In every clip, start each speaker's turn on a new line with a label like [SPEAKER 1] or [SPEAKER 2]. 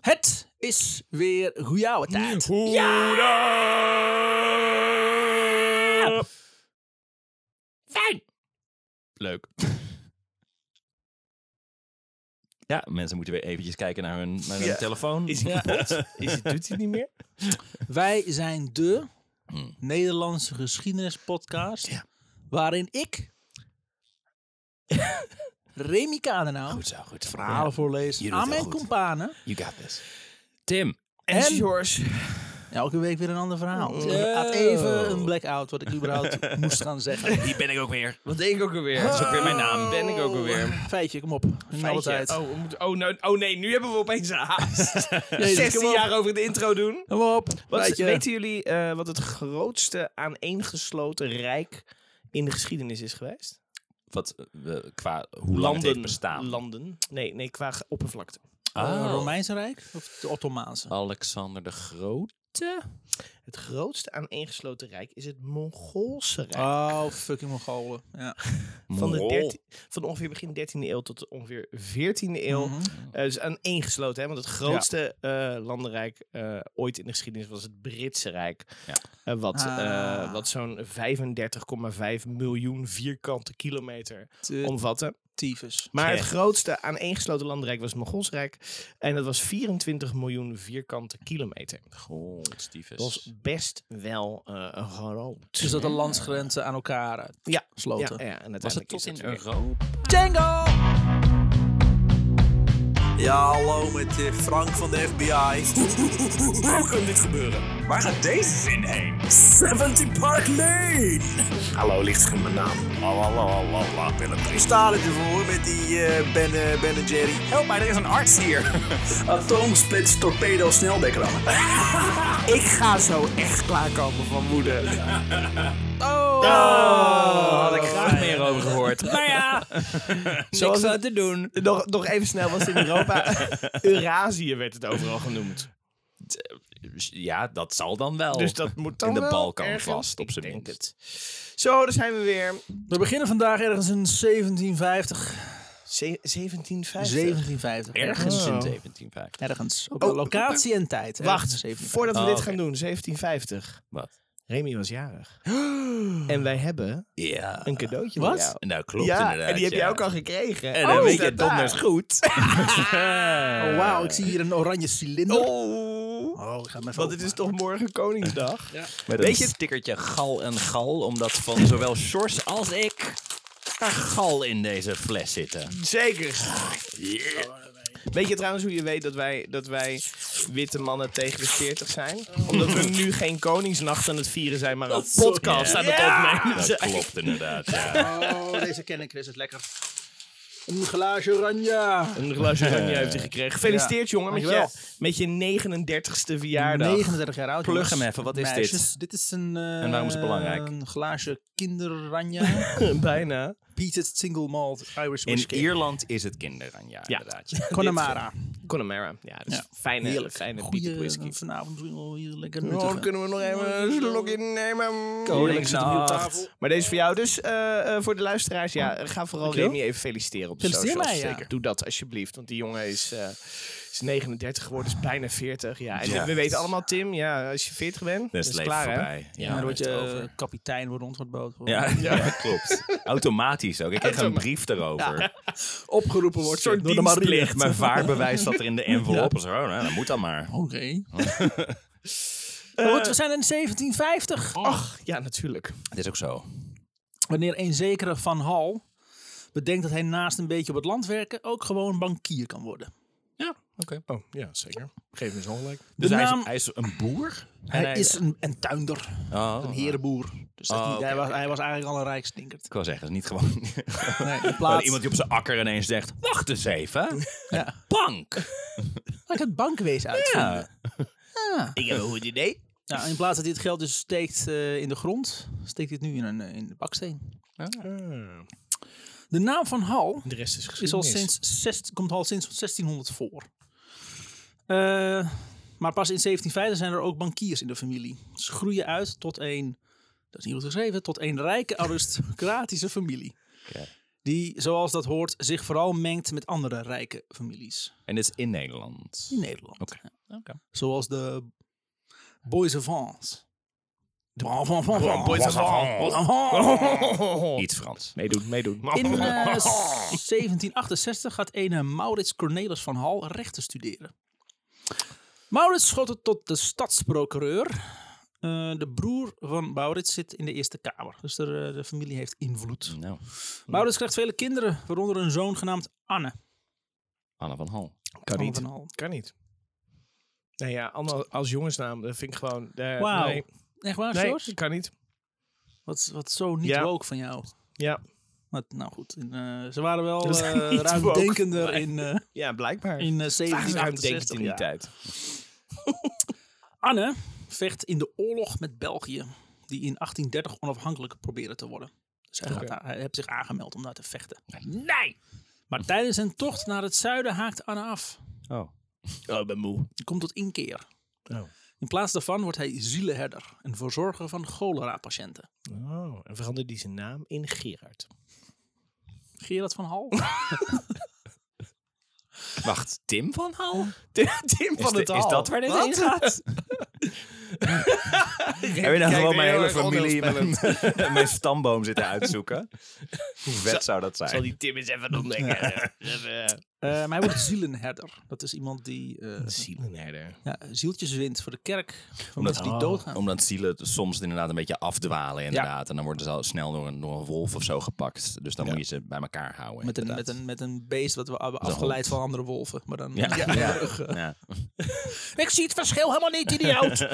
[SPEAKER 1] Het is weer goeie tijd.
[SPEAKER 2] Ja!
[SPEAKER 1] Fijn!
[SPEAKER 2] Leuk. Ja, mensen moeten weer eventjes kijken naar hun, naar hun
[SPEAKER 1] Ja.
[SPEAKER 2] telefoon.
[SPEAKER 3] Is hij
[SPEAKER 2] Ja.
[SPEAKER 3] kapot? Is het, doet hij niet meer?
[SPEAKER 1] Wij zijn de
[SPEAKER 2] Hmm.
[SPEAKER 1] Nederlandse geschiedenispodcast.
[SPEAKER 3] Ja.
[SPEAKER 1] Waarin ik, Remy Kadenau,
[SPEAKER 3] zo, goed.
[SPEAKER 1] verhalen voorlees
[SPEAKER 3] je doet
[SPEAKER 1] aan
[SPEAKER 3] het
[SPEAKER 1] mijn
[SPEAKER 3] goed.
[SPEAKER 1] companen.
[SPEAKER 3] You got this.
[SPEAKER 2] Tim.
[SPEAKER 1] En-
[SPEAKER 3] George.
[SPEAKER 1] Elke week weer een ander verhaal.
[SPEAKER 2] Oh.
[SPEAKER 1] Ik had even
[SPEAKER 3] Oh.
[SPEAKER 1] een blackout wat ik überhaupt moest gaan zeggen.
[SPEAKER 2] Die ben ik ook weer.
[SPEAKER 3] Wat denk ik ook alweer? Dat is ook weer mijn
[SPEAKER 2] Nou,
[SPEAKER 3] naam. Ben ik ook
[SPEAKER 1] Oh,
[SPEAKER 3] alweer.
[SPEAKER 1] Feitje, kom op. In alle tijd.
[SPEAKER 3] Feitje. Oh, we moeten- oh, nou, oh nee, nu hebben we opeens haast.
[SPEAKER 1] Jezus,
[SPEAKER 3] 16
[SPEAKER 1] kom op.
[SPEAKER 3] jaar over de intro doen.
[SPEAKER 1] Kom op.
[SPEAKER 3] Wat is,
[SPEAKER 1] Feitje.
[SPEAKER 3] weten jullie eh, wat het grootste aaneengesloten rijk in de geschiedenis is geweest?
[SPEAKER 2] Wat, eh, qua hoe lang het heeft bestaan.
[SPEAKER 3] Landen. Nee, nee qua ge- oppervlakte.
[SPEAKER 1] Oh,
[SPEAKER 2] Ah,
[SPEAKER 1] Romeinse Rijk of de Ottomaanse?
[SPEAKER 2] Alexander de Groot.
[SPEAKER 3] Het grootste aaneengesloten rijk is het Mongoolse Rijk.
[SPEAKER 1] Oh, fucking Mongolen. Ja.
[SPEAKER 3] Van, de
[SPEAKER 2] Mongool.
[SPEAKER 3] 13 van ongeveer begin 13e eeuw tot ongeveer 14e eeuw.
[SPEAKER 1] Mhm.
[SPEAKER 3] Eh, dus aaneengesloten, hè? want het grootste eh, landenrijk eh, ooit in de geschiedenis was het Britse Rijk.
[SPEAKER 2] Ja.
[SPEAKER 3] Eh, wat eh,
[SPEAKER 1] Ah.
[SPEAKER 3] wat zo'n 35,5 miljoen vierkante kilometer
[SPEAKER 1] Te-
[SPEAKER 3] omvatte.
[SPEAKER 1] tyfus.
[SPEAKER 3] Maar het
[SPEAKER 2] Echt?
[SPEAKER 3] grootste aaneengesloten landenrijk was het Mongoolse Rijk. En dat was 24 miljoen vierkante kilometer.
[SPEAKER 2] Goh,
[SPEAKER 3] Dat
[SPEAKER 2] stiefes.
[SPEAKER 3] was best wel eh groot.
[SPEAKER 1] Dus dat de landsgrenzen aan elkaar eh,
[SPEAKER 3] Ja. ja,
[SPEAKER 1] sloten.
[SPEAKER 3] ja, en
[SPEAKER 2] Was het
[SPEAKER 3] uiteindelijk
[SPEAKER 2] tot
[SPEAKER 3] is dat
[SPEAKER 2] in
[SPEAKER 3] weer-
[SPEAKER 2] Europa?
[SPEAKER 1] eh. Django!
[SPEAKER 4] Ja, hallo met eh, Frank van de FBI. Hoe kan dit gebeuren? Waar gaat deze zin heen? 70 Park Lane! Hallo, ligt in mijn naam. Lalalala, Willem. Ik sta ervoor met die eh, ben, eh, ben en Jerry. Help mij, er is een arts hier. Atoomsplits, torpedo, sneldekker Ik ga zo echt klaarkomen van moeder.
[SPEAKER 1] Oh!
[SPEAKER 3] had ik graag
[SPEAKER 2] meer over gehoord.
[SPEAKER 3] Nou ja,
[SPEAKER 2] Niks aan te doen.
[SPEAKER 3] nog, nog even snel was in Europa. Eurasië werd het overal genoemd.
[SPEAKER 2] Ja, dat zal dan wel.
[SPEAKER 3] Dus dat moet dan
[SPEAKER 2] Oh, In de
[SPEAKER 3] wel
[SPEAKER 2] Balkan
[SPEAKER 3] ergens,
[SPEAKER 2] vast, op
[SPEAKER 3] ik
[SPEAKER 2] zijn
[SPEAKER 3] denk
[SPEAKER 2] minst.
[SPEAKER 3] het. Zo, daar zijn we weer.
[SPEAKER 1] We beginnen vandaag ergens in 1750.
[SPEAKER 3] Ze- 1750.
[SPEAKER 1] 1750.
[SPEAKER 2] Ergens in
[SPEAKER 3] Oh.
[SPEAKER 2] 1750.
[SPEAKER 1] Ergens. Op de locatie en tijd. hè.
[SPEAKER 3] Wacht,
[SPEAKER 1] 1750.
[SPEAKER 3] voordat we
[SPEAKER 2] Oh,
[SPEAKER 3] dit
[SPEAKER 2] oké.
[SPEAKER 3] gaan doen, 1750.
[SPEAKER 2] Wat?
[SPEAKER 3] Remy was jarig. en wij hebben
[SPEAKER 2] Ja.
[SPEAKER 3] een cadeautje
[SPEAKER 1] Wat?
[SPEAKER 3] voor jou.
[SPEAKER 2] Nou, Ah, klopt
[SPEAKER 3] ja,
[SPEAKER 2] inderdaad.
[SPEAKER 3] en die heb
[SPEAKER 2] ja.
[SPEAKER 3] jij ook al gekregen. Oh,
[SPEAKER 2] En dan weet je
[SPEAKER 3] staat
[SPEAKER 2] het donders
[SPEAKER 3] daar.
[SPEAKER 2] goed.
[SPEAKER 1] Oh, wauw. Ik zie hier een oranje cilinder.
[SPEAKER 3] Oh,
[SPEAKER 1] Oh, ik ga hem even
[SPEAKER 3] want het is toch morgen Koningsdag?
[SPEAKER 2] Weet je het stickertje gal en gal? Omdat van zowel Sjors als ik daar gal in deze fles zitten.
[SPEAKER 3] Zeker. Weet je trouwens hoe je weet dat wij, dat wij witte mannen tegen de 40 zijn? Omdat we nu geen Koningsnacht aan het vieren zijn, maar een podcast aan het opnemen
[SPEAKER 2] Dat
[SPEAKER 3] zijn.
[SPEAKER 2] klopt inderdaad, ja.
[SPEAKER 1] Oh, deze ken ik. Dit is lekker. Een glaasje oranje.
[SPEAKER 3] Een glaasje oranje heeft hij gekregen. Gefeliciteerd jongen met je,
[SPEAKER 1] Eh, Dankjewel.
[SPEAKER 3] met je 39ste verjaardag.
[SPEAKER 1] 39 jaar oud.
[SPEAKER 2] Plug
[SPEAKER 1] jongens.
[SPEAKER 2] hem even, wat is dit?
[SPEAKER 1] Meisjes, Dit is een... eh,
[SPEAKER 2] En waarom is het belangrijk?
[SPEAKER 1] Een glaasje kinderranja.
[SPEAKER 3] Bijna.
[SPEAKER 1] Peated Single Malt Irish
[SPEAKER 2] In
[SPEAKER 1] Whiskey.
[SPEAKER 2] Ierland is het kinderanjaar,
[SPEAKER 3] Ja.
[SPEAKER 2] inderdaad. ja.
[SPEAKER 1] Connemara.
[SPEAKER 2] eh,
[SPEAKER 3] Connemara. Ja, dat is
[SPEAKER 1] Ja.
[SPEAKER 3] fijne,
[SPEAKER 1] Heerlijk.
[SPEAKER 3] fijne
[SPEAKER 1] Goeie,
[SPEAKER 3] peated whisky.
[SPEAKER 1] eh, vanavond misschien wel hier lekker
[SPEAKER 3] Oh, dan
[SPEAKER 1] nuttigen.
[SPEAKER 3] kunnen we nog even een slokje nemen.
[SPEAKER 2] Koningsnacht.
[SPEAKER 3] Zit hem hier op tafel. Maar deze is voor jou dus, eh, eh, voor de luisteraars. Ja,
[SPEAKER 1] Oh,
[SPEAKER 3] eh, ga vooral
[SPEAKER 1] Dankjewel.
[SPEAKER 3] Remy even feliciteren op de
[SPEAKER 1] Feliciteer
[SPEAKER 3] socials.
[SPEAKER 1] mij, ja.
[SPEAKER 3] Zeker, doe dat alsjeblieft. Want die jongen is, eh, is 39 geworden, is bijna 40. Ja, en
[SPEAKER 2] Ja.
[SPEAKER 3] we weten allemaal, Tim, ja, als je 40
[SPEAKER 2] Dat
[SPEAKER 3] bent, is
[SPEAKER 2] is
[SPEAKER 3] het
[SPEAKER 2] het leven
[SPEAKER 3] klaar, hè?
[SPEAKER 2] voorbij.
[SPEAKER 1] Ja, dan word
[SPEAKER 2] heeft
[SPEAKER 1] je
[SPEAKER 2] het over.
[SPEAKER 1] eh, kapitein wordt rondvaartboot.
[SPEAKER 2] Ja, ja, klopt. Automatisch ook. Ik kreeg een brief daarover.
[SPEAKER 1] Opgeroepen wordt
[SPEAKER 2] soort
[SPEAKER 1] door de marine.
[SPEAKER 2] dienstplicht. Mijn vaarbewijs zat er in de envelop. Zo, nou, dat moet dan maar.
[SPEAKER 1] Oké. Maar goed, we zijn in 1750.
[SPEAKER 3] Ach, ja, natuurlijk.
[SPEAKER 2] Dat is ook zo.
[SPEAKER 1] Wanneer een zekere Van Hal bedenkt dat hij naast een beetje op het land werken ook gewoon bankier kan worden.
[SPEAKER 3] Oké. Oh, ja, zeker. Geef me zo gelijk.
[SPEAKER 1] De
[SPEAKER 2] Dus hij,
[SPEAKER 1] naam-
[SPEAKER 2] is, hij is een boer?
[SPEAKER 1] Hij,
[SPEAKER 2] En
[SPEAKER 1] is een, een tuinder,
[SPEAKER 2] Oh,
[SPEAKER 1] een herenboer. Dus dat
[SPEAKER 2] Oh,
[SPEAKER 1] niet-
[SPEAKER 2] oké,
[SPEAKER 1] hij, was,
[SPEAKER 2] oké,
[SPEAKER 1] hij was eigenlijk al een rijk stinkert.
[SPEAKER 2] Ik wil zeggen, het is niet gewoon
[SPEAKER 1] Nee, in
[SPEAKER 2] gewoon
[SPEAKER 1] plaats,
[SPEAKER 2] iemand die op zijn akker ineens zegt... Wacht eens even.
[SPEAKER 1] Ja.
[SPEAKER 2] Bank.
[SPEAKER 1] Laat ik het bankwezen uitvinden.
[SPEAKER 2] Ja.
[SPEAKER 1] Ja.
[SPEAKER 3] Ik heb een goed idee.
[SPEAKER 1] Ja, in plaats dat hij het geld dus steekt eh, in de grond, steekt hij het nu in, een, eh, in de baksteen.
[SPEAKER 2] Ah.
[SPEAKER 1] De naam van Hal
[SPEAKER 3] De rest is
[SPEAKER 1] is al
[SPEAKER 3] geschiedenis.
[SPEAKER 1] sinds, zes- komt al sinds 1600 voor. Eh, maar pas in 1750 zijn er ook bankiers in de familie. Ze groeien uit tot een, dat is niet goed geschreven, tot een rijke aristocratische familie.
[SPEAKER 2] Oké.
[SPEAKER 1] Die, zoals dat hoort, zich vooral mengt met andere rijke families
[SPEAKER 2] En dit is in Nederland.
[SPEAKER 1] in Nederland.
[SPEAKER 2] Oké.
[SPEAKER 1] Zoals de Boys of France. De Boys of France.
[SPEAKER 3] Oh, Boys of
[SPEAKER 2] Iets Frans.
[SPEAKER 3] Meedoen, meedoen.
[SPEAKER 1] In eh,
[SPEAKER 3] Oh.
[SPEAKER 1] 1768 gaat ene Maurits Cornelis van Hal rechten studeren. Maurits schot het tot de stadsprocureur. Eh, de broer van Maurits zit in de Eerste Kamer. Dus de, eh, de familie heeft
[SPEAKER 3] Mm.
[SPEAKER 1] invloed.
[SPEAKER 2] Nou,
[SPEAKER 1] Maurits krijgt vele kinderen, waaronder een zoon genaamd Anne.
[SPEAKER 2] Anne van Hal.
[SPEAKER 3] kan
[SPEAKER 1] Anne
[SPEAKER 3] niet.
[SPEAKER 1] van Hal.
[SPEAKER 3] Kan niet. Nou ja, Anne als jongensnaam, dat vind ik gewoon... eh,
[SPEAKER 1] Wauw.
[SPEAKER 3] Nee,
[SPEAKER 1] Echt waar,
[SPEAKER 3] nee
[SPEAKER 1] George?
[SPEAKER 3] kan niet.
[SPEAKER 1] Wat, wat zo niet
[SPEAKER 3] Ja.
[SPEAKER 1] woke van jou.
[SPEAKER 3] Ja,
[SPEAKER 1] Maar, nou goed, in, eh, ze waren wel
[SPEAKER 3] Dat is
[SPEAKER 1] eh,
[SPEAKER 3] niet
[SPEAKER 1] ruimdenkender
[SPEAKER 3] woke,
[SPEAKER 1] in, eh
[SPEAKER 3] ja blijkbaar.
[SPEAKER 1] in eh,
[SPEAKER 3] Vraag is waarom denk je het
[SPEAKER 1] 1768.
[SPEAKER 3] in die
[SPEAKER 1] ja.
[SPEAKER 3] tijd?
[SPEAKER 1] Anne vecht in de oorlog met België, die in 1830 onafhankelijk probeerde te worden. Dus hij, gaat
[SPEAKER 3] Oké.
[SPEAKER 1] daar- hij heeft zich aangemeld om daar te vechten.
[SPEAKER 2] Nee!
[SPEAKER 1] Maar tijdens zijn tocht naar het zuiden haakt Anne af.
[SPEAKER 2] Oh. Oh, ik ben moe.
[SPEAKER 1] Hij komt tot inkeer.
[SPEAKER 3] Oh.
[SPEAKER 1] In plaats daarvan wordt hij zielenherder en verzorger van cholera-patiënten.
[SPEAKER 3] Oh, en veranderde die zijn naam in Gerard.
[SPEAKER 1] Gerard van Hal? Eh,
[SPEAKER 2] Wacht, Tim van Hal?
[SPEAKER 3] Tim van
[SPEAKER 2] Is, de- is dat waar dit heen gaat? Heb je nou
[SPEAKER 3] Kijk,
[SPEAKER 2] gewoon mijn
[SPEAKER 3] heel
[SPEAKER 2] hele
[SPEAKER 3] erg
[SPEAKER 2] familie, mijn,
[SPEAKER 3] onheilspellend.
[SPEAKER 2] mijn stamboom zitten uitzoeken? Hoe vet zou dat
[SPEAKER 3] Zal
[SPEAKER 2] zijn?
[SPEAKER 3] die Tim eens even ontdekken. Even-
[SPEAKER 1] Eh, maar hij wordt zielenherder. Dat is iemand die eh,
[SPEAKER 3] Zielenherder.
[SPEAKER 1] ja, zieltjes wint voor de kerk. Voor mensen die
[SPEAKER 3] oh,
[SPEAKER 1] doodgaan.
[SPEAKER 2] Omdat zielen soms inderdaad een beetje afdwalen inderdaad. En dan worden ze al snel door een, door een wolf of zo gepakt. Dus dan moet je ze bij elkaar houden.
[SPEAKER 1] Met een, met,
[SPEAKER 2] inderdaad.
[SPEAKER 1] een, met een beest wat we hebben afgeleid van andere wolven. Maar dan
[SPEAKER 2] Ja, ja. ja.
[SPEAKER 1] Ik zie het verschil helemaal niet, idioot.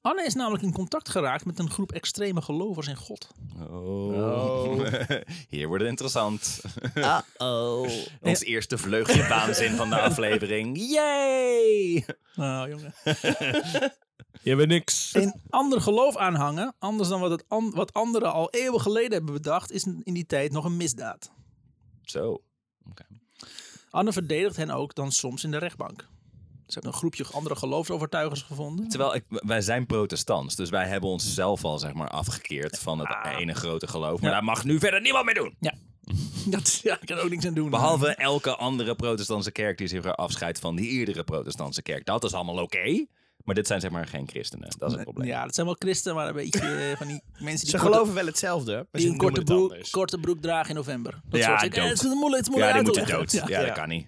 [SPEAKER 1] Anne is namelijk in contact geraakt met een groep extreme gelovers in God.
[SPEAKER 2] Oh. Hier wordt het interessant.
[SPEAKER 3] Oh.
[SPEAKER 2] Ons eerste vleugje waanzin van de aflevering. Yay!
[SPEAKER 1] Nou, jongen.
[SPEAKER 3] Je bent niks.
[SPEAKER 1] Een ander geloof aanhangen, anders dan wat, het an- wat anderen al eeuwen geleden hebben bedacht, is in die tijd nog een misdaad.
[SPEAKER 2] Zo.
[SPEAKER 1] Anne verdedigt hen ook dan soms in de rechtbank. Ze hebben een groepje andere geloofsovertuigers gevonden.
[SPEAKER 2] Terwijl ik, wij zijn protestants, dus wij hebben onszelf al zeg maar afgekeerd van het ene grote geloof. Maar daar mag nu verder niemand mee doen.
[SPEAKER 1] Dat, ja, ik kan er ook niks aan doen.
[SPEAKER 2] Behalve elke andere protestantse kerk die zich weer afscheidt van die eerdere protestantse kerk. Dat is allemaal oké. maar dit zijn zeg maar geen christenen. Dat is het probleem.
[SPEAKER 1] Ja, dat zijn wel christen, maar een beetje eh, van die mensen die
[SPEAKER 3] Ze
[SPEAKER 1] korte-
[SPEAKER 3] geloven wel hetzelfde, maar
[SPEAKER 1] Die
[SPEAKER 3] ze
[SPEAKER 1] een korte
[SPEAKER 3] noemen het
[SPEAKER 1] broek,
[SPEAKER 3] anders.
[SPEAKER 1] korte broek dragen in november. Dat
[SPEAKER 2] Ja,
[SPEAKER 1] soort dingen.
[SPEAKER 2] dood.
[SPEAKER 1] Eh, Het is moeilijk, het is
[SPEAKER 2] Ja,
[SPEAKER 1] moeilijk
[SPEAKER 2] die
[SPEAKER 1] uit te
[SPEAKER 2] moeten dood.
[SPEAKER 1] leggen.
[SPEAKER 2] Ja,
[SPEAKER 1] Ja.
[SPEAKER 2] dat kan niet.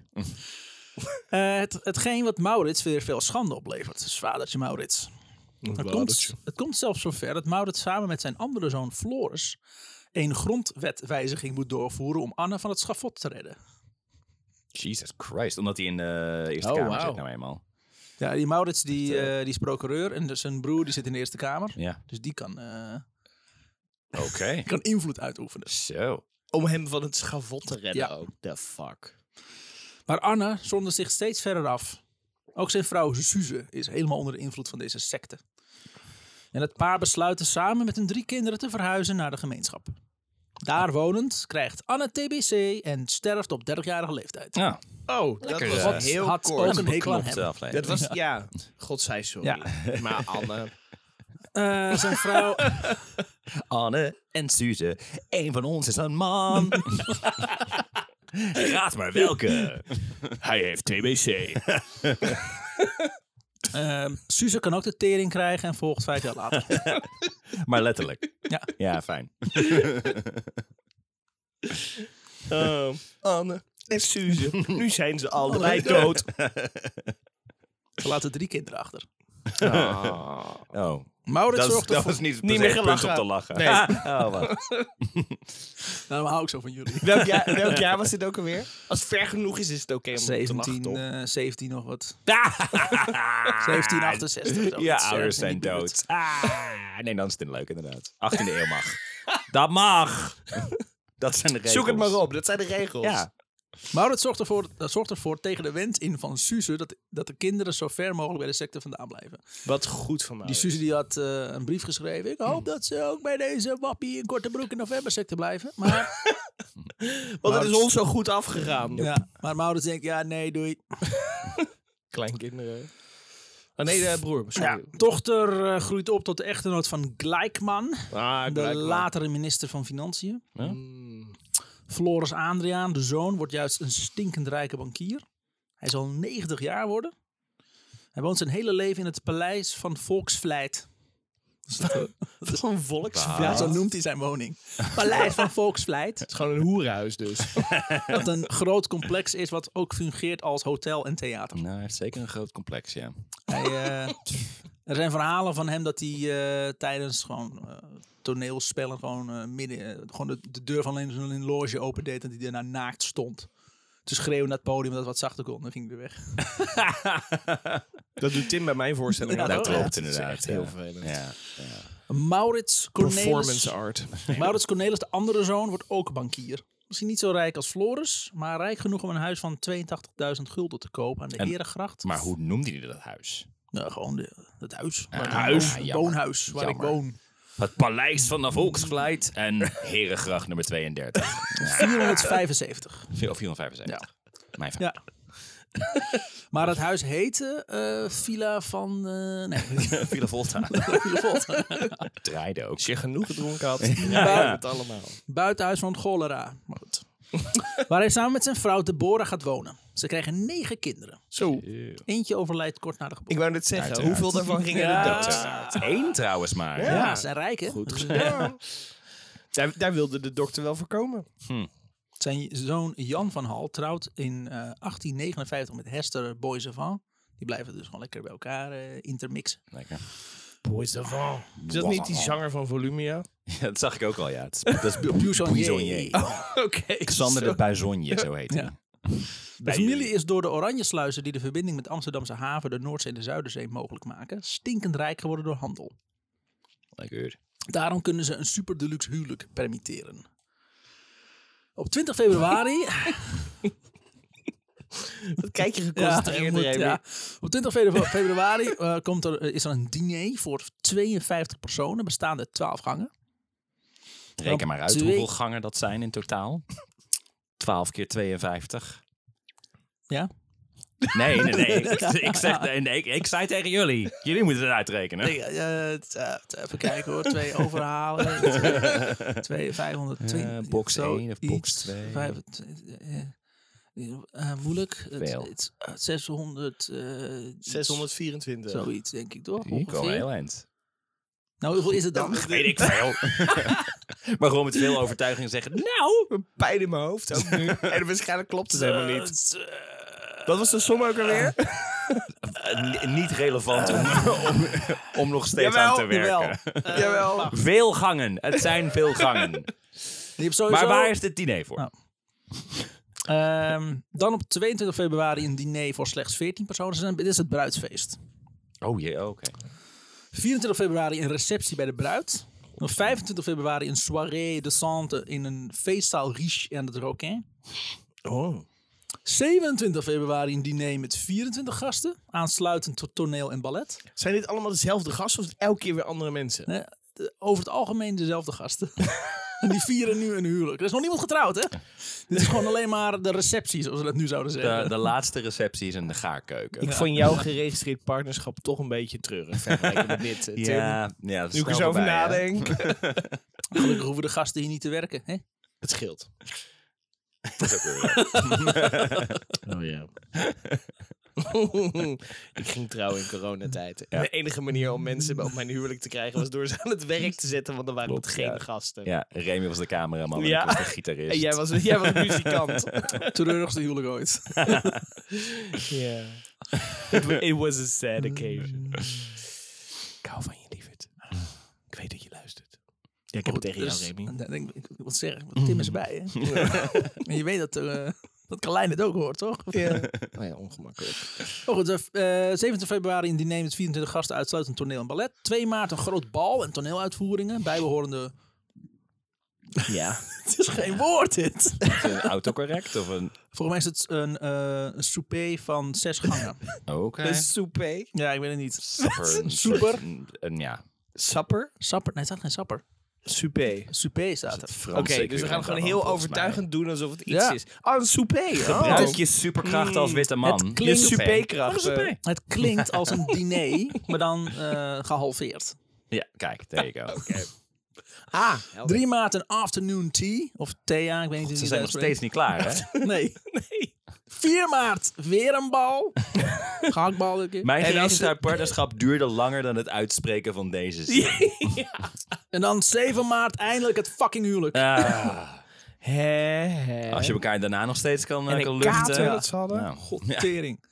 [SPEAKER 1] Eh, het, hetgeen wat Maurits weer veel schande oplevert. Dus vadertje Maurits. Het komt, het komt zelfs zover dat Maurits samen met zijn andere zoon Floris... een grondwetwijziging moet doorvoeren om Anne van het schafot te redden.
[SPEAKER 2] Jesus Christ. Omdat hij in de Eerste
[SPEAKER 3] Oh,
[SPEAKER 2] Kamer
[SPEAKER 3] wauw.
[SPEAKER 2] zit nou eenmaal.
[SPEAKER 1] Ja, die Maurits die, eh, die is procureur en dus zijn broer die zit in de Eerste Kamer.
[SPEAKER 2] Ja.
[SPEAKER 1] Dus die kan, eh,
[SPEAKER 2] Oké.
[SPEAKER 1] kan invloed uitoefenen.
[SPEAKER 2] Zo.
[SPEAKER 3] Om hem van het schavot te redden
[SPEAKER 1] Ja.
[SPEAKER 3] ook. The fuck.
[SPEAKER 1] Maar Anne zonde zich steeds verder af. Ook zijn vrouw Suze is helemaal onder de invloed van deze secte. En het paar besluiten samen met hun drie kinderen te verhuizen naar de gemeenschap. Daar wonend krijgt Anne TBC en sterft op 30-jarige leeftijd.
[SPEAKER 2] Ja.
[SPEAKER 3] Oh,
[SPEAKER 2] Lekker,
[SPEAKER 3] dat was
[SPEAKER 2] eh,
[SPEAKER 3] heel
[SPEAKER 1] had
[SPEAKER 3] kort.
[SPEAKER 1] ook een hekel aan hem.
[SPEAKER 3] Dat was, ja, god zij sorry.
[SPEAKER 2] Ja.
[SPEAKER 3] Maar Anne.
[SPEAKER 1] Eh, zijn vrouw...
[SPEAKER 2] Anne en Suze. Eén van ons is een man. Raad maar welke.
[SPEAKER 3] Hij heeft TBC.
[SPEAKER 1] eh, Suze kan ook de tering krijgen en volgt vijf jaar later.
[SPEAKER 2] Maar letterlijk.
[SPEAKER 1] Ja.
[SPEAKER 2] Ja, fijn.
[SPEAKER 1] Oh.
[SPEAKER 3] Anne en Suze. Nu zijn ze allebei dood.
[SPEAKER 1] Ze laten drie kinderen achter.
[SPEAKER 2] Oh.
[SPEAKER 1] Maurits
[SPEAKER 2] Dat, is-
[SPEAKER 1] zorgt
[SPEAKER 2] dat
[SPEAKER 1] ervoor...
[SPEAKER 2] was niet,
[SPEAKER 3] Niet
[SPEAKER 2] niet
[SPEAKER 3] meer
[SPEAKER 2] meer punt om
[SPEAKER 3] gelachen.
[SPEAKER 2] te lachen.
[SPEAKER 3] Nee.
[SPEAKER 1] Ah.
[SPEAKER 2] Oh, wat.
[SPEAKER 1] Nou, maar hou ik zo van jullie.
[SPEAKER 3] Welk jaar, welk jaar was dit ook alweer? Als het ver genoeg is, is het oké om te
[SPEAKER 1] 17,
[SPEAKER 3] lachen, toch?
[SPEAKER 1] eh 17 nog wat. 1768. zoiets.
[SPEAKER 2] Je
[SPEAKER 1] Ergens in
[SPEAKER 2] ouders
[SPEAKER 1] die
[SPEAKER 2] zijn
[SPEAKER 1] buurt.
[SPEAKER 2] dood. Ah, nee, dan is het leuk inderdaad. 18e eeuw mag. Dat mag. Dat zijn de regels.
[SPEAKER 3] Zoek het maar op, dat zijn de regels.
[SPEAKER 2] Ja.
[SPEAKER 1] Maurits zorgt ervoor, dat zorgt ervoor tegen de wens in van Suze dat, dat de kinderen zo ver mogelijk bij de secte vandaan blijven.
[SPEAKER 3] Wat goed van mij.
[SPEAKER 1] Die Suze die had eh, een brief geschreven. Ik hoop dat ze ook bij deze wappie in korte broek in november secte blijven. Maar,
[SPEAKER 3] Want het is ons zo goed afgegaan.
[SPEAKER 1] ja, maar Maurits denkt, ja nee, doei.
[SPEAKER 3] Kleinkinderen. Oh nee, de broer.
[SPEAKER 1] Ja,
[SPEAKER 3] Sorry.
[SPEAKER 1] dochter eh, groeit op tot de echtgenoot van Glijkman,
[SPEAKER 3] Ah,
[SPEAKER 1] de
[SPEAKER 3] blijkbaar.
[SPEAKER 1] latere minister van Financiën.
[SPEAKER 3] Hmm.
[SPEAKER 1] Floris Adriaan, de zoon, wordt juist een stinkend rijke bankier. Hij zal 90 jaar worden. Hij woont zijn hele leven in het paleis van Volksvlijt. Dat is een volksvlijt. Ja, zo noemt hij zijn woning. Paleis van Volksvlijt.
[SPEAKER 3] Het is gewoon een hoerhuis dus.
[SPEAKER 1] Dat een groot complex is wat ook fungeert als hotel en theater.
[SPEAKER 2] Nou, hij heeft zeker een groot complex, ja.
[SPEAKER 1] Hij, eh, er zijn verhalen van hem dat hij eh, tijdens gewoon eh, toneelspellen gewoon, eh, midden, eh, gewoon de, de deur van een, een loge opendeed en dat hij daarna naakt stond. Te schreeuwen naar het podium dat het wat zachter kon. Dan ging hij weer weg.
[SPEAKER 3] Dat doet Tim bij mijn voorstelling.
[SPEAKER 1] Ja,
[SPEAKER 3] ook.
[SPEAKER 1] dat
[SPEAKER 2] dat
[SPEAKER 1] klopt,
[SPEAKER 2] klopt
[SPEAKER 3] is
[SPEAKER 2] inderdaad.
[SPEAKER 3] echt heel
[SPEAKER 2] ja.
[SPEAKER 3] vervelend.
[SPEAKER 2] Ja.
[SPEAKER 1] Maurits Cornelis,
[SPEAKER 3] Performance art.
[SPEAKER 1] Maurits Cornelis, de andere zoon, wordt ook bankier. Misschien niet zo rijk als Floris, maar rijk genoeg om een huis van 82.000 gulden te kopen aan de
[SPEAKER 2] En-
[SPEAKER 1] Herengracht.
[SPEAKER 2] Maar hoe noemde hij dat huis?
[SPEAKER 1] Nou, gewoon de, het huis. waar ik
[SPEAKER 2] huis.
[SPEAKER 1] woon.
[SPEAKER 2] Ja, jammer.
[SPEAKER 1] woonhuis waar
[SPEAKER 2] Jammer.
[SPEAKER 1] ik woon.
[SPEAKER 2] Het Paleis van de Volksgeleid en Herengracht nummer 32.
[SPEAKER 1] 475.
[SPEAKER 2] Veel- 475. Mijn fout.
[SPEAKER 1] Ja. maar het huis heette eh, Villa van... eh, nee,
[SPEAKER 2] Villa Volta.
[SPEAKER 1] Villa Volta.
[SPEAKER 2] Draaide ook.
[SPEAKER 3] Als je genoeg gedronken had, ja. het allemaal.
[SPEAKER 1] Buitenhuis van cholera. Maar goed. Waar hij samen met zijn vrouw Deborah gaat wonen. Ze krijgen negen kinderen.
[SPEAKER 3] Zo.
[SPEAKER 1] Eentje overlijdt kort na de geboorte.
[SPEAKER 3] Ik wou net zeggen,
[SPEAKER 2] Uiteraard.
[SPEAKER 3] hoeveel daarvan gingen
[SPEAKER 1] Ja.
[SPEAKER 3] er dood?
[SPEAKER 2] Uiteraard. Eén trouwens maar.
[SPEAKER 1] Ja,
[SPEAKER 3] Ja.
[SPEAKER 1] ze zijn rijk hè. Dus, eh,
[SPEAKER 3] Daar, daar wilde de dokter wel voorkomen.
[SPEAKER 1] Zijn zoon Jan van Hal trouwt in eh, 1859 met Hester Boisavant. Die blijven dus gewoon lekker bij elkaar eh, intermixen.
[SPEAKER 2] Lekker.
[SPEAKER 3] Boisavant. Is dat niet die zanger van Volumia?
[SPEAKER 2] Ja, dat zag ik ook al, ja. Het is- Dat is
[SPEAKER 1] Buissonnier.
[SPEAKER 2] Buissonnier.
[SPEAKER 3] Oké.
[SPEAKER 2] Xander de Buizonje, zo heet hij.
[SPEAKER 1] Ja. De familie is door de Oranjesluizen die de verbinding met Amsterdamse haven, de Noordzee en de Zuiderzee mogelijk maken, stinkend rijk geworden door handel.
[SPEAKER 2] Lekker.
[SPEAKER 1] Daarom kunnen ze een super deluxe huwelijk permitteren. Op 20 februari.
[SPEAKER 3] Wat kijk je
[SPEAKER 1] ja,
[SPEAKER 3] geconcentreerd,
[SPEAKER 1] moet-
[SPEAKER 3] Remy?
[SPEAKER 1] ja. op 20 febru- februari eh, komt er, is er een diner voor 52 personen, bestaande uit 12 gangen.
[SPEAKER 2] Reken maar uit
[SPEAKER 1] Twee-
[SPEAKER 2] hoeveel gangen dat zijn in totaal. 12 keer 52.
[SPEAKER 1] Ja?
[SPEAKER 2] Nee, nee, nee. Ik, ik, zeg, nee, nee, ik, ik zei tegen jullie. Jullie moeten het uitrekenen.
[SPEAKER 1] Nee, eh, eh, t- eh, t- even kijken hoor. Twee overhalen. twee, 520.
[SPEAKER 2] Eh, box
[SPEAKER 1] zo
[SPEAKER 2] één of box
[SPEAKER 1] iets.
[SPEAKER 2] twee.
[SPEAKER 1] Vijf- t- eh, eh, eh, moeilijk. Het-
[SPEAKER 2] Veel.
[SPEAKER 1] het- eh, 600. eh, iets.
[SPEAKER 3] 624.
[SPEAKER 1] Zoiets, denk ik toch?
[SPEAKER 2] Hier komen we
[SPEAKER 1] Ongeveer.
[SPEAKER 2] heel eind.
[SPEAKER 1] Nou, hoeveel is het dan?
[SPEAKER 2] Weet ik veel. maar gewoon met veel overtuiging zeggen...
[SPEAKER 3] Nou, pijn in mijn hoofd ook nu. en waarschijnlijk klopt het helemaal niet. Wat was de som ook
[SPEAKER 2] eh,
[SPEAKER 3] alweer?
[SPEAKER 2] n- niet relevant om, om, om nog steeds
[SPEAKER 3] Jawel,
[SPEAKER 2] aan te werken.
[SPEAKER 3] eh, Jawel.
[SPEAKER 2] Veel gangen. Het zijn veel gangen.
[SPEAKER 1] Je hebt sowieso,
[SPEAKER 2] Maar waar is dit diner voor?
[SPEAKER 1] Nou. Ehm, dan op 22 februari een diner voor slechts 14 personen. Ze zijn- Dit is het bruidsfeest.
[SPEAKER 2] Oh jee, oké.
[SPEAKER 1] 24 februari een receptie bij de bruid. Dan 25 februari een soirée de Sante in een feestzaal riche aan het Roquin.
[SPEAKER 3] Oh.
[SPEAKER 1] 27 februari een diner met 24 gasten, aansluitend tot toneel en ballet.
[SPEAKER 3] Zijn dit allemaal dezelfde gasten of is het elke keer weer andere mensen?
[SPEAKER 1] Eh, de- Over het algemeen dezelfde gasten. en die vieren nu een huwelijk. Er is nog niemand getrouwd, hè? Dit is gewoon alleen maar de receptie, zoals we dat nu zouden zeggen.
[SPEAKER 2] De, de laatste receptie is in de gaarkeuken.
[SPEAKER 3] Ik vond jouw geregistreerd partnerschap toch een beetje treurig. Vergeleken met dit, eh, Tim.
[SPEAKER 2] Ja, ja dat is
[SPEAKER 3] Nu ik er
[SPEAKER 2] snel
[SPEAKER 3] zo over
[SPEAKER 2] voorbij, hè?
[SPEAKER 3] nadenk.
[SPEAKER 1] Gelukkig hoeven de gasten hier niet te werken. Hè?
[SPEAKER 3] Het scheelt.
[SPEAKER 2] Dat is ook weer waar.
[SPEAKER 3] Oh ja. ik ging trouwen in coronatijd. En de enige manier om mensen op mijn huwelijk te krijgen was door ze aan het werk te zetten, want dan waren
[SPEAKER 2] Klopt,
[SPEAKER 3] het geen
[SPEAKER 2] ja.
[SPEAKER 3] gasten.
[SPEAKER 2] Ja, Remy was de cameraman en
[SPEAKER 3] Ja.
[SPEAKER 2] ik was de gitarist.
[SPEAKER 3] En jij was, jij was muzikant.
[SPEAKER 1] Treurigste huwelijk ooit.
[SPEAKER 3] Ja. It, wa- it was a sad occasion. Ik hou van je, lieverd. Ik weet dat je luistert. Ja, ik heb het tegen jou,
[SPEAKER 1] Dus,
[SPEAKER 3] Remy. Mhm.
[SPEAKER 1] dan denk ik, ik wil zeggen, want Tim is erbij. Hè? en je weet dat, eh dat Carlijn het ook hoort, toch?
[SPEAKER 3] Ja. Oh ja, ongemakkelijk.
[SPEAKER 1] Oh, goed, eh, eh, 17 februari een diner met 24 gasten, uitsluitend toneel en ballet. 2 maart een groot bal en toneeluitvoeringen, bijbehorende...
[SPEAKER 3] Ja.
[SPEAKER 1] Het is geen woord, dit.
[SPEAKER 2] Is het een autocorrect of een...
[SPEAKER 1] Volgens mij is het een, eh, een souper van zes gangen.
[SPEAKER 2] Oh, Oké.
[SPEAKER 3] Een souper.
[SPEAKER 1] ja, ik weet het niet.
[SPEAKER 2] Sapper, een soort-
[SPEAKER 1] Soeper.
[SPEAKER 2] Een, een- ja.
[SPEAKER 3] Sapper.
[SPEAKER 1] Sapper? Nee, het staat geen sapper.
[SPEAKER 3] Soupé.
[SPEAKER 1] Souper staat er.
[SPEAKER 2] Oké,
[SPEAKER 3] Oké, dus we gaan gewoon heel overtuigend Oh. doen alsof het iets
[SPEAKER 1] Ja.
[SPEAKER 3] is. Ah, een soupé.
[SPEAKER 2] Gebruik je superkracht
[SPEAKER 3] Hmm.
[SPEAKER 2] als witte man. Oh,
[SPEAKER 1] Het
[SPEAKER 3] Je
[SPEAKER 1] klinkt-
[SPEAKER 3] soupé-krachten.
[SPEAKER 1] Het klinkt als een diner, maar dan eh, gehalveerd.
[SPEAKER 2] Ja, kijk, there you go.
[SPEAKER 3] Ah,
[SPEAKER 1] Drie maten afternoon tea. Of thea, ik weet niet hoe
[SPEAKER 2] Ze
[SPEAKER 1] die
[SPEAKER 2] zijn nog
[SPEAKER 1] het
[SPEAKER 2] steeds niet klaar, hè?
[SPEAKER 1] uitspreekt. Nee. 4 maart, weer een bal. Gehaktbal een keer.
[SPEAKER 2] Mijn
[SPEAKER 3] En als ze-
[SPEAKER 2] geregistreerd partnerschap duurde langer dan het uitspreken van deze zin.
[SPEAKER 1] En dan 7 maart, eindelijk het fucking huwelijk.
[SPEAKER 2] Ah,
[SPEAKER 3] Hè, hè.
[SPEAKER 2] als je elkaar daarna nog steeds kan, eh,
[SPEAKER 3] en
[SPEAKER 2] kan
[SPEAKER 3] een
[SPEAKER 2] luchten.
[SPEAKER 3] kater
[SPEAKER 2] ja.
[SPEAKER 3] dat ze hadden.
[SPEAKER 2] Nou,
[SPEAKER 1] God,
[SPEAKER 2] ja.
[SPEAKER 1] tering.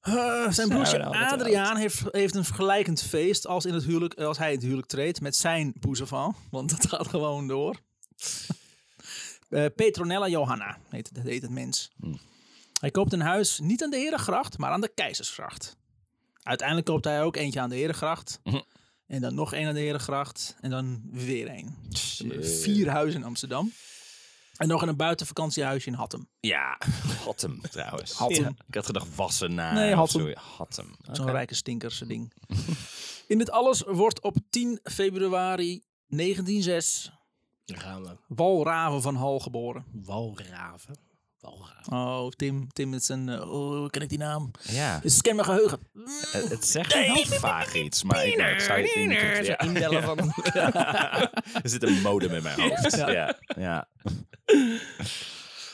[SPEAKER 1] Eh, zijn broertje
[SPEAKER 2] nou, dat
[SPEAKER 1] Adriaan heeft, heeft een vergelijkend feest als, in het huwelijk, als hij in het huwelijk treedt met zijn boezemvrouw. Want dat gaat gewoon door. Eh, Petronella Johanna heet, dat heet het mens.
[SPEAKER 2] Hmm.
[SPEAKER 1] Hij koopt een huis niet aan de Herengracht, maar aan de Keizersgracht. Uiteindelijk koopt hij ook eentje aan de Herengracht.
[SPEAKER 2] Mhm.
[SPEAKER 1] En dan nog één aan de Herengracht. En dan weer één. Ze hebben
[SPEAKER 2] Shit.
[SPEAKER 1] Vier huizen in Amsterdam. En nog in een buitenvakantiehuisje in Hattem.
[SPEAKER 2] Ja, Hattem trouwens.
[SPEAKER 1] Hattem.
[SPEAKER 2] Ja. Ik had gedacht Wassenaar.
[SPEAKER 1] Nee,
[SPEAKER 2] of
[SPEAKER 1] Hattem.
[SPEAKER 2] zo. Hattem.
[SPEAKER 1] Zo'n rijke stinkerse ding. In dit alles wordt op 10 februari 1906
[SPEAKER 3] Daar gaan we.
[SPEAKER 1] Walraven van Hal geboren.
[SPEAKER 3] Walraven. Walraven.
[SPEAKER 1] Oh, Tim, Tim met zijn... eh, oh, ken ik die naam?
[SPEAKER 2] Ja,
[SPEAKER 1] Het scamme geheugen.
[SPEAKER 2] het, het zegt heel vaag iets, maar ik, nou, ik zou het niet kunnen ja.
[SPEAKER 3] Inbellen van
[SPEAKER 2] Er zit een modem in mijn hoofd. Ja. Ja. Ja.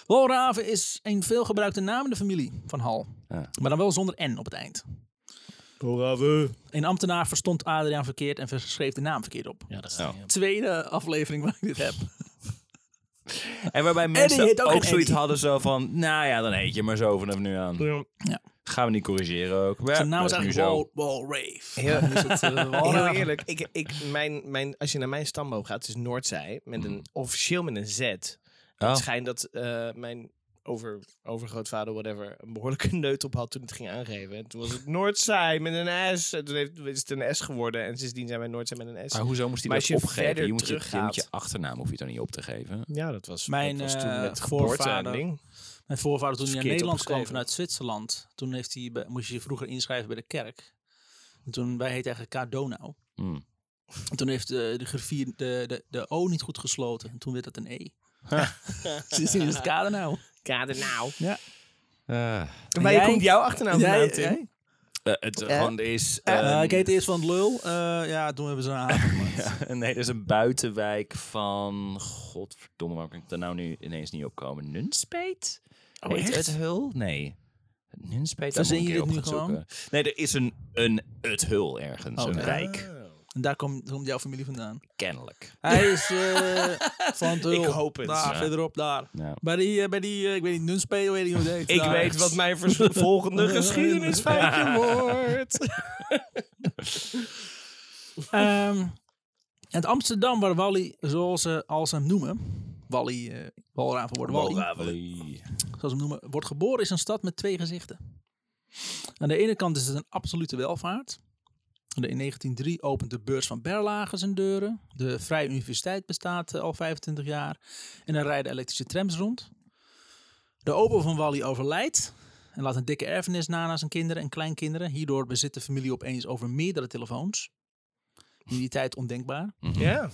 [SPEAKER 1] Walraven is een veelgebruikte naam in de familie van Hal.
[SPEAKER 2] Ja.
[SPEAKER 1] Maar dan wel zonder N op het eind.
[SPEAKER 3] Walraven.
[SPEAKER 1] Een ambtenaar verstond Adriaan verkeerd en schreef de naam verkeerd op.
[SPEAKER 3] Ja, dat is
[SPEAKER 2] Oh.
[SPEAKER 1] Tweede aflevering waar ik dit heb.
[SPEAKER 2] En waarbij
[SPEAKER 1] Eddie
[SPEAKER 2] mensen
[SPEAKER 1] heet ook
[SPEAKER 2] ook,
[SPEAKER 1] een
[SPEAKER 2] zoiets
[SPEAKER 1] Eddie.
[SPEAKER 2] hadden zo van, nou ja, dan heet je maar zo vanaf nu aan. Gaan we niet corrigeren ook. Ja,
[SPEAKER 1] Zijn naam
[SPEAKER 2] dat
[SPEAKER 1] was
[SPEAKER 2] is nu
[SPEAKER 1] nou eigenlijk
[SPEAKER 2] zo.
[SPEAKER 1] Wal, Walrave.
[SPEAKER 3] Heel-
[SPEAKER 1] Dan is het, eh,
[SPEAKER 3] Heel
[SPEAKER 1] Walraven.
[SPEAKER 3] eerlijk, ik, ik, mijn, mijn, als je naar mijn stamboom gaat, het is Noordzij, met
[SPEAKER 1] Mhm.
[SPEAKER 3] een, officieel met een Z.
[SPEAKER 2] Oh.
[SPEAKER 3] Het schijnt dat eh, mijn over, overgrootvader, whatever, een behoorlijke neut op had toen het ging aangeven. En toen was het Noordzij met een S. En toen heeft, is het een S geworden en sindsdien zijn wij Noordzij met een S.
[SPEAKER 2] Maar hoezo moest hij
[SPEAKER 3] Maar
[SPEAKER 2] dat
[SPEAKER 3] als je
[SPEAKER 2] opgeven?
[SPEAKER 3] verder
[SPEAKER 2] Je moet je, je
[SPEAKER 3] teruggaat-
[SPEAKER 2] moet je achternaam hoef je dan niet op te geven.
[SPEAKER 3] Ja, dat was,
[SPEAKER 1] Mijn,
[SPEAKER 3] dat was toen
[SPEAKER 1] eh,
[SPEAKER 3] met geboorte en
[SPEAKER 1] voorvader.
[SPEAKER 3] ding.
[SPEAKER 1] Mijn voorvader toen hij naar
[SPEAKER 3] Verkeerd
[SPEAKER 1] Nederland kwam
[SPEAKER 3] opgeschreven.
[SPEAKER 1] vanuit Zwitserland, toen heeft hij, bij- moest je je vroeger inschrijven bij de kerk. En toen, wij heetten eigenlijk K. Donau.
[SPEAKER 2] Hmm.
[SPEAKER 1] En toen heeft eh, de, de griffier de, de, de O niet goed gesloten. En toen werd dat een E. Sindsdien is het K. Donau.
[SPEAKER 3] Kader nou.
[SPEAKER 2] Eh,
[SPEAKER 3] En waar
[SPEAKER 1] jij?
[SPEAKER 3] komt jouw achternaam vandaan, Tim?
[SPEAKER 2] het eh, gewoon is...
[SPEAKER 1] Eh,
[SPEAKER 2] ehm,
[SPEAKER 1] ik heette eerst van Lul. Eh, ja, toen hebben ze een avond.
[SPEAKER 2] Nee, dat is een buitenwijk van... Godverdomme, waarom kan ik daar nou nu ineens niet op komen? Nunspeet?
[SPEAKER 1] Oh,
[SPEAKER 2] Heet
[SPEAKER 1] echt?
[SPEAKER 2] het Hul? Nee. Nunspeet, daar moet
[SPEAKER 1] Verzin
[SPEAKER 2] ik een
[SPEAKER 1] je
[SPEAKER 2] keer op
[SPEAKER 1] dit nu
[SPEAKER 2] gaan zoeken. Nee, er is een, een het Hul ergens.
[SPEAKER 1] Oh,
[SPEAKER 2] een
[SPEAKER 1] nee.
[SPEAKER 2] wijk,
[SPEAKER 1] En daar komt, komt jouw familie vandaan.
[SPEAKER 2] kennelijk.
[SPEAKER 1] Hij is eh, van het Hul.
[SPEAKER 3] Ik hoop het.
[SPEAKER 1] Daar,
[SPEAKER 2] Ja.
[SPEAKER 1] verderop, daar.
[SPEAKER 2] Ja.
[SPEAKER 1] Bij die, eh, bij die eh, ik weet niet, Nunspeel, weet niet hoe het heet.
[SPEAKER 3] Ik
[SPEAKER 1] daar.
[SPEAKER 3] weet wat mijn vers- volgende geschiedenisfeitje wordt.
[SPEAKER 1] Ehm, het Amsterdam waar Wally, zoals ze als ze hem noemen, Wally, eh Walraven wordt Wally, zoals ze hem noemen, wordt geboren is een stad met twee gezichten. Aan de ene kant is het een absolute welvaart. En In 1903 opent de beurs van Berlage zijn deuren. De Vrije Universiteit bestaat eh, al 25 jaar. En er rijden elektrische trams rond. De opa van Wally overlijdt en laat een dikke erfenis na aan zijn kinderen en kleinkinderen. Hierdoor bezit de familie opeens over meerdere telefoons. In die tijd ondenkbaar.
[SPEAKER 3] Ja.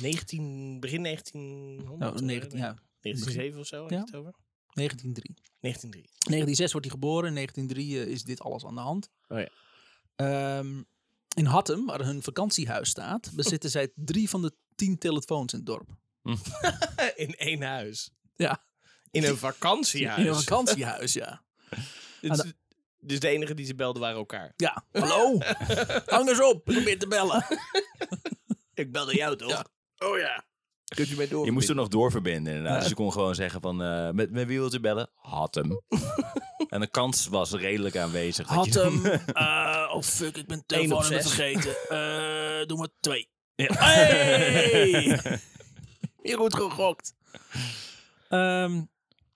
[SPEAKER 3] 19, begin 1900.
[SPEAKER 1] Nou,
[SPEAKER 3] hoor,
[SPEAKER 1] 19, ja,
[SPEAKER 3] 1907 of zo, heb je
[SPEAKER 1] Ja.
[SPEAKER 3] het over?
[SPEAKER 1] 1903.
[SPEAKER 3] 1903.
[SPEAKER 1] 1906 wordt hij geboren. In 1903 eh, is dit alles aan de hand.
[SPEAKER 3] Oh ja.
[SPEAKER 1] Ehm, in Hattem, waar hun vakantiehuis staat, bezitten zij drie van de tien telefoons in het dorp.
[SPEAKER 3] In één huis.
[SPEAKER 1] Ja,
[SPEAKER 3] In een
[SPEAKER 1] in een
[SPEAKER 3] vakantiehuis.
[SPEAKER 1] vakantiehuis, ja.
[SPEAKER 3] dus, dus de enige die ze belden waren elkaar.
[SPEAKER 1] Ja, hallo. Hang eens op, probeer te bellen.
[SPEAKER 3] Ik belde jou toch? Oh ja. Kunt u mij door?
[SPEAKER 2] Je moest er nog doorverbinden inderdaad. Dus je kon gewoon zeggen van, eh, met, met wie wilt u bellen? Had hem. en de kans was redelijk aanwezig. dat je-
[SPEAKER 1] Hattem. eh, oh fuck, ik ben telefoonnummer
[SPEAKER 3] zes.
[SPEAKER 1] vergeten. Eh, doe maar twee. Hey! Weer goed gegokt. Ehm,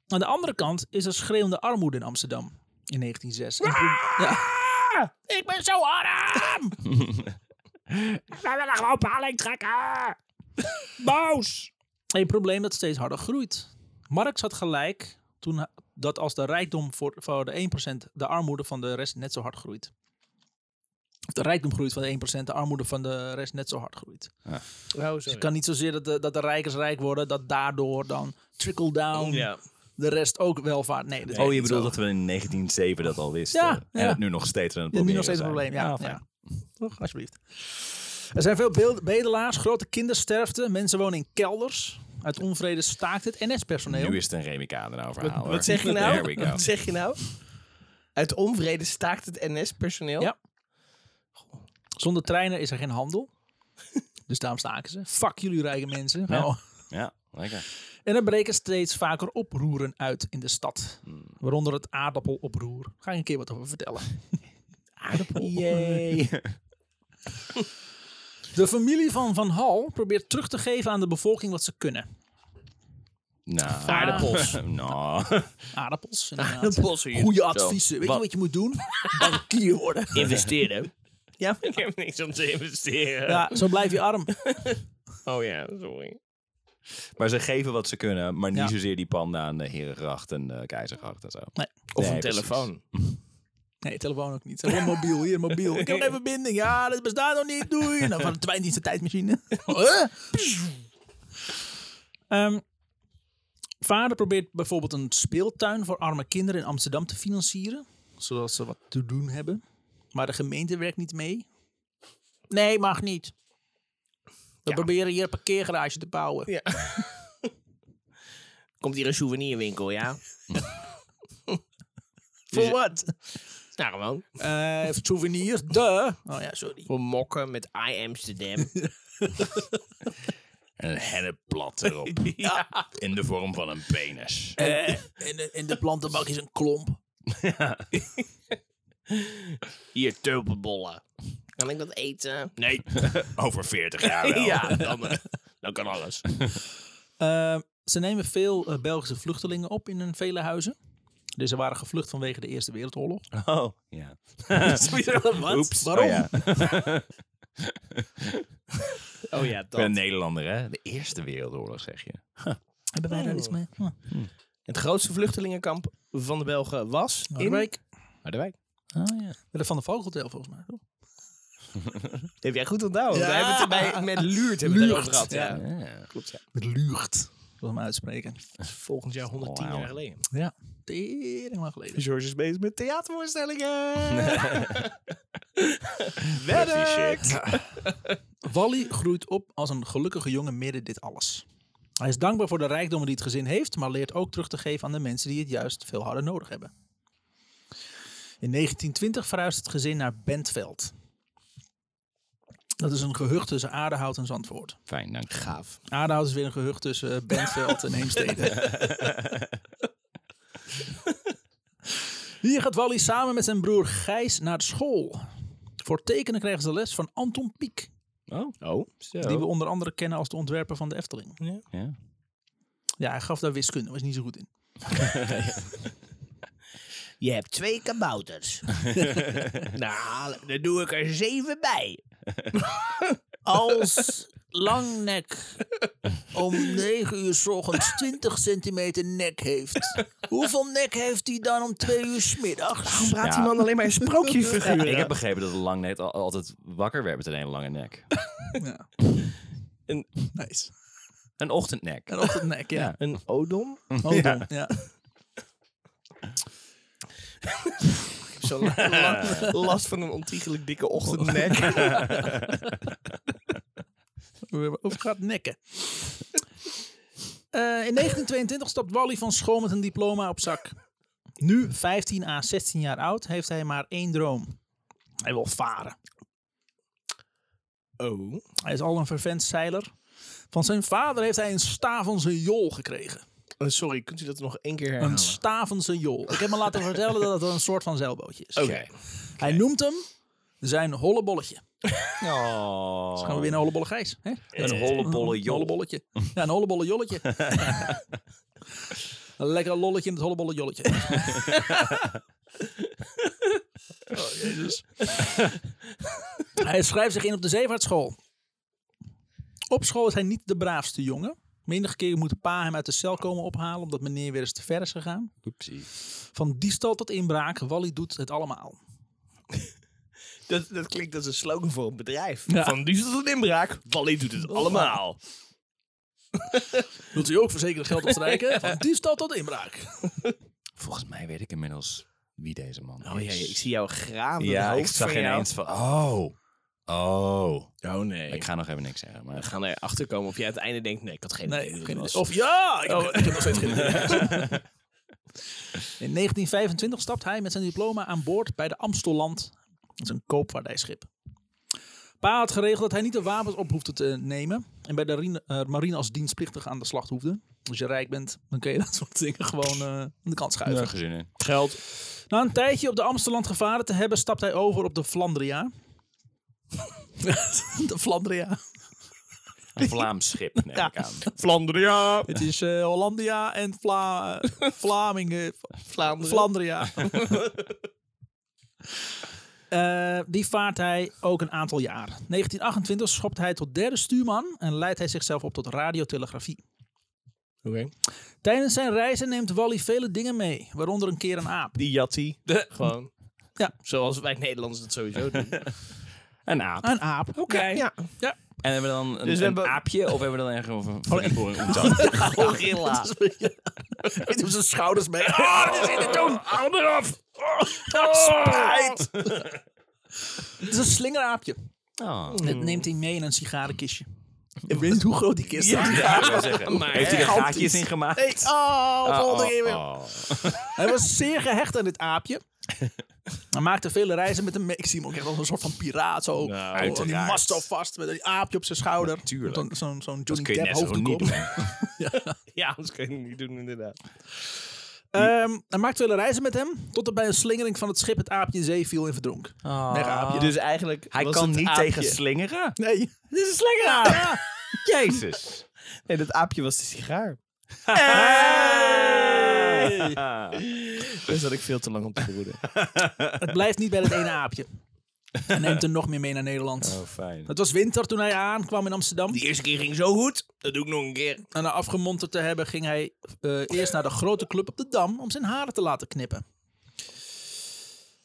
[SPEAKER 1] aan de andere kant is er schreeuwende armoede in Amsterdam in 1906. En pro- ja. Ik ben zo arm!
[SPEAKER 5] Wij willen gewoon paling trekken. Boos.
[SPEAKER 1] Een probleem dat steeds harder groeit. Marx had gelijk toen ha- dat als de rijkdom voor, voor de 1% de armoede van de rest net zo hard groeit. de rijkdom groeit van de 1%, de armoede van de rest net zo hard groeit.
[SPEAKER 3] Oh,
[SPEAKER 1] Dus het kan niet zozeer dat de, dat de rijkers rijk worden, dat daardoor dan trickle down
[SPEAKER 3] Ja.
[SPEAKER 1] de rest ook welvaart. Nee, dat is
[SPEAKER 2] Oh, je
[SPEAKER 1] niet
[SPEAKER 2] bedoelt
[SPEAKER 1] zo.
[SPEAKER 2] dat we in 1907 dat al wisten.
[SPEAKER 1] Ja,
[SPEAKER 2] En
[SPEAKER 1] ja.
[SPEAKER 2] het nu nog steeds aan het
[SPEAKER 1] Ja, nu nog
[SPEAKER 2] proberen
[SPEAKER 1] steeds een
[SPEAKER 2] zijn. Ah,
[SPEAKER 1] probleem, ja.
[SPEAKER 2] fijn.
[SPEAKER 1] ja. Toch, alsjeblieft. Er zijn veel beeld- bedelaars, grote kindersterfte, mensen wonen in kelders. Uit onvrede staakt het NS-personeel.
[SPEAKER 2] Nu is het een Remicade verhaal. hoor.
[SPEAKER 3] Wat zeg je nou?
[SPEAKER 2] There we go.
[SPEAKER 3] Wat zeg je nou? Uit onvrede staakt het NS-personeel.
[SPEAKER 1] Ja. Zonder treinen is er geen handel. dus daarom staken ze. Fuck jullie rijke mensen. Nou,
[SPEAKER 2] Ja, lekker.
[SPEAKER 1] En er breken steeds vaker oproeren uit in de stad. Waaronder het aardappeloproer. Ga ik een keer wat over vertellen.
[SPEAKER 2] Yay.
[SPEAKER 1] De familie van Van Hal probeert terug te geven aan de bevolking wat ze kunnen.
[SPEAKER 2] Nou.
[SPEAKER 1] Aardappels.
[SPEAKER 2] Nou.
[SPEAKER 1] Aardappels, inderdaad.
[SPEAKER 3] Aardappels hier.
[SPEAKER 1] Goede adviezen. Weet je wat je moet doen? Bankier worden.
[SPEAKER 3] Investeren. ja, maar ik heb niks om te investeren.
[SPEAKER 1] Ja, zo blijf je arm.
[SPEAKER 3] Oh ja, sorry.
[SPEAKER 2] Maar ze geven wat ze kunnen, maar niet
[SPEAKER 1] Ja.
[SPEAKER 2] zozeer die panda aan de Herengracht en eh Keizergracht en zo.
[SPEAKER 1] Nee.
[SPEAKER 3] Of
[SPEAKER 2] Nee,
[SPEAKER 3] een
[SPEAKER 2] precies.
[SPEAKER 3] telefoon.
[SPEAKER 1] Nee, telefoon ook niet. Gewoon mobiel, hier mobiel. Ik heb geen verbinding. Ja, dat bestaat nog niet. Doei. Nou, van de tweedienste tijdmachine. Oh, Huh? Ehm, vader probeert bijvoorbeeld een speeltuin voor arme kinderen in Amsterdam te financieren. Zodat ze wat te doen hebben. Maar de gemeente werkt niet mee. Nee, mag niet. We
[SPEAKER 3] Ja.
[SPEAKER 1] proberen hier een parkeergarage te bouwen.
[SPEAKER 3] Ja. Komt hier een souvenirwinkel, ja? Voor wat? Nou, gewoon.
[SPEAKER 1] Eh, souvenirs, de. Oh ja, sorry.
[SPEAKER 3] Voor mokken met I Amsterdam.
[SPEAKER 2] En een hennepblad erop. In de vorm van een penis.
[SPEAKER 1] Eh, en, de- en de plantenbak is een klomp.
[SPEAKER 3] Hier, tulpenbollen. Kan ik dat eten?
[SPEAKER 2] Nee. Over 40 jaar wel.
[SPEAKER 3] Ja, dan, eh, dan kan alles.
[SPEAKER 1] Eh, ze nemen veel eh, Belgische vluchtelingen op in hun vele huizen. Dus ze waren gevlucht vanwege de Eerste Wereldoorlog.
[SPEAKER 2] Oh, ja.
[SPEAKER 1] Wat?
[SPEAKER 2] Oeps.
[SPEAKER 1] Waarom?
[SPEAKER 2] Oh, ja.
[SPEAKER 3] Oh ja,
[SPEAKER 2] Ik ben een
[SPEAKER 3] dat.
[SPEAKER 2] Nederlander, hè? De Eerste Wereldoorlog, zeg je.
[SPEAKER 1] Hebben wij daar iets mee? Hm.
[SPEAKER 3] Het grootste vluchtelingenkamp van de Belgen was in... Harderwijk.
[SPEAKER 1] Oh, ja. Bij de Van de Vogeltel volgens mij. toch?
[SPEAKER 3] Heb jij goed onthouden?
[SPEAKER 1] Ja.
[SPEAKER 3] We hebben het erbij met Luurt hebben we het
[SPEAKER 1] Luurt,
[SPEAKER 3] over gehad. Ja.
[SPEAKER 2] Ja.
[SPEAKER 3] Klopt, ja.
[SPEAKER 1] Met lucht. Wil hem uitspreken.
[SPEAKER 3] Dat is volgend jaar 110
[SPEAKER 2] Wauw.
[SPEAKER 3] jaar geleden.
[SPEAKER 1] Ja. Tering lang geleden.
[SPEAKER 3] George is bezig met theatervoorstellingen.
[SPEAKER 2] Pretty shit.
[SPEAKER 1] Wally groeit op als een gelukkige jongen midden dit alles. Hij is dankbaar voor de rijkdommen die het gezin heeft, maar leert ook terug te geven aan de mensen die het juist veel harder nodig hebben. In 1920 verhuist het gezin naar Bentveld. Dat is een gehucht tussen Aardehout en Zandvoort.
[SPEAKER 2] Fijn, dank. Gaaf.
[SPEAKER 1] Aardehout is weer een gehucht tussen eh, Bentveld en Heemstede. Hier gaat Wally samen met zijn broer Gijs naar school. Voor tekenen krijgen ze les van Anton Pieck.
[SPEAKER 2] Oh. Oh. Zo.
[SPEAKER 1] Die we onder andere kennen als de ontwerper van de Efteling.
[SPEAKER 2] Ja.
[SPEAKER 1] Ja, hij gaf daar wiskunde, was niet zo goed in.
[SPEAKER 3] Je hebt twee kabouters. nou, daar doe ik er zeven bij.
[SPEAKER 1] Als langnek om 9 uur s ochtends 20 centimeter nek heeft, hoeveel nek heeft hij dan om 2 uur s middags?
[SPEAKER 3] Praat
[SPEAKER 2] die man
[SPEAKER 3] alleen maar in sprookjesfiguren?
[SPEAKER 2] Ik heb begrepen dat het lang net al, altijd wakker werd met een hele lange nek.
[SPEAKER 3] Een,
[SPEAKER 1] Nou, Nice.
[SPEAKER 2] Een ochtendnek.
[SPEAKER 1] En op het nek, ja.
[SPEAKER 3] een odom?
[SPEAKER 1] Oh, ja.
[SPEAKER 3] Ik heb zo'n la- la- last van een ontiegelijk dikke ochtendnek.
[SPEAKER 1] Of gaat nekken. Eh, in 1922 stapt Wally van school met een diploma op zak. Nu, 15 à 16 jaar oud, heeft hij maar één droom. Hij wil varen.
[SPEAKER 3] Oh.
[SPEAKER 1] Hij is al een vervent zeiler. Van zijn vader heeft hij een stavense jol gekregen.
[SPEAKER 3] Eh, sorry, kunt u dat nog één keer herhalen?
[SPEAKER 1] Een stavense jol. Ik heb me laten vertellen dat het een soort van zeilbootje is.
[SPEAKER 3] Oké.
[SPEAKER 1] Hij noemt hem zijn hollebolletje.
[SPEAKER 2] Oh.
[SPEAKER 1] Dan gaan we weer naar hollebolle Gijs. Hè?
[SPEAKER 2] Een hollebolle
[SPEAKER 1] Een
[SPEAKER 2] jol.
[SPEAKER 1] hollebolletje. Ja, een hollebolle jolletje. een lekker lolletje in het hollebolle jolletje. Oh, Jezus. hij schrijft zich in op de zeevaartschool. Op school is hij niet de braafste jongen. Menige keer moet pa hem uit de cel komen ophalen omdat meneer weer eens te ver is gegaan.
[SPEAKER 2] Oepsie.
[SPEAKER 1] Van diefstal tot inbraak, Wally doet het allemaal.
[SPEAKER 3] Dat, dat klinkt als een slogan voor een bedrijf.
[SPEAKER 1] Ja.
[SPEAKER 3] Van nu is het een inbraak, Wally doet het allemaal.
[SPEAKER 1] Wilt u ook verzekerd geld opstrijken? Van diefstal tot inbraak.
[SPEAKER 2] Volgens mij weet ik inmiddels wie deze man is.
[SPEAKER 3] Oh ja, ik zie jou graven.
[SPEAKER 2] Ja, ik zag ineens van, oh, oh.
[SPEAKER 3] Oh nee.
[SPEAKER 2] Ik ga nog even niks zeggen,
[SPEAKER 3] We
[SPEAKER 2] maar...
[SPEAKER 3] gaan erachter komen of jij uiteindelijk denkt, nee, ik had geen idee
[SPEAKER 1] Nee,
[SPEAKER 3] wie
[SPEAKER 1] geen
[SPEAKER 3] het
[SPEAKER 1] idee.
[SPEAKER 3] was.
[SPEAKER 1] Of ja, ik, heb- ik heb nog steeds geen idee. In 1925 stapt hij met zijn diploma aan boord bij de Amstelland. Dat is een koopvaardijschip. Pa had geregeld dat hij niet de wapens op hoefde te nemen. En bij de rine- eh, marine als dienstplichtig aan de slag hoefde. Als je rijk bent, dan kun je dat soort dingen gewoon eh, aan de kant schuiven.
[SPEAKER 2] Geen zin in.
[SPEAKER 3] geld.
[SPEAKER 1] Na een tijdje op de Amsteland gevaren te hebben, stapt hij over op de Flandria. de Flandria.
[SPEAKER 2] Een Vlaams schip, neem ik aan.
[SPEAKER 3] Flandria.
[SPEAKER 1] Het is eh, Hollandia en Vla Vlamingen.
[SPEAKER 3] Vlaanderen.
[SPEAKER 1] Flandria. Eh, die vaart hij ook een aantal jaar. 1928 schopt hij tot derde stuurman en leidt hij zichzelf op tot radiotelegrafie.
[SPEAKER 3] Oké.
[SPEAKER 1] Tijdens zijn reizen neemt Wally vele dingen mee, waaronder een keer een aap.
[SPEAKER 3] Die jattie. Gewoon.
[SPEAKER 1] Ja.
[SPEAKER 3] Zoals wij Nederlanders dat sowieso doen. Oké.
[SPEAKER 2] Een aap.
[SPEAKER 1] Een aap. Oké.
[SPEAKER 3] Ja.
[SPEAKER 2] En hebben we dan een,
[SPEAKER 3] Dus we
[SPEAKER 2] een
[SPEAKER 3] hebben-
[SPEAKER 2] aapje of hebben we dan echt een verdieping?
[SPEAKER 3] Gorilla.
[SPEAKER 1] Met op zijn schouders mee. Ah!
[SPEAKER 5] Hou eraf!
[SPEAKER 1] Spijt. Het is een slingeraapje.
[SPEAKER 2] Oh,
[SPEAKER 1] Dat neemt hij mee in een sigarenkistje. Ik Hmm. weet niet hoe groot die kist is.
[SPEAKER 2] ja, ik wou zeggen.
[SPEAKER 3] Maar
[SPEAKER 2] Heeft hij er
[SPEAKER 3] gigantisch.
[SPEAKER 2] gaatjes in gemaakt?
[SPEAKER 1] Oh,
[SPEAKER 2] Ah,
[SPEAKER 1] volgende
[SPEAKER 2] oh,
[SPEAKER 1] keer weer.
[SPEAKER 2] oh.
[SPEAKER 1] Hij was zeer gehecht aan dit aapje. Hij maakte vele reizen met hem mee. Ik zie hem ook echt als een soort van piraat. Zo, Zo aan die
[SPEAKER 2] Nou, uiteraard.
[SPEAKER 1] mast al vast met een aapje op zijn schouder.
[SPEAKER 2] Natuurlijk.
[SPEAKER 1] Zo'n zo'n- zo'n
[SPEAKER 2] Dat
[SPEAKER 1] Johnny
[SPEAKER 2] kun je
[SPEAKER 1] Depp
[SPEAKER 2] net zo goed
[SPEAKER 1] hoofddoek
[SPEAKER 2] niet
[SPEAKER 1] op.
[SPEAKER 2] doen.
[SPEAKER 3] Ja, dat kan je niet doen inderdaad.
[SPEAKER 1] Ehm, hij maakte vele reizen met hem. Tot er bij een slingering van het schip het aapje in zee viel en verdronk. Weg aapje.
[SPEAKER 3] Dus eigenlijk
[SPEAKER 2] Hij
[SPEAKER 3] was
[SPEAKER 2] kan
[SPEAKER 3] het
[SPEAKER 2] niet
[SPEAKER 3] aapje-
[SPEAKER 2] tegen slingeren?
[SPEAKER 1] Nee.
[SPEAKER 3] Dit is een slingeraar.
[SPEAKER 2] Jezus.
[SPEAKER 3] Nee, dat aapje was de sigaar. Dus had ik veel te lang op te broeden.
[SPEAKER 1] Het blijft niet bij dat ene aapje. Hij neemt er nog meer mee naar Nederland.
[SPEAKER 2] Oh, fijn.
[SPEAKER 1] Het was winter toen hij aankwam in Amsterdam.
[SPEAKER 3] Die eerste keer ging zo goed. Dat doe ik nog een keer.
[SPEAKER 1] En na afgemonterd te hebben, ging hij eh, eerst naar de grote club op de Dam om zijn haren te laten knippen.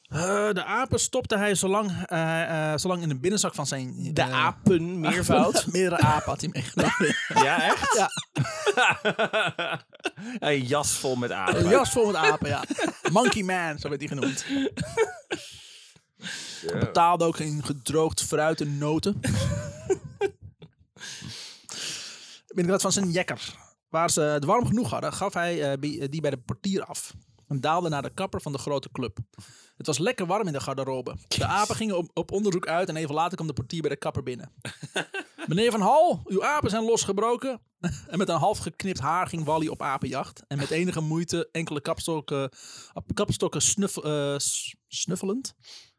[SPEAKER 1] Eh, de apen stopte hij zolang, eh, eh, zolang in de binnenzak van zijn...
[SPEAKER 3] De
[SPEAKER 1] eh,
[SPEAKER 3] apen, meervoud.
[SPEAKER 1] Meerdere apen had hij meegenomen.
[SPEAKER 2] Ja, echt?
[SPEAKER 1] Ja.
[SPEAKER 2] Een jas vol met apen.
[SPEAKER 1] Een jas vol met apen, ja. Monkey Man, zo werd hij genoemd. Hij Betaalde ook in gedroogd fruit en noten. Binnenkant van zijn jekker. Waar ze het warm genoeg hadden, gaf hij eh, bi- die bij de portier af. En daalde naar de kapper van de grote club. Het was lekker warm in de garderobe. De apen gingen op, op onderzoek uit en even later kwam de portier bij de kapper binnen. Meneer Van Hal, uw apen zijn losgebroken. En met een half geknipt haar ging Wally op apenjacht. En met enige moeite enkele kapstokken, ap- kapstokken snuff, eh, s- snuffelend.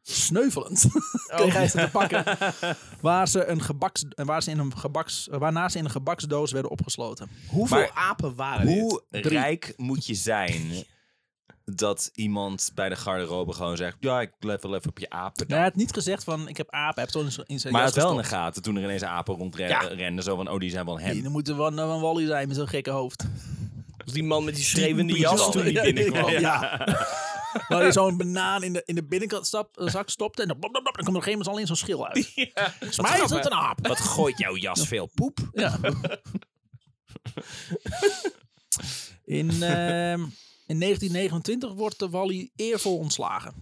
[SPEAKER 1] Sneuvelend. kreeg
[SPEAKER 2] Oh.
[SPEAKER 1] hij ze te pakken. Waar ze, een gebaks, eh, waar ze in een gebaks, eh, waarna ze in een gebaksdoos werden opgesloten.
[SPEAKER 3] Hoeveel
[SPEAKER 2] Maar
[SPEAKER 3] apen waren dit?
[SPEAKER 2] Hoe rijk moet je zijn dat iemand bij de garderobe gewoon zegt... Ja, ik let wel even op je apen.
[SPEAKER 1] Hij had niet gezegd van ik heb apen. Hij heeft gewoon in zijn- in zijn
[SPEAKER 2] Maar hij
[SPEAKER 1] jas
[SPEAKER 2] had wel in de
[SPEAKER 1] gestopt.
[SPEAKER 2] gaten toen er ineens apen rondrenden. Zo van, oh, die zijn wel
[SPEAKER 1] Nee,
[SPEAKER 2] hem.
[SPEAKER 1] Dan moet er van, van Wally zijn met zo'n gekke hoofd.
[SPEAKER 3] Als die man met die schreeuwende
[SPEAKER 1] Die
[SPEAKER 3] jas
[SPEAKER 1] bizar-
[SPEAKER 3] toen die
[SPEAKER 1] Ja,
[SPEAKER 3] binnenkwam.
[SPEAKER 1] Ja. Waar hij zo'n banaan in de, in de binnenkant stap, eh, zak stopte. En dan, blop, blop, blop, dan komt er op een gegeven moment al in zo'n schil uit. Volgens mij is het een aap.
[SPEAKER 2] Wat gooit jouw jas veel poep?
[SPEAKER 1] Ja. In, ehm, in 1929 wordt de Wally eervol ontslagen.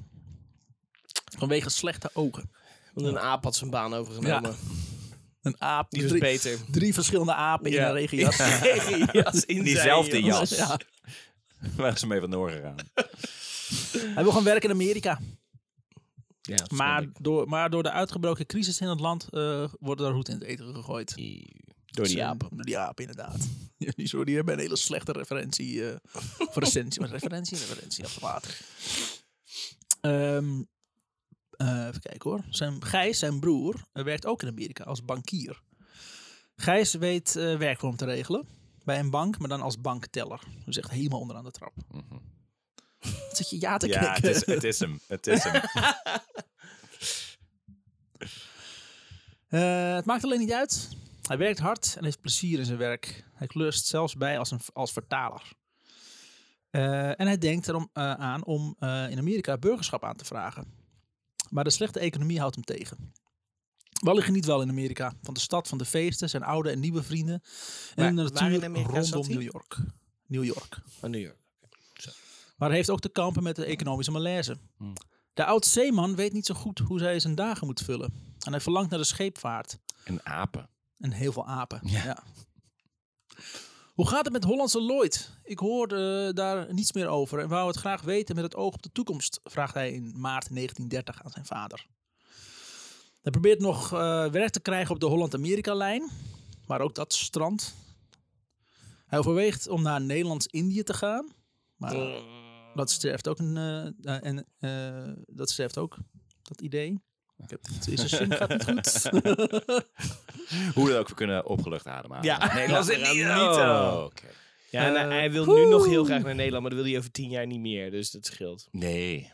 [SPEAKER 1] Vanwege slechte ogen.
[SPEAKER 3] Want een aap had zijn baan overgenomen.
[SPEAKER 1] Een aap.
[SPEAKER 3] Die was
[SPEAKER 1] drie,
[SPEAKER 3] beter.
[SPEAKER 1] Drie verschillende apen in
[SPEAKER 3] Ja.
[SPEAKER 1] een regenjas.
[SPEAKER 3] Regenjas in
[SPEAKER 2] Diezelfde
[SPEAKER 3] zijn
[SPEAKER 2] jas.
[SPEAKER 1] Ja.
[SPEAKER 2] Waar ze mee vandoor gegaan.
[SPEAKER 1] Hij wil gaan werken in Amerika.
[SPEAKER 3] Ja, dat
[SPEAKER 1] Maar
[SPEAKER 3] snap ik.
[SPEAKER 1] door, maar door de uitgebroken crisis in het land eh, wordt er roet in het eten gegooid.
[SPEAKER 3] Door die
[SPEAKER 1] Dus,
[SPEAKER 3] aap.
[SPEAKER 1] eh, Die aap, inderdaad. Die, sorry, die hebben een hele slechte referentie. eh, of recensie, maar referentie, referentie, als water. Ehm, eh, even kijken hoor. Zijn, Gijs, zijn broer, eh, werkt ook in Amerika als bankier. Gijs weet eh, werk voor hem te regelen. Bij een bank, maar dan als bankteller. Dus echt helemaal onderaan de trap.
[SPEAKER 3] Mhm.
[SPEAKER 1] Wat zit je ja te
[SPEAKER 2] Ja, het
[SPEAKER 1] knikken?
[SPEAKER 2] is, het is hem. Het is hem.
[SPEAKER 1] Eh, het maakt alleen niet uit. Hij werkt hard en heeft plezier in zijn werk. Hij kleurt zelfs bij als, een, als vertaler. Eh, en hij denkt erom eh, aan om eh, in Amerika burgerschap aan te vragen. maar de slechte economie houdt hem tegen. Wally geniet wel in Amerika van de stad, van de feesten, zijn oude en nieuwe vrienden en de
[SPEAKER 3] Waar- waar in
[SPEAKER 1] natuur
[SPEAKER 3] Amerika zat
[SPEAKER 1] rondom
[SPEAKER 3] hij?
[SPEAKER 1] New York. New York.
[SPEAKER 3] Van New York.
[SPEAKER 1] Maar hij heeft ook te kampen met de economische malaise.
[SPEAKER 3] Hmm.
[SPEAKER 1] De oud-zeeman weet niet zo goed hoe zij zijn dagen moet vullen. En hij verlangt naar de scheepvaart.
[SPEAKER 2] En apen.
[SPEAKER 1] En heel veel apen. Ja. Hoe gaat het met Hollandse Lloyd? Ik hoor eh, daar niets meer over en wou het graag weten met het oog op de toekomst, vraagt hij in maart 1930 aan zijn vader. Hij probeert nog eh, werk te krijgen op de Holland-Amerika-lijn, maar ook dat strand. Hij overweegt om naar Nederlands-Indië te gaan, maar eh, dat sterft ook. Een, eh, eh, en, eh, dat sterft ook, dat idee. Ik heb het is een zin, gaat niet goed.
[SPEAKER 2] Hoe dan ook, we kunnen opgelucht ademhalen.
[SPEAKER 3] Ja.
[SPEAKER 2] nee, dat is
[SPEAKER 3] Ja,
[SPEAKER 2] het niet.
[SPEAKER 3] niet,
[SPEAKER 2] Oh,
[SPEAKER 3] oh.
[SPEAKER 2] oké.
[SPEAKER 3] Ja, en
[SPEAKER 1] Eh,
[SPEAKER 3] hij wil nu nog heel graag naar Nederland, maar dat wil hij over tien jaar niet meer. Dus dat scheelt.
[SPEAKER 2] Nee.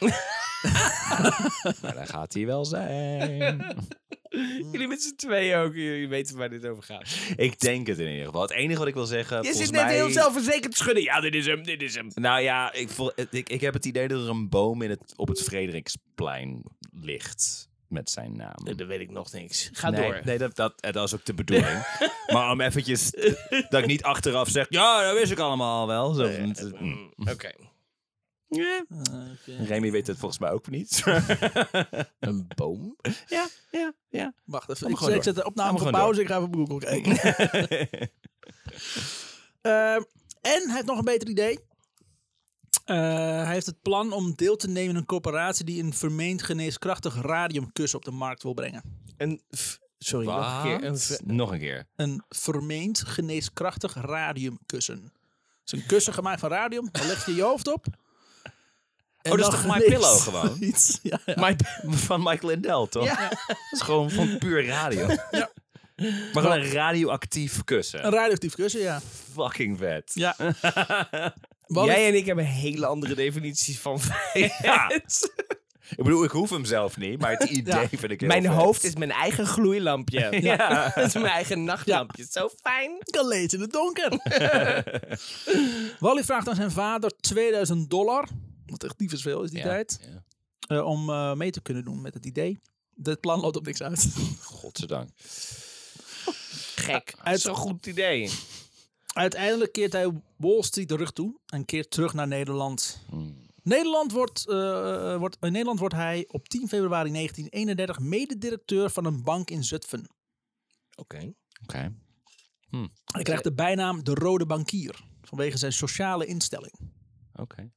[SPEAKER 2] maar Nou, daar gaat hij wel zijn.
[SPEAKER 3] Jullie met z'n tweeën ook, jullie weten waar dit over gaat.
[SPEAKER 2] Ik denk het in ieder geval. Het enige wat ik wil zeggen.
[SPEAKER 3] Je
[SPEAKER 2] volgens
[SPEAKER 3] zit net
[SPEAKER 2] mij...
[SPEAKER 3] heel zelfverzekerd te schudden. Ja, dit is hem, dit is hem.
[SPEAKER 2] Nou ja, ik, voel, ik, ik heb het idee dat er een boom in het, op het Frederiksplein ligt. Met zijn naam.
[SPEAKER 3] Dat weet ik nog niks. Ga
[SPEAKER 2] nee,
[SPEAKER 3] door.
[SPEAKER 2] Nee, dat, dat, eh, dat is ook de bedoeling. maar om eventjes dat ik niet achteraf zeg. Ja, dat wist ik allemaal wel. Zo, mm.
[SPEAKER 3] Mm, Oké.
[SPEAKER 1] Oké.
[SPEAKER 2] Remy weet het volgens mij ook niet. een boom? Ja, ja, ja.
[SPEAKER 1] Wacht even.
[SPEAKER 2] Kom
[SPEAKER 1] Ik,
[SPEAKER 2] gewoon
[SPEAKER 1] zet- ik zet
[SPEAKER 2] door.
[SPEAKER 1] de opname
[SPEAKER 2] Kom
[SPEAKER 1] op
[SPEAKER 2] gewoon
[SPEAKER 1] pauze. Ik ga even op Google kijken. Eh, en hij heeft nog een beter idee. Eh, hij heeft het plan om deel te nemen in een corporatie die een vermeend geneeskrachtig radiumkus op de markt wil brengen.
[SPEAKER 3] Een f- Sorry, nog een
[SPEAKER 2] Nog
[SPEAKER 3] keer. Een
[SPEAKER 2] een,
[SPEAKER 3] f-
[SPEAKER 2] Nog een keer.
[SPEAKER 1] Een vermeend geneeskrachtig radiumkussen. Het is een kussen gemaakt van radium. Dan leg je je hoofd op. En
[SPEAKER 2] Oh, dat is
[SPEAKER 1] dan
[SPEAKER 2] toch My
[SPEAKER 1] geneest
[SPEAKER 2] Pillow gewoon?
[SPEAKER 1] Iets. Ja, ja.
[SPEAKER 2] My- van Michael Lindell, toch?
[SPEAKER 1] Ja.
[SPEAKER 2] Dat is gewoon van puur radio.
[SPEAKER 1] Ja.
[SPEAKER 2] Maar gewoon een radioactief
[SPEAKER 1] Een
[SPEAKER 2] kussen.
[SPEAKER 1] radioactief kussen, ja.
[SPEAKER 2] Fucking vet.
[SPEAKER 1] ja. Wally-
[SPEAKER 3] Jij en ik hebben hele andere definities van vrijheid.
[SPEAKER 2] Ja. Ik bedoel, ik hoef hem zelf niet, maar het idee vind ik heel
[SPEAKER 3] Mijn
[SPEAKER 2] vet.
[SPEAKER 3] hoofd is mijn eigen gloeilampje.
[SPEAKER 2] Ja.
[SPEAKER 3] Dat is mijn eigen nachtlampje. Zo fijn.
[SPEAKER 1] Ik kan lezen in het donker. Wally vraagt aan zijn vader 2000 dollar, wat echt niet veel is die
[SPEAKER 2] Ja,
[SPEAKER 1] tijd,
[SPEAKER 2] ja.
[SPEAKER 1] eh, om eh, mee te kunnen doen met het idee. Dit plan loopt op niks uit.
[SPEAKER 2] Godzijdank.
[SPEAKER 3] Gek.
[SPEAKER 1] Uit-
[SPEAKER 3] Zo'n goed idee.
[SPEAKER 1] Uiteindelijk keert hij Wall Street de rug toe en keert terug naar Nederland.
[SPEAKER 2] Hmm.
[SPEAKER 1] Nederland wordt, eh, wordt, in Nederland wordt hij op 10 februari 1931 mededirecteur van een bank in Zutphen.
[SPEAKER 3] Oké.
[SPEAKER 2] Oké.
[SPEAKER 1] Hij krijgt de bijnaam de Rode Bankier vanwege zijn sociale instelling.
[SPEAKER 2] Oké.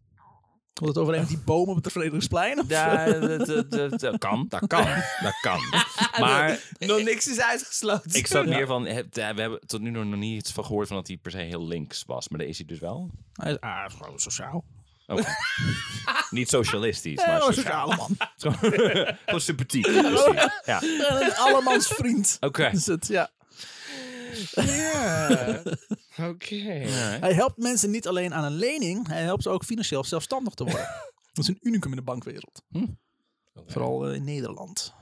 [SPEAKER 1] Komt het overeen met die boom op het Vredigingsplein? of-
[SPEAKER 2] dat, kan. Dat kan. Dat kan. Maar
[SPEAKER 3] Nog niks is uitgesloten.
[SPEAKER 2] ik zat meer van... heb- We hebben tot nu nog niet iets van gehoord van dat hij per se heel links was. Maar dat is hij dus wel.
[SPEAKER 1] Hij is ah, gewoon sociaal.
[SPEAKER 2] Oké. niet socialistisch,
[SPEAKER 1] Ja,
[SPEAKER 2] maar
[SPEAKER 1] een
[SPEAKER 2] sociaal.
[SPEAKER 1] sociale man.
[SPEAKER 2] Gewoon sympathiek. is hij. Ja.
[SPEAKER 1] Een allemans vriend.
[SPEAKER 2] Oké.
[SPEAKER 1] Is het, ja.
[SPEAKER 3] Oké. Nou,
[SPEAKER 1] Hij helpt mensen niet alleen aan een lening, hij helpt ze ook financieel zelfstandig te worden. Dat is een unicum in de bankwereld. Vooral eh, in Nederland.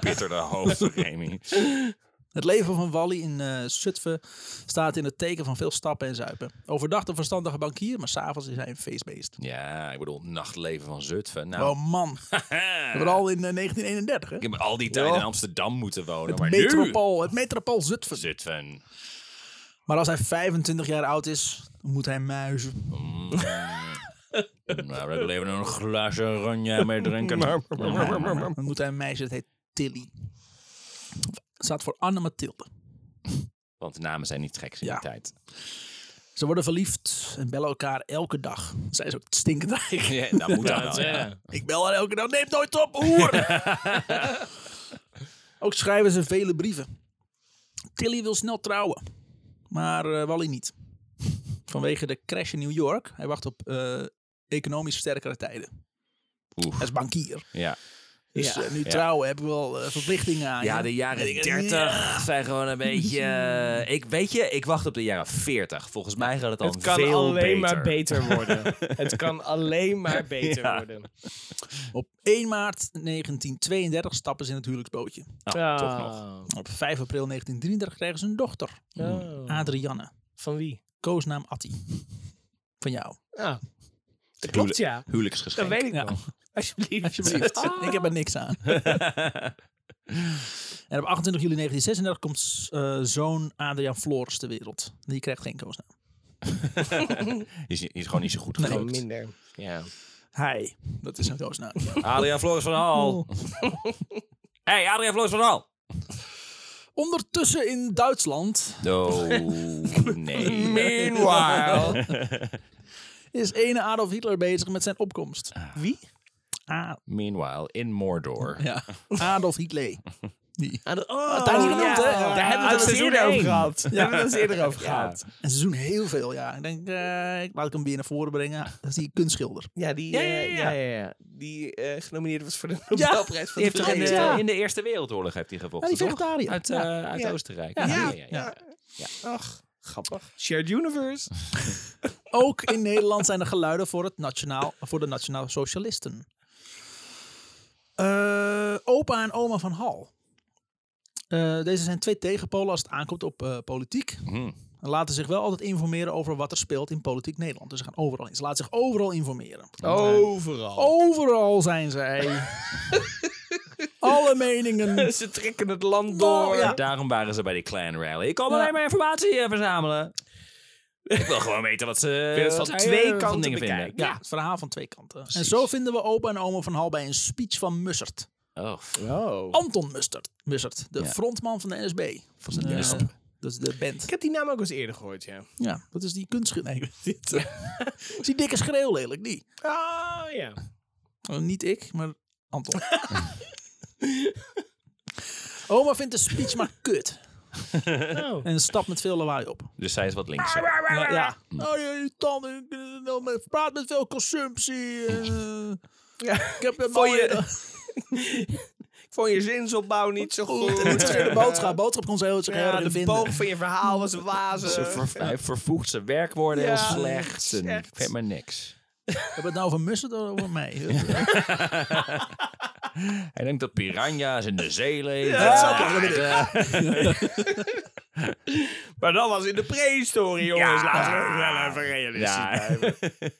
[SPEAKER 2] Bitterde hoofd, Remy.
[SPEAKER 1] Het leven van Wally in eh Zutphen staat in het teken van veel stappen en zuipen. Overdag een verstandige bankier, maar s'avonds is hij een feestbeest.
[SPEAKER 2] Ja, ik bedoel, nachtleven van Zutphen. Nou,
[SPEAKER 1] Oh man, vooral in eh, 1931 hè?
[SPEAKER 2] ik heb al die tijd
[SPEAKER 3] Ja.
[SPEAKER 2] in Amsterdam moeten wonen. Maar nu...
[SPEAKER 1] Metropool, het metropool Zutphen.
[SPEAKER 2] Zutphen.
[SPEAKER 1] Maar als hij 25 jaar oud is, moet hij muizen.
[SPEAKER 2] Nou, ik wil even een glaasje oranje mee drinken.
[SPEAKER 1] Dan moet hij een meisje, dat heet Tilly. Het staat voor Anne Mathilde.
[SPEAKER 2] Want de namen zijn niet gek in
[SPEAKER 1] Ja.
[SPEAKER 2] die tijd.
[SPEAKER 1] Ze worden verliefd en bellen elkaar elke dag. Zij is ook stinkend rijk.
[SPEAKER 2] Ja, dat moet dan wel, ja.
[SPEAKER 1] Ik bel haar elke dag, neem nooit op, hoer! ook schrijven ze vele brieven. Tilly wil snel trouwen, maar eh, Wally niet. Vanwege de crash in New York. Hij wacht op eh, economisch sterkere tijden.
[SPEAKER 2] Oef.
[SPEAKER 1] Hij is bankier.
[SPEAKER 2] Ja.
[SPEAKER 1] Dus eh, nu trouwen heb ik wel eh, verplichtingen
[SPEAKER 3] Ah,
[SPEAKER 1] aan je.
[SPEAKER 2] jaren 30 zijn gewoon een beetje... eh, ik, weet je, ik wacht op de jaren 40. Volgens mij gaat het dan
[SPEAKER 3] Het kan alleen maar beter worden. Het kan alleen maar beter
[SPEAKER 2] Ja.
[SPEAKER 3] worden.
[SPEAKER 1] Op 1 maart 1932 stappen ze in het huwelijksbootje.
[SPEAKER 3] Nou,
[SPEAKER 2] Ah, Toch nog.
[SPEAKER 1] Op 5 april 1933 krijgen ze een dochter,
[SPEAKER 3] Oh.
[SPEAKER 1] Hmm. Adrianne,
[SPEAKER 3] Van wie?
[SPEAKER 1] koosnaam Atti. Van jou.
[SPEAKER 3] Ah. klopt, ja. Dat
[SPEAKER 2] Huwelijksgeschenk.
[SPEAKER 3] weet ik
[SPEAKER 1] Ja.
[SPEAKER 3] wel. nou. Alsjeblieft.
[SPEAKER 1] Alsjeblieft. Ik heb er niks aan. en op 28 juli 1936 komt eh, zoon Adriaan Flores ter wereld. Die krijgt geen koosnaam.
[SPEAKER 2] Is, is gewoon niet zo goed
[SPEAKER 3] Nee,
[SPEAKER 2] gelukt.
[SPEAKER 3] minder. Ja.
[SPEAKER 1] Hij. Dat is een koosnaam.
[SPEAKER 2] Adriaan Floris van Hal. hey, Adriaan Floris van Hal.
[SPEAKER 1] Ondertussen in Duitsland
[SPEAKER 2] Oh, nee.
[SPEAKER 3] Meanwhile.
[SPEAKER 1] is ene Adolf Hitler bezig met zijn opkomst.
[SPEAKER 3] Wie?
[SPEAKER 1] Ah,
[SPEAKER 2] Meanwhile, in Mordor.
[SPEAKER 1] ja. Adolf Hitler. Die.
[SPEAKER 3] Ah, dat- Oh,
[SPEAKER 1] Daar niet genoemd, hè?
[SPEAKER 3] Daar hebben we
[SPEAKER 1] Uit
[SPEAKER 3] het eens
[SPEAKER 1] seizoen
[SPEAKER 3] eerder over
[SPEAKER 1] één.
[SPEAKER 3] gehad. Daar hebben we het eens eerder over gehad.
[SPEAKER 1] En ze doen heel veel, ja. Ik denk, eh, ik laat ik hem weer naar voren brengen. Dat is die kunstschilder.
[SPEAKER 3] Ja, die,
[SPEAKER 2] Ja,
[SPEAKER 3] eh,
[SPEAKER 2] ja, ja.
[SPEAKER 3] ja, ja, ja. die eh, genomineerd was voor de Nobelprijs
[SPEAKER 2] Die
[SPEAKER 3] van
[SPEAKER 2] heeft toch in,
[SPEAKER 3] vrede.
[SPEAKER 2] de,
[SPEAKER 1] Ja.
[SPEAKER 2] in de Eerste Wereldoorlog heeft hij
[SPEAKER 1] Ja,
[SPEAKER 2] gevochten,
[SPEAKER 1] die
[SPEAKER 2] toch?
[SPEAKER 1] vegetariër.
[SPEAKER 2] Uit,
[SPEAKER 1] Ja.
[SPEAKER 2] eh, uit
[SPEAKER 3] Ja.
[SPEAKER 2] Oostenrijk.
[SPEAKER 1] Ja.
[SPEAKER 3] Ja.
[SPEAKER 2] ja.
[SPEAKER 3] Ach, grappig. Shared universe.
[SPEAKER 1] Ook in Nederland zijn er geluiden voor, het nationaal, voor de Nationaal Socialisten. Eh, opa en oma van Hal. Eh, deze zijn twee tegenpolen als het aankomt op eh, politiek.
[SPEAKER 2] Mhm.
[SPEAKER 1] En laten zich wel altijd informeren over wat er speelt in politiek Nederland. Dus ze gaan overal in. Ze laten zich overal informeren.
[SPEAKER 3] Overal.
[SPEAKER 1] Overal zijn zij. Alle meningen.
[SPEAKER 3] Ze trekken het land door.
[SPEAKER 1] Oh, ja.
[SPEAKER 2] Daarom waren ze bij die clan rally. Ik kan
[SPEAKER 1] Ja.
[SPEAKER 2] alleen maar informatie eh, verzamelen. Ik wil gewoon weten wat ze
[SPEAKER 3] wil het
[SPEAKER 2] wat
[SPEAKER 3] van
[SPEAKER 2] zij,
[SPEAKER 3] twee
[SPEAKER 2] eh, van
[SPEAKER 3] kanten
[SPEAKER 2] dingen vinden.
[SPEAKER 3] bekijken.
[SPEAKER 1] Ja, het verhaal van twee kanten. En zo vinden we opa en oma van Hal bij een speech van Mussert.
[SPEAKER 2] Oh,
[SPEAKER 3] Oh.
[SPEAKER 1] Anton Mustert, Mussert, de
[SPEAKER 2] Ja.
[SPEAKER 1] frontman van de NSB. Van de,
[SPEAKER 2] Yes.
[SPEAKER 1] eh, dat is de band.
[SPEAKER 3] Ik heb die naam ook eens eerder gehoord, ja.
[SPEAKER 1] Ja, dat is die kunstschil. Nee, ik weet het niet. is die dikke schreeuw lelijk, die.
[SPEAKER 3] Ah, ja.
[SPEAKER 1] Eh, niet ik, maar Anton. Oma vindt de speech maar kut.
[SPEAKER 3] Oh.
[SPEAKER 1] En stapt met veel lawaai op.
[SPEAKER 2] dus zij is wat links.
[SPEAKER 1] Ja. ja. Oh, je tanden. eh, wel met- Praat met veel consumptie. eh.
[SPEAKER 3] Ja.
[SPEAKER 1] Ik heb een
[SPEAKER 3] Voor
[SPEAKER 1] mooie...
[SPEAKER 3] je- Ik vond je zinsopbouw niet zo goed.
[SPEAKER 1] Een tweede boodschap. Boodschap kon ze heel erg
[SPEAKER 3] Ja,
[SPEAKER 1] in de
[SPEAKER 3] de
[SPEAKER 1] vinden.
[SPEAKER 3] boog van je verhaal was wazig.
[SPEAKER 2] Ze ver- hij vervoegt zijn werkwoorden
[SPEAKER 3] Ja,
[SPEAKER 2] heel slecht. Ze
[SPEAKER 3] echt.
[SPEAKER 2] vindt maar niks.
[SPEAKER 1] Hebben we het nou over Mussert of over mij?
[SPEAKER 2] Hij denkt dat piranha's in de zee leven.
[SPEAKER 3] Ja, dat zou
[SPEAKER 2] Ja,
[SPEAKER 3] kunnen.
[SPEAKER 2] eh,
[SPEAKER 3] Maar dat was in de prehistorie, jongens.
[SPEAKER 2] Ja.
[SPEAKER 3] Laten we wel even realistisch
[SPEAKER 2] Ja.
[SPEAKER 3] blijven.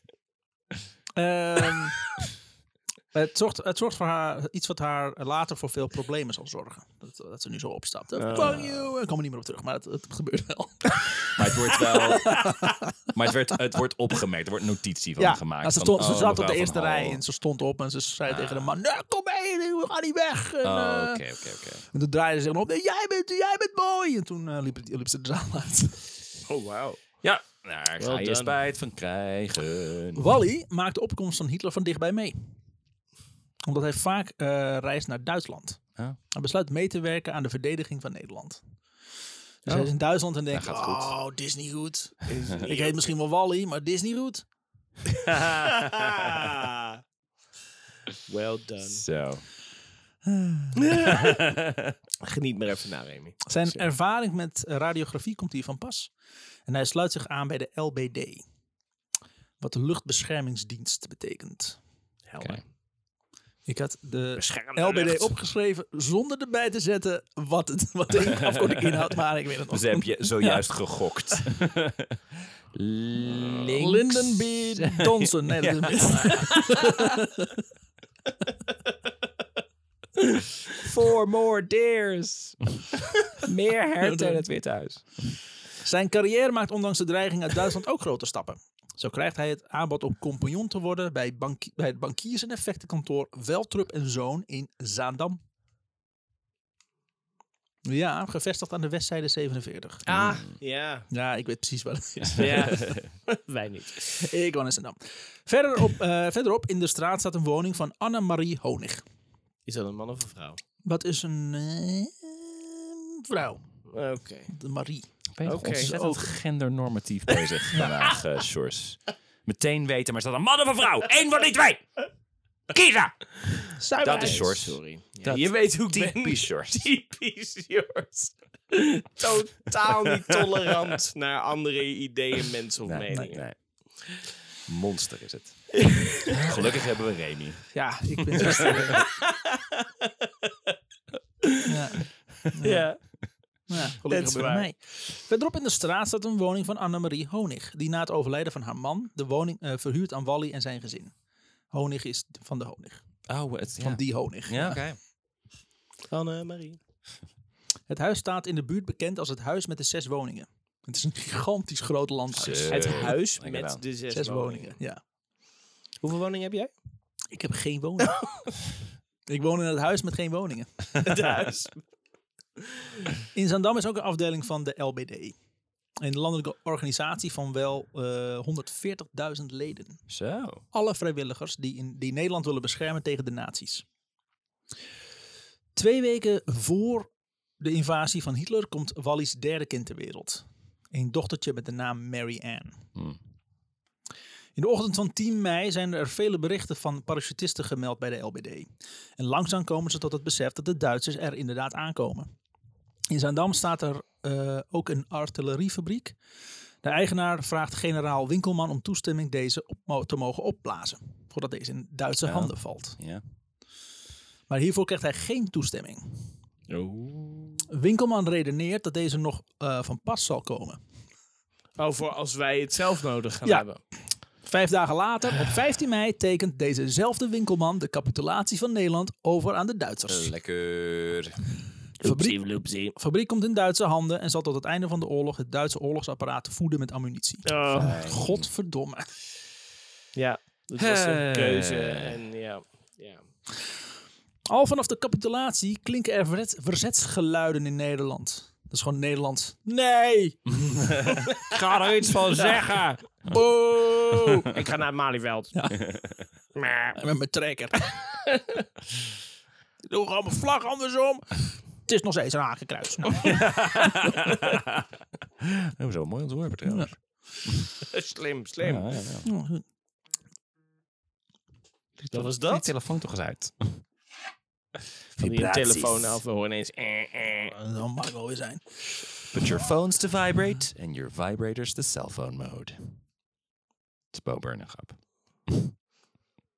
[SPEAKER 1] Ehm, het, zorgt, het zorgt voor haar iets wat haar later voor veel problemen zal zorgen. Dat, dat ze nu zo opstapt.
[SPEAKER 2] Oh.
[SPEAKER 1] Eh, Fuck you! Ik kom er niet meer op terug, maar het, het gebeurt wel.
[SPEAKER 2] maar het wordt wel... Maar het, werd, het wordt opgemerkt. Er wordt notitie van gemaakt.
[SPEAKER 1] nou, ze,
[SPEAKER 2] van,
[SPEAKER 1] stond, ze
[SPEAKER 2] oh,
[SPEAKER 1] zat op de
[SPEAKER 2] mevrouw
[SPEAKER 1] eerste
[SPEAKER 2] Van Hal.
[SPEAKER 1] rij en ze stond op en ze zei tegen de man... Nee, kom mee, we gaan niet weg! En,
[SPEAKER 2] Oh,
[SPEAKER 1] eh,
[SPEAKER 2] Oké, oké, oké.
[SPEAKER 1] en toen draaide ze zich om. Nee, jij bent, jij bent mooi! En toen eh, liep, het- liep ze de zaal uit.
[SPEAKER 3] Oh, wauw.
[SPEAKER 2] Ja, nou, daar ga je
[SPEAKER 3] done.
[SPEAKER 2] spijt van krijgen.
[SPEAKER 1] Wally maakt de opkomst van Hitler van dichtbij mee. Omdat hij vaak eh, reist naar Duitsland.
[SPEAKER 2] Ja.
[SPEAKER 1] Hij besluit mee te werken aan de verdediging van Nederland. Dus hij is in Duitsland en denkt,
[SPEAKER 2] Dat Oh. gaat goed.
[SPEAKER 1] oh, dit is niet goed. Ik heet misschien wel Wally, maar dit is niet goed.
[SPEAKER 3] well done.
[SPEAKER 2] Zo.
[SPEAKER 3] Geniet maar even na, Remy.
[SPEAKER 1] Zijn ervaring met radiografie komt hier van pas. En hij sluit zich aan bij de LBD. Wat de luchtbeschermingsdienst betekent.
[SPEAKER 2] Oké.
[SPEAKER 1] Ik had de
[SPEAKER 3] Beschermde
[SPEAKER 1] LBD
[SPEAKER 3] lucht.
[SPEAKER 1] opgeschreven zonder erbij te zetten wat, het, wat de afkorting inhoudt. Maar ik weet het nog.
[SPEAKER 2] Dus heb je zojuist gegokt. Links.
[SPEAKER 1] Lyndon B. Johnson. Nee, dat is een mis.
[SPEAKER 2] Four more deers. Meer herten in het Witte Huis.
[SPEAKER 1] Zijn carrière maakt ondanks de dreiging uit Duitsland ook grote stappen. Zo krijgt hij het aanbod om compagnon te worden bij, banki- bij het bankiers- en effectenkantoor Weltrup en Zoon in Zaandam. Ja, gevestigd aan de Westzijde 47.
[SPEAKER 3] Ah, ja.
[SPEAKER 1] Ja, ik weet precies waar het is.
[SPEAKER 3] ja. Wij niet.
[SPEAKER 1] ik woon in Zaandam. Verder op, eh, verderop in de straat staat een woning van Annemarie Honig.
[SPEAKER 3] Is dat een man of een vrouw?
[SPEAKER 1] Wat is een eh, vrouw?
[SPEAKER 3] Oké.
[SPEAKER 1] De Marie.
[SPEAKER 2] Oké,
[SPEAKER 3] Oké.
[SPEAKER 2] ontzettend gendernormatief bezig vandaag, eh Sjors. Meteen weten, maar is dat een man of een vrouw? Eén van die twee! Kiezen! Dat is Sjors.
[SPEAKER 3] Sorry. Ja,
[SPEAKER 2] Dat-
[SPEAKER 3] je weet hoe ik ben.
[SPEAKER 2] Typisch Sjors.
[SPEAKER 3] Typisch Sjors. Totaal niet tolerant naar andere ideeën, mensen of
[SPEAKER 2] Nee, nee,
[SPEAKER 3] meningen.
[SPEAKER 2] nee. Monster is het. Gelukkig hebben we Remy.
[SPEAKER 1] Ja, ik ben zo stil. ja.
[SPEAKER 3] Ja.
[SPEAKER 1] Ja, gelukkig
[SPEAKER 3] That's
[SPEAKER 1] bij
[SPEAKER 3] waar.
[SPEAKER 1] mij. Verderop in de straat staat een woning van Annemarie Honig, die na het overlijden van haar man de woning eh, verhuurt aan Wally en zijn gezin. Honig is van de honig.
[SPEAKER 2] Oh, het, ja.
[SPEAKER 1] Van die honig.
[SPEAKER 2] Ja, oké.
[SPEAKER 3] Anne-Marie.
[SPEAKER 1] Het huis staat in de buurt bekend als het huis met de zes woningen. Het is een gigantisch groot landhuis.
[SPEAKER 2] Zo.
[SPEAKER 1] Zes,
[SPEAKER 3] Het huis
[SPEAKER 2] Lekker
[SPEAKER 3] met
[SPEAKER 2] gedaan.
[SPEAKER 3] de Eh, zes,
[SPEAKER 1] woningen, ja.
[SPEAKER 3] Hoeveel woningen heb jij?
[SPEAKER 1] Ik heb geen woning. ik woon in het huis met geen woningen.
[SPEAKER 3] Het huis.
[SPEAKER 1] In Zaandam is ook een afdeling van de LBD. Een landelijke organisatie van wel eh, 140.000 leden.
[SPEAKER 2] Zo.
[SPEAKER 1] alle vrijwilligers die, in, die Nederland willen beschermen tegen de nazi's. Twee weken voor de invasie van Hitler komt Wally's derde kind ter wereld. Een dochtertje met de naam Mary Ann.
[SPEAKER 2] Hmm.
[SPEAKER 1] In de ochtend van 10 mei zijn er vele berichten van parachutisten gemeld bij de LBD. En langzaam komen ze tot het besef dat de Duitsers er inderdaad aankomen. In Zaandam staat er eh, ook een artilleriefabriek. De eigenaar vraagt generaal Winkelman om toestemming deze op, mo- te mogen opblazen. Voordat deze in Duitse
[SPEAKER 2] Ja.
[SPEAKER 1] handen valt.
[SPEAKER 2] Ja.
[SPEAKER 1] Maar hiervoor krijgt hij geen toestemming.
[SPEAKER 2] Oh.
[SPEAKER 1] Winkelman redeneert dat deze nog eh, van pas zal komen.
[SPEAKER 3] Oh, voor als wij het zelf nodig gaan
[SPEAKER 1] Ja.
[SPEAKER 3] hebben.
[SPEAKER 1] Vijf dagen later, op 15 mei, tekent dezezelfde winkelman de capitulatie van Nederland over aan de Duitsers.
[SPEAKER 2] Lekker.
[SPEAKER 1] Fabriek,
[SPEAKER 3] loepsie.
[SPEAKER 1] fabriek komt in Duitse handen en zal tot het einde van de oorlog het Duitse oorlogsapparaat voeden met ammunitie.
[SPEAKER 3] Oh.
[SPEAKER 1] Godverdomme.
[SPEAKER 3] Ja, dat was
[SPEAKER 2] Hey.
[SPEAKER 3] een keuze. En ja, ja.
[SPEAKER 1] Al vanaf de capitulatie klinken er verzet- verzetsgeluiden in Nederland. Dat is gewoon Nederlands. Nee!
[SPEAKER 2] Ga er iets van zeggen.
[SPEAKER 1] Boe!
[SPEAKER 3] Ik ga naar het Malieveld. Maar-
[SPEAKER 1] Met mijn trekker. Ik Doe gewoon mijn vlag andersom. Het is nog steeds een hakenkruis. Nou,
[SPEAKER 2] Oh, zo mooi ontworpen trouwens.
[SPEAKER 3] Slim, slim.
[SPEAKER 2] Ja, ja, ja.
[SPEAKER 3] Oh. Dat was
[SPEAKER 2] Die
[SPEAKER 3] dat.
[SPEAKER 2] telefoon toch eens uit.
[SPEAKER 3] Van die
[SPEAKER 2] Vibraties.
[SPEAKER 3] telefoon af. We horen ineens... eh, eh.
[SPEAKER 1] dat mag wel weer zijn.
[SPEAKER 2] Put your phones to vibrate and your vibrators to cell phone mode. Het is Bo Burnham grap.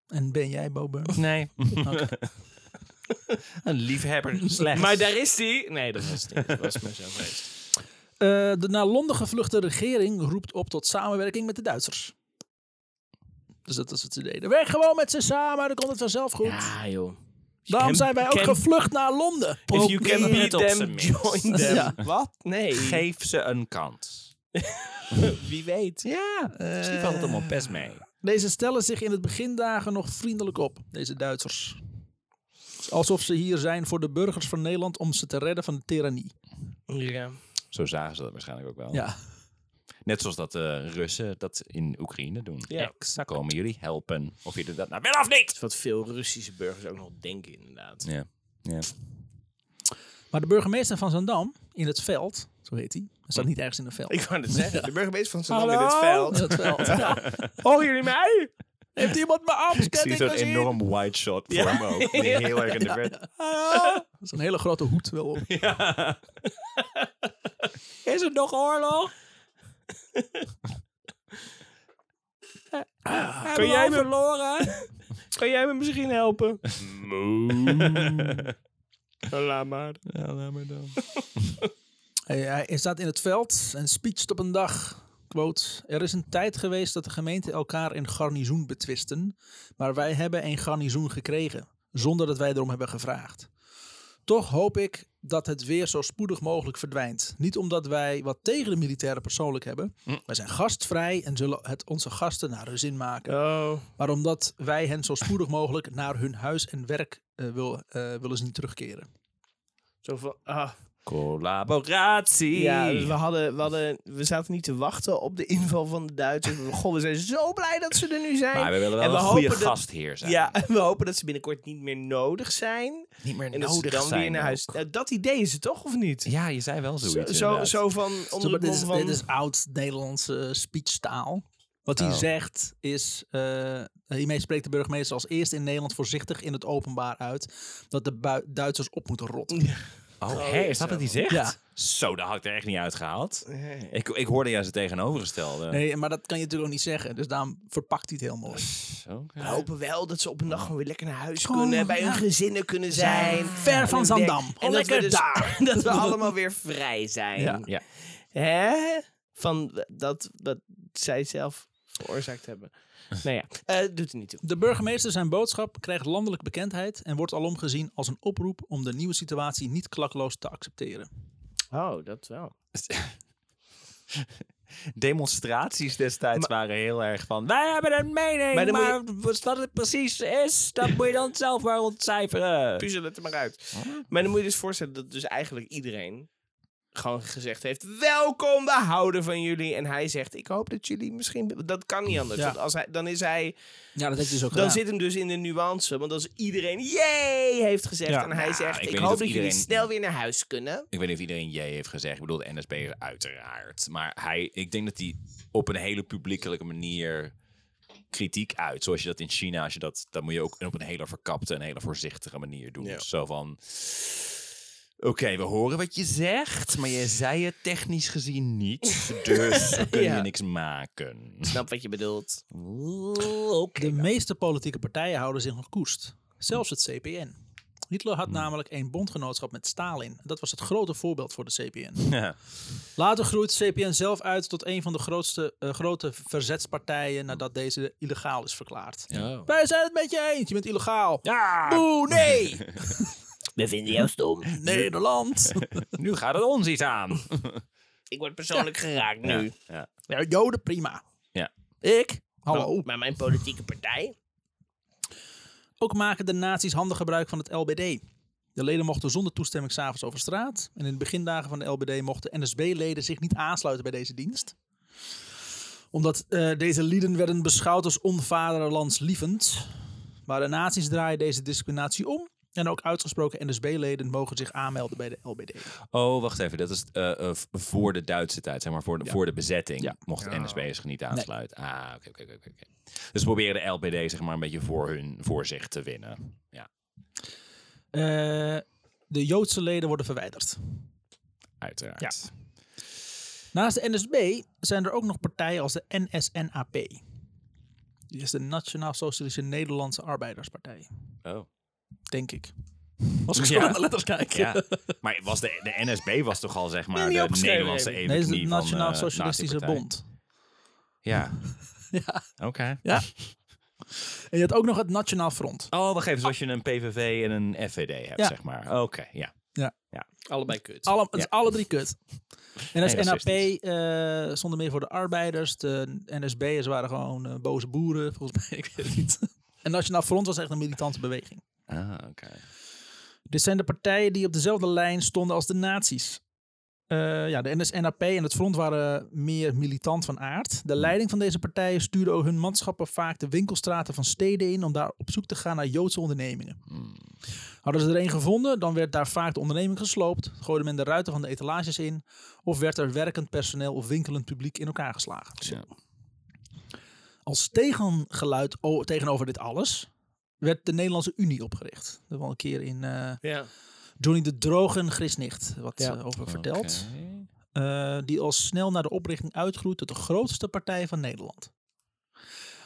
[SPEAKER 1] En ben jij Bo Eh, Burnham?
[SPEAKER 2] Nee. Een liefhebber slechts.
[SPEAKER 3] Maar daar is die. Nee, dat was het niet. Dat was maar zo geweest.
[SPEAKER 1] Eh, de naar Londen gevluchte regering roept op tot samenwerking met de Duitsers. Dus dat is wat ze deden. Weg gewoon met ze samen, dan komt het vanzelf goed.
[SPEAKER 3] Ja, joh.
[SPEAKER 1] Daarom
[SPEAKER 3] Ken-
[SPEAKER 1] zijn wij ook
[SPEAKER 3] ken-
[SPEAKER 1] gevlucht naar Londen.
[SPEAKER 3] If you can
[SPEAKER 2] Probeer
[SPEAKER 3] beat
[SPEAKER 2] het op
[SPEAKER 3] them,
[SPEAKER 2] zijn minst.
[SPEAKER 3] join them.
[SPEAKER 1] Ja.
[SPEAKER 3] Wat? Nee.
[SPEAKER 2] Geef ze een kans.
[SPEAKER 3] Wie weet.
[SPEAKER 2] Ja, misschien valt het allemaal best mee.
[SPEAKER 1] Deze stellen zich in het begindagen nog vriendelijk op, deze Duitsers. Alsof ze hier zijn voor de burgers van Nederland om ze te redden van de tirannie.
[SPEAKER 3] Ja.
[SPEAKER 2] Zo zagen ze dat waarschijnlijk ook wel.
[SPEAKER 1] Ja,
[SPEAKER 2] Net zoals dat de Russen dat in Oekraïne doen.
[SPEAKER 3] Ja.
[SPEAKER 2] exact. Komen jullie helpen? Of je dat nou wel of niet?
[SPEAKER 3] is wat veel Russische burgers ook nog denken, inderdaad.
[SPEAKER 2] Ja. ja.
[SPEAKER 1] maar de burgemeester van Zandam, in het veld, zo heet hij. Hij staat niet ergens in een veld.
[SPEAKER 3] Ik wou het zeggen. De burgemeester van Zandam
[SPEAKER 1] Hallo?
[SPEAKER 3] in
[SPEAKER 1] In
[SPEAKER 3] het veld.
[SPEAKER 1] het veld, ja.
[SPEAKER 3] Oh, jullie mij?
[SPEAKER 1] Heeft iemand mijn armsketting gezien?
[SPEAKER 2] wide shot voor hem ook. Die Heel erg in de verte.
[SPEAKER 1] Dat is een hele grote hoed wel op.
[SPEAKER 3] Is het nog oorlog? Ah, kan jij me verloren? kan jij me misschien helpen? Laat maar.
[SPEAKER 1] Hij, hij staat in het veld en speecht op een dag. Quote, er is een tijd geweest dat de gemeenten elkaar in garnizoen betwisten, maar wij hebben een garnizoen gekregen, zonder dat wij erom hebben gevraagd. Toch hoop ik dat het weer zo spoedig mogelijk verdwijnt. Niet omdat wij wat tegen de militairen persoonlijk hebben. Wij zijn gastvrij en zullen het onze gasten naar hun zin maken.
[SPEAKER 3] Oh.
[SPEAKER 1] Maar omdat wij hen zo spoedig mogelijk naar hun huis en werk eh, wil, eh, willen zien terugkeren.
[SPEAKER 3] Zo van, ah.
[SPEAKER 2] Collaboratie.
[SPEAKER 3] Ja, dus we, hadden, we, hadden, we zaten niet te wachten op de inval van de Duitsers. Goh, we zijn zo blij dat ze er nu zijn.
[SPEAKER 2] maar we willen wel
[SPEAKER 3] En we
[SPEAKER 2] een goede
[SPEAKER 3] hopen dat-
[SPEAKER 2] gastheer zijn.
[SPEAKER 3] Ja, en we hopen dat ze binnenkort niet meer nodig zijn.
[SPEAKER 2] Niet meer
[SPEAKER 3] En dat ze
[SPEAKER 2] nodig
[SPEAKER 3] dan
[SPEAKER 2] zijn
[SPEAKER 3] weer naar huis.
[SPEAKER 2] ook.
[SPEAKER 3] Nou, dat idee is het toch, of niet?
[SPEAKER 2] Ja, je zei wel
[SPEAKER 3] Zo,
[SPEAKER 2] zoiets
[SPEAKER 3] zo,
[SPEAKER 2] inderdaad.
[SPEAKER 3] zo van onder de
[SPEAKER 1] dit, is,
[SPEAKER 3] mom van...
[SPEAKER 1] dit is oud Nederlandse speechtaal. Wat hij
[SPEAKER 2] Oh.
[SPEAKER 1] zegt is, eh, hiermee spreekt de burgemeester als eerste in Nederland voorzichtig in het openbaar uit dat de bui- Duitsers op moeten rotten.
[SPEAKER 2] Oh, hé, is dat wat hij zegt?
[SPEAKER 1] Ja.
[SPEAKER 2] Zo, dat had ik er echt niet uitgehaald. Ik, ik hoorde juist het tegenovergestelde.
[SPEAKER 1] Nee, maar dat kan je natuurlijk ook niet zeggen. Dus daarom verpakt hij het heel mooi.
[SPEAKER 2] Zo,
[SPEAKER 3] We hopen wel dat ze op een dag gewoon weer lekker naar huis
[SPEAKER 1] Gewoon,
[SPEAKER 3] kunnen. Bij hun
[SPEAKER 1] ja.
[SPEAKER 3] gezinnen kunnen zijn.
[SPEAKER 1] Ver van Zandam. Gewoon
[SPEAKER 3] En dat we,
[SPEAKER 1] lekker
[SPEAKER 3] dus,
[SPEAKER 1] daar.
[SPEAKER 3] dat we allemaal weer vrij zijn.
[SPEAKER 1] Ja.
[SPEAKER 2] Ja.
[SPEAKER 3] Hè? Van dat wat zij zelf veroorzaakt hebben. nou ja, eh, doet er niet toe.
[SPEAKER 1] De burgemeester zijn boodschap krijgt landelijk bekendheid en wordt alom gezien als een oproep om de nieuwe situatie niet klakloos te accepteren.
[SPEAKER 3] Oh, dat wel.
[SPEAKER 2] Demonstraties destijds waren heel erg van... Wij hebben een mening,
[SPEAKER 3] Maar
[SPEAKER 2] maar,
[SPEAKER 3] dan moet
[SPEAKER 2] wat het precies is... dat moet je dan zelf maar ontcijferen.
[SPEAKER 3] Puzzel het er maar uit. Maar dan moet je dus voorstellen dat dus eigenlijk iedereen gewoon gezegd heeft... Welkom, we houden van jullie. En hij zegt, ik hoop dat jullie misschien... Dat kan niet anders.
[SPEAKER 1] Ja.
[SPEAKER 3] Want als hij, dan is hij...
[SPEAKER 1] Ja, dat heeft hij dus ook
[SPEAKER 3] Dan zit hem dus in de nuance. Want als iedereen jee heeft gezegd
[SPEAKER 1] Ja.
[SPEAKER 3] en hij
[SPEAKER 2] Nou, ik
[SPEAKER 3] zegt...
[SPEAKER 2] weet
[SPEAKER 3] Ik,
[SPEAKER 2] niet
[SPEAKER 3] hoop
[SPEAKER 2] of
[SPEAKER 3] dat jullie
[SPEAKER 2] iedereen-
[SPEAKER 3] snel weer naar huis kunnen.
[SPEAKER 2] Ik weet niet of iedereen J heeft gezegd. Ik bedoel, de NSB uiteraard. Maar hij, ik denk dat hij op een hele publiekelijke manier kritiek uit. Zoals je dat in China, als je dat, dat moet je ook op een hele verkapte en hele voorzichtige manier doen.
[SPEAKER 3] Ja.
[SPEAKER 2] Zo van... Oké, we horen wat je zegt, maar je zei het technisch gezien niet. Dus we kunnen
[SPEAKER 3] Ja.
[SPEAKER 2] je niks maken.
[SPEAKER 3] Snap wat je bedoelt.
[SPEAKER 1] De meeste politieke partijen houden zich nog koest. Zelfs het CPN. Hitler
[SPEAKER 2] Hmm.
[SPEAKER 1] had namelijk een bondgenootschap met Stalin. Dat was het grote voorbeeld voor de CPN.
[SPEAKER 2] Ja.
[SPEAKER 1] Later groeit CPN zelf uit tot een van de grootste, eh, grote verzetspartijen nadat deze illegaal is verklaard. Wij zijn het met je eens, je bent illegaal.
[SPEAKER 2] Ja,
[SPEAKER 1] Boe, nee!
[SPEAKER 3] We vinden jou stom.
[SPEAKER 1] Nederland!
[SPEAKER 2] nu gaat het ons iets aan.
[SPEAKER 3] Ik word persoonlijk geraakt nu.
[SPEAKER 1] Ja, Joden, prima.
[SPEAKER 2] Ja.
[SPEAKER 1] Ik? Hallo.
[SPEAKER 3] Maar mijn politieke partij.
[SPEAKER 1] Ook maken de nazi's handig gebruik van het LBD. De leden mochten zonder toestemming s'avonds over straat. En in de begindagen van de LBD mochten NSB-leden zich niet aansluiten bij deze dienst. Omdat eh, deze lieden werden beschouwd als onvaderlandslievend. Maar de nazi's draaien deze discriminatie om. En ook uitgesproken NSB-leden mogen zich aanmelden bij de LBD.
[SPEAKER 2] Oh, wacht even. Dat is eh, eh, v- voor de Duitse tijd, zeg maar voor de, voor de bezetting.
[SPEAKER 1] Ja.
[SPEAKER 2] Mocht de NSB zich niet aansluiten. Ah, oké, oké, oké, oké, oké. Dus we proberen de LBD zeg maar een beetje voor hun voor zich te winnen. Ja,
[SPEAKER 1] Eh, de Joodse leden worden verwijderd.
[SPEAKER 2] uiteraard.
[SPEAKER 1] Naast de NSB zijn er ook nog partijen als de NSNAP. Die is de Nationaal Socialistische Nederlandse Arbeiderspartij,
[SPEAKER 2] Oh.
[SPEAKER 1] denk ik.
[SPEAKER 2] Was
[SPEAKER 1] ik zo naar de letters kijk.
[SPEAKER 2] Ja. Maar was de, de NSB was toch al zeg maar
[SPEAKER 3] niet
[SPEAKER 2] de
[SPEAKER 3] opgeschreven,
[SPEAKER 2] Nederlandse
[SPEAKER 3] heb
[SPEAKER 2] evenknie
[SPEAKER 1] Nee, het
[SPEAKER 2] van
[SPEAKER 1] is de Nationaal
[SPEAKER 2] eh,
[SPEAKER 1] Socialistische
[SPEAKER 2] nazi-partij.
[SPEAKER 1] Bond.
[SPEAKER 2] Ja.
[SPEAKER 1] Ja.
[SPEAKER 2] Oké.
[SPEAKER 1] En je had ook nog het Nationaal Front.
[SPEAKER 2] Oh, wacht even. Zoals je een PVV en een FVD hebt,
[SPEAKER 1] Ah. Ja.
[SPEAKER 2] zeg maar. Oké, ja.
[SPEAKER 3] Allebei kut.
[SPEAKER 1] Alle, het is alle drie kut. NSNAP
[SPEAKER 2] racistisch.
[SPEAKER 1] eh stonden meer voor de arbeiders. De NSB'ers waren gewoon eh, boze boeren, volgens mij. Ik weet het niet. En Nationaal Front was echt een militante beweging.
[SPEAKER 2] Ah, oké.
[SPEAKER 1] Dit zijn de partijen die op dezelfde lijn stonden als de nazi's. Eh, ja, de NSNAP en het Front waren meer militant van aard. De leiding van deze partijen stuurde ook hun manschappen vaak de winkelstraten van steden in om daar op zoek te gaan naar Joodse ondernemingen. Hadden ze er een gevonden, dan werd daar vaak de onderneming gesloopt, gooide men de ruiten van de etalages in of werd er werkend personeel of winkelend publiek in elkaar geslagen.
[SPEAKER 2] Ja.
[SPEAKER 1] Als tegengeluid o- tegenover dit alles werd de Nederlandse Unie opgericht. Dat hebben we al een keer in... eh,
[SPEAKER 3] Ja.
[SPEAKER 1] Johnny de Drogen Grisnicht wat
[SPEAKER 3] Ja.
[SPEAKER 1] eh, over verteld. Eh, die al snel na de oprichting uitgroeit tot de grootste partij van Nederland.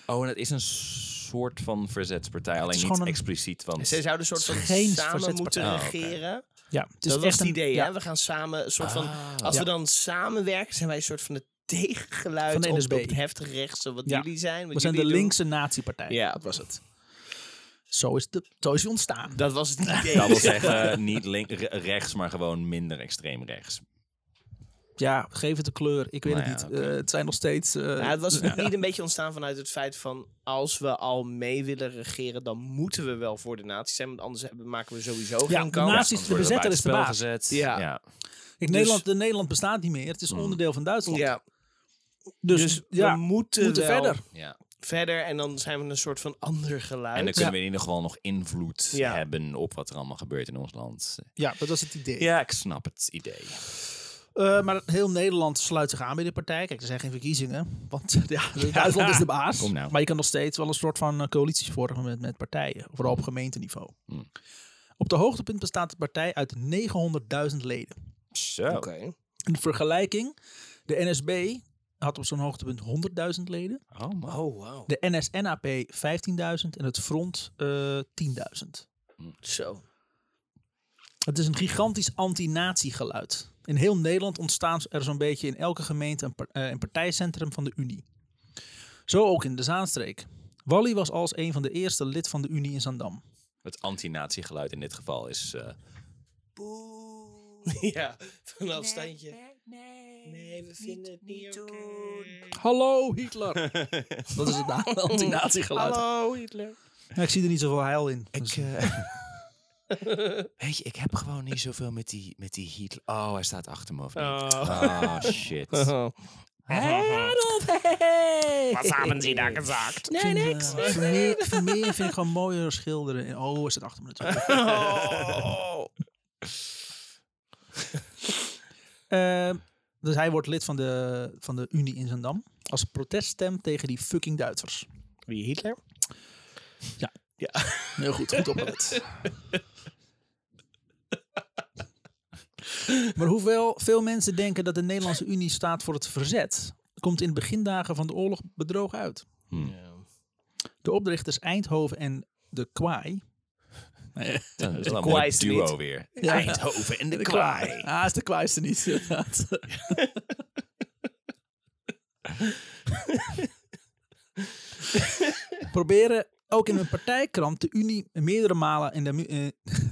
[SPEAKER 2] Oh, en het is een soort van verzetspartij, alleen
[SPEAKER 1] is
[SPEAKER 2] niet
[SPEAKER 1] gewoon een-
[SPEAKER 2] expliciet. Want
[SPEAKER 3] Ze zouden een soort van
[SPEAKER 1] Geen
[SPEAKER 3] samen moeten
[SPEAKER 1] verzetspartij.
[SPEAKER 2] Oh, oké.
[SPEAKER 3] regeren.
[SPEAKER 1] Ja, het is
[SPEAKER 3] Dat
[SPEAKER 1] echt
[SPEAKER 3] was het
[SPEAKER 1] een,
[SPEAKER 3] idee,
[SPEAKER 1] ja, Ah,
[SPEAKER 3] hè? We gaan samen, een soort van, als we dan samenwerken, zijn wij een soort van het tegengeluid
[SPEAKER 1] Van de
[SPEAKER 3] op,
[SPEAKER 1] NSB.
[SPEAKER 3] op het heftig rechtse wat
[SPEAKER 1] Ja.
[SPEAKER 3] jullie zijn. Wat
[SPEAKER 1] We zijn de
[SPEAKER 3] jullie doen.
[SPEAKER 1] linkse natiepartij.
[SPEAKER 3] Ja.
[SPEAKER 1] dat was het. Zo is, de, zo is die ontstaan.
[SPEAKER 3] Dat was het idee.
[SPEAKER 2] Dat wil zeggen, niet link- re- rechts, maar gewoon minder extreem rechts.
[SPEAKER 1] Ja, geef het een kleur. Ik weet
[SPEAKER 2] Nou
[SPEAKER 1] het
[SPEAKER 2] ja,
[SPEAKER 1] niet.
[SPEAKER 2] oké.
[SPEAKER 1] Eh, het zijn nog steeds... eh,
[SPEAKER 3] Ja, het was natuurlijk niet een beetje ontstaan vanuit het feit van als we al mee willen regeren, dan moeten we wel voor de natie zijn, want anders hebben, maken we sowieso
[SPEAKER 1] Ja,
[SPEAKER 3] geen
[SPEAKER 1] de
[SPEAKER 3] kans.
[SPEAKER 1] nazi's, de bezetter is de baas.
[SPEAKER 2] Gezet.
[SPEAKER 3] Ja.
[SPEAKER 1] Kijk, Nederland, de Nederland bestaat niet meer. Het is onderdeel van Duitsland.
[SPEAKER 3] Dus- Hmm. Ja,
[SPEAKER 1] Dus,
[SPEAKER 3] dus
[SPEAKER 1] ja,
[SPEAKER 3] we
[SPEAKER 1] we
[SPEAKER 3] moeten,
[SPEAKER 1] moeten
[SPEAKER 3] wel
[SPEAKER 1] verder.
[SPEAKER 2] ja.
[SPEAKER 3] verder en dan zijn we een soort van ander geluid.
[SPEAKER 2] En dan kunnen we in ieder geval nog invloed
[SPEAKER 3] Ja.
[SPEAKER 2] hebben op wat er allemaal gebeurt in ons land.
[SPEAKER 1] Ja, dat was het idee.
[SPEAKER 2] Ja, ik snap het idee.
[SPEAKER 1] Eh, maar heel Nederland sluit zich aan bij de partij. Kijk, er zijn geen verkiezingen. Want ja, Duitsland is de baas.
[SPEAKER 2] Kom nou. Hmm.
[SPEAKER 1] Maar je kan nog steeds wel een soort van eh, coalities vormen met, met partijen. Vooral op gemeenteniveau. Op de hoogtepunt bestaat de partij uit 900.000 leden.
[SPEAKER 2] Zo.
[SPEAKER 3] Oké.
[SPEAKER 1] Een vergelijking, de NSB had op zo'n hoogtepunt 100.000 leden.
[SPEAKER 2] Oh man.
[SPEAKER 3] Oh, wow.
[SPEAKER 1] De NSNAP 15.000 en het Front eh 10.000.
[SPEAKER 3] Zo.
[SPEAKER 1] Het is een gigantisch anti-nazi geluid. In heel Nederland ontstaan er zo'n beetje in elke gemeente een, par- eh, een partijcentrum van de Unie. Zo ook in de Zaanstreek. Wally was als een van de eerste lid van de Unie in Zandam.
[SPEAKER 2] Het anti-nazi geluid in dit geval is... eh,
[SPEAKER 3] ja, van een afstandje. Nee, we vinden het niet oké.
[SPEAKER 1] Hallo Hitler! Dat is het na- anti-nazi geluid.
[SPEAKER 3] Hallo, Hitler.
[SPEAKER 1] Nou, ik zie er niet zoveel heil in. Dus-
[SPEAKER 2] Weet je, ik heb gewoon niet zoveel met die, met die Hitler. Oh, hij staat achter me of niet?
[SPEAKER 3] Oh.
[SPEAKER 2] Oh, shit. Oké,
[SPEAKER 5] Was haben Sie da gesagt?
[SPEAKER 1] Ik vind, eh, Vermeer, Vermeer vind ik gewoon mooier schilderen. En- Oh, is het achter me natuurlijk. Ehm, dus hij wordt lid van de, van de Unie in Zandam. Als proteststem tegen die fucking Duitsers.
[SPEAKER 3] Wie, Hitler?
[SPEAKER 1] Heel goed, goed opgelet. maar hoewel veel mensen denken dat de Nederlandse Unie staat voor het verzet, komt in de begindagen van de oorlog bedroog uit. De oprichters Eindhoven en de Kwaai.
[SPEAKER 2] dat is wel een
[SPEAKER 3] kwaai
[SPEAKER 2] mooi
[SPEAKER 3] is
[SPEAKER 2] duo
[SPEAKER 3] niet.
[SPEAKER 2] weer.
[SPEAKER 1] Eindhoven en de, Kwaai. Ah, is de Kwaai is er niet. inderdaad. Proberen ook in hun partijkrant de Unie meerdere malen in de mu- eh,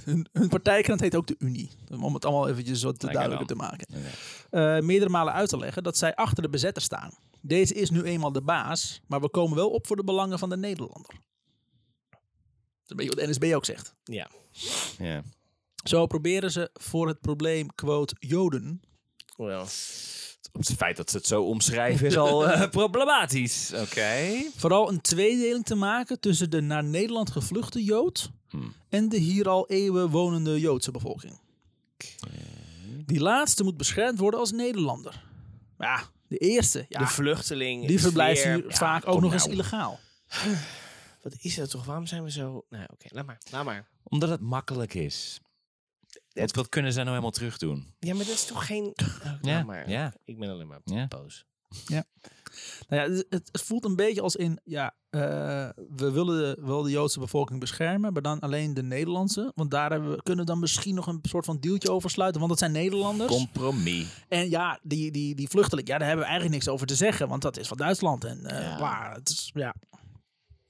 [SPEAKER 1] hun, hun partijkrant heet ook de Unie om het allemaal eventjes wat
[SPEAKER 2] Lekker
[SPEAKER 1] duidelijker
[SPEAKER 2] dan.
[SPEAKER 1] te maken.
[SPEAKER 2] Oké.
[SPEAKER 1] Eh, meerdere malen uit te leggen dat zij achter de bezetter staan. Deze is nu eenmaal de baas, maar we komen wel op voor de belangen van de Nederlander. Dat is een beetje wat NSB ook zegt.
[SPEAKER 3] Ja.
[SPEAKER 2] Ja.
[SPEAKER 1] Zo proberen ze voor het probleem, quote, Joden.
[SPEAKER 3] Wel.
[SPEAKER 2] Het feit dat ze het zo omschrijven is al eh, problematisch. Oké.
[SPEAKER 1] Vooral een tweedeling te maken tussen de naar Nederland gevluchte Jood en de hier al eeuwen wonende Joodse bevolking. Die laatste moet beschermd worden als Nederlander. Ja, de eerste, ja,
[SPEAKER 3] De vluchteling.
[SPEAKER 1] die
[SPEAKER 3] is
[SPEAKER 1] verblijft
[SPEAKER 3] weer-
[SPEAKER 1] hier
[SPEAKER 3] Ja,
[SPEAKER 1] vaak ook
[SPEAKER 2] kom
[SPEAKER 1] nog eens
[SPEAKER 2] nou.
[SPEAKER 1] illegaal.
[SPEAKER 3] Wat is dat toch? Waarom zijn we zo... Nou, oké. Laat maar. Laat maar.
[SPEAKER 2] Omdat het makkelijk is. Want wat kunnen zij nou helemaal terug doen?
[SPEAKER 3] Ja, maar dat is toch geen... Oh,
[SPEAKER 2] Ja,
[SPEAKER 3] laat maar.
[SPEAKER 2] ja.
[SPEAKER 3] Ik ben alleen maar
[SPEAKER 2] Ja.
[SPEAKER 3] boos.
[SPEAKER 1] Nou ja, het- het, het voelt een beetje als in, ja, eh, we willen de- wel de Joodse bevolking beschermen, maar dan alleen de Nederlandse. Want daar hebben we, kunnen we dan misschien nog een soort van deeltje over sluiten, want dat zijn Nederlanders.
[SPEAKER 2] Compromis.
[SPEAKER 1] En ja, die, die, die vluchteling, ja, daar hebben we eigenlijk niks over te zeggen, want dat is van Duitsland. En eh
[SPEAKER 3] Ja.
[SPEAKER 1] bla, het is, ja.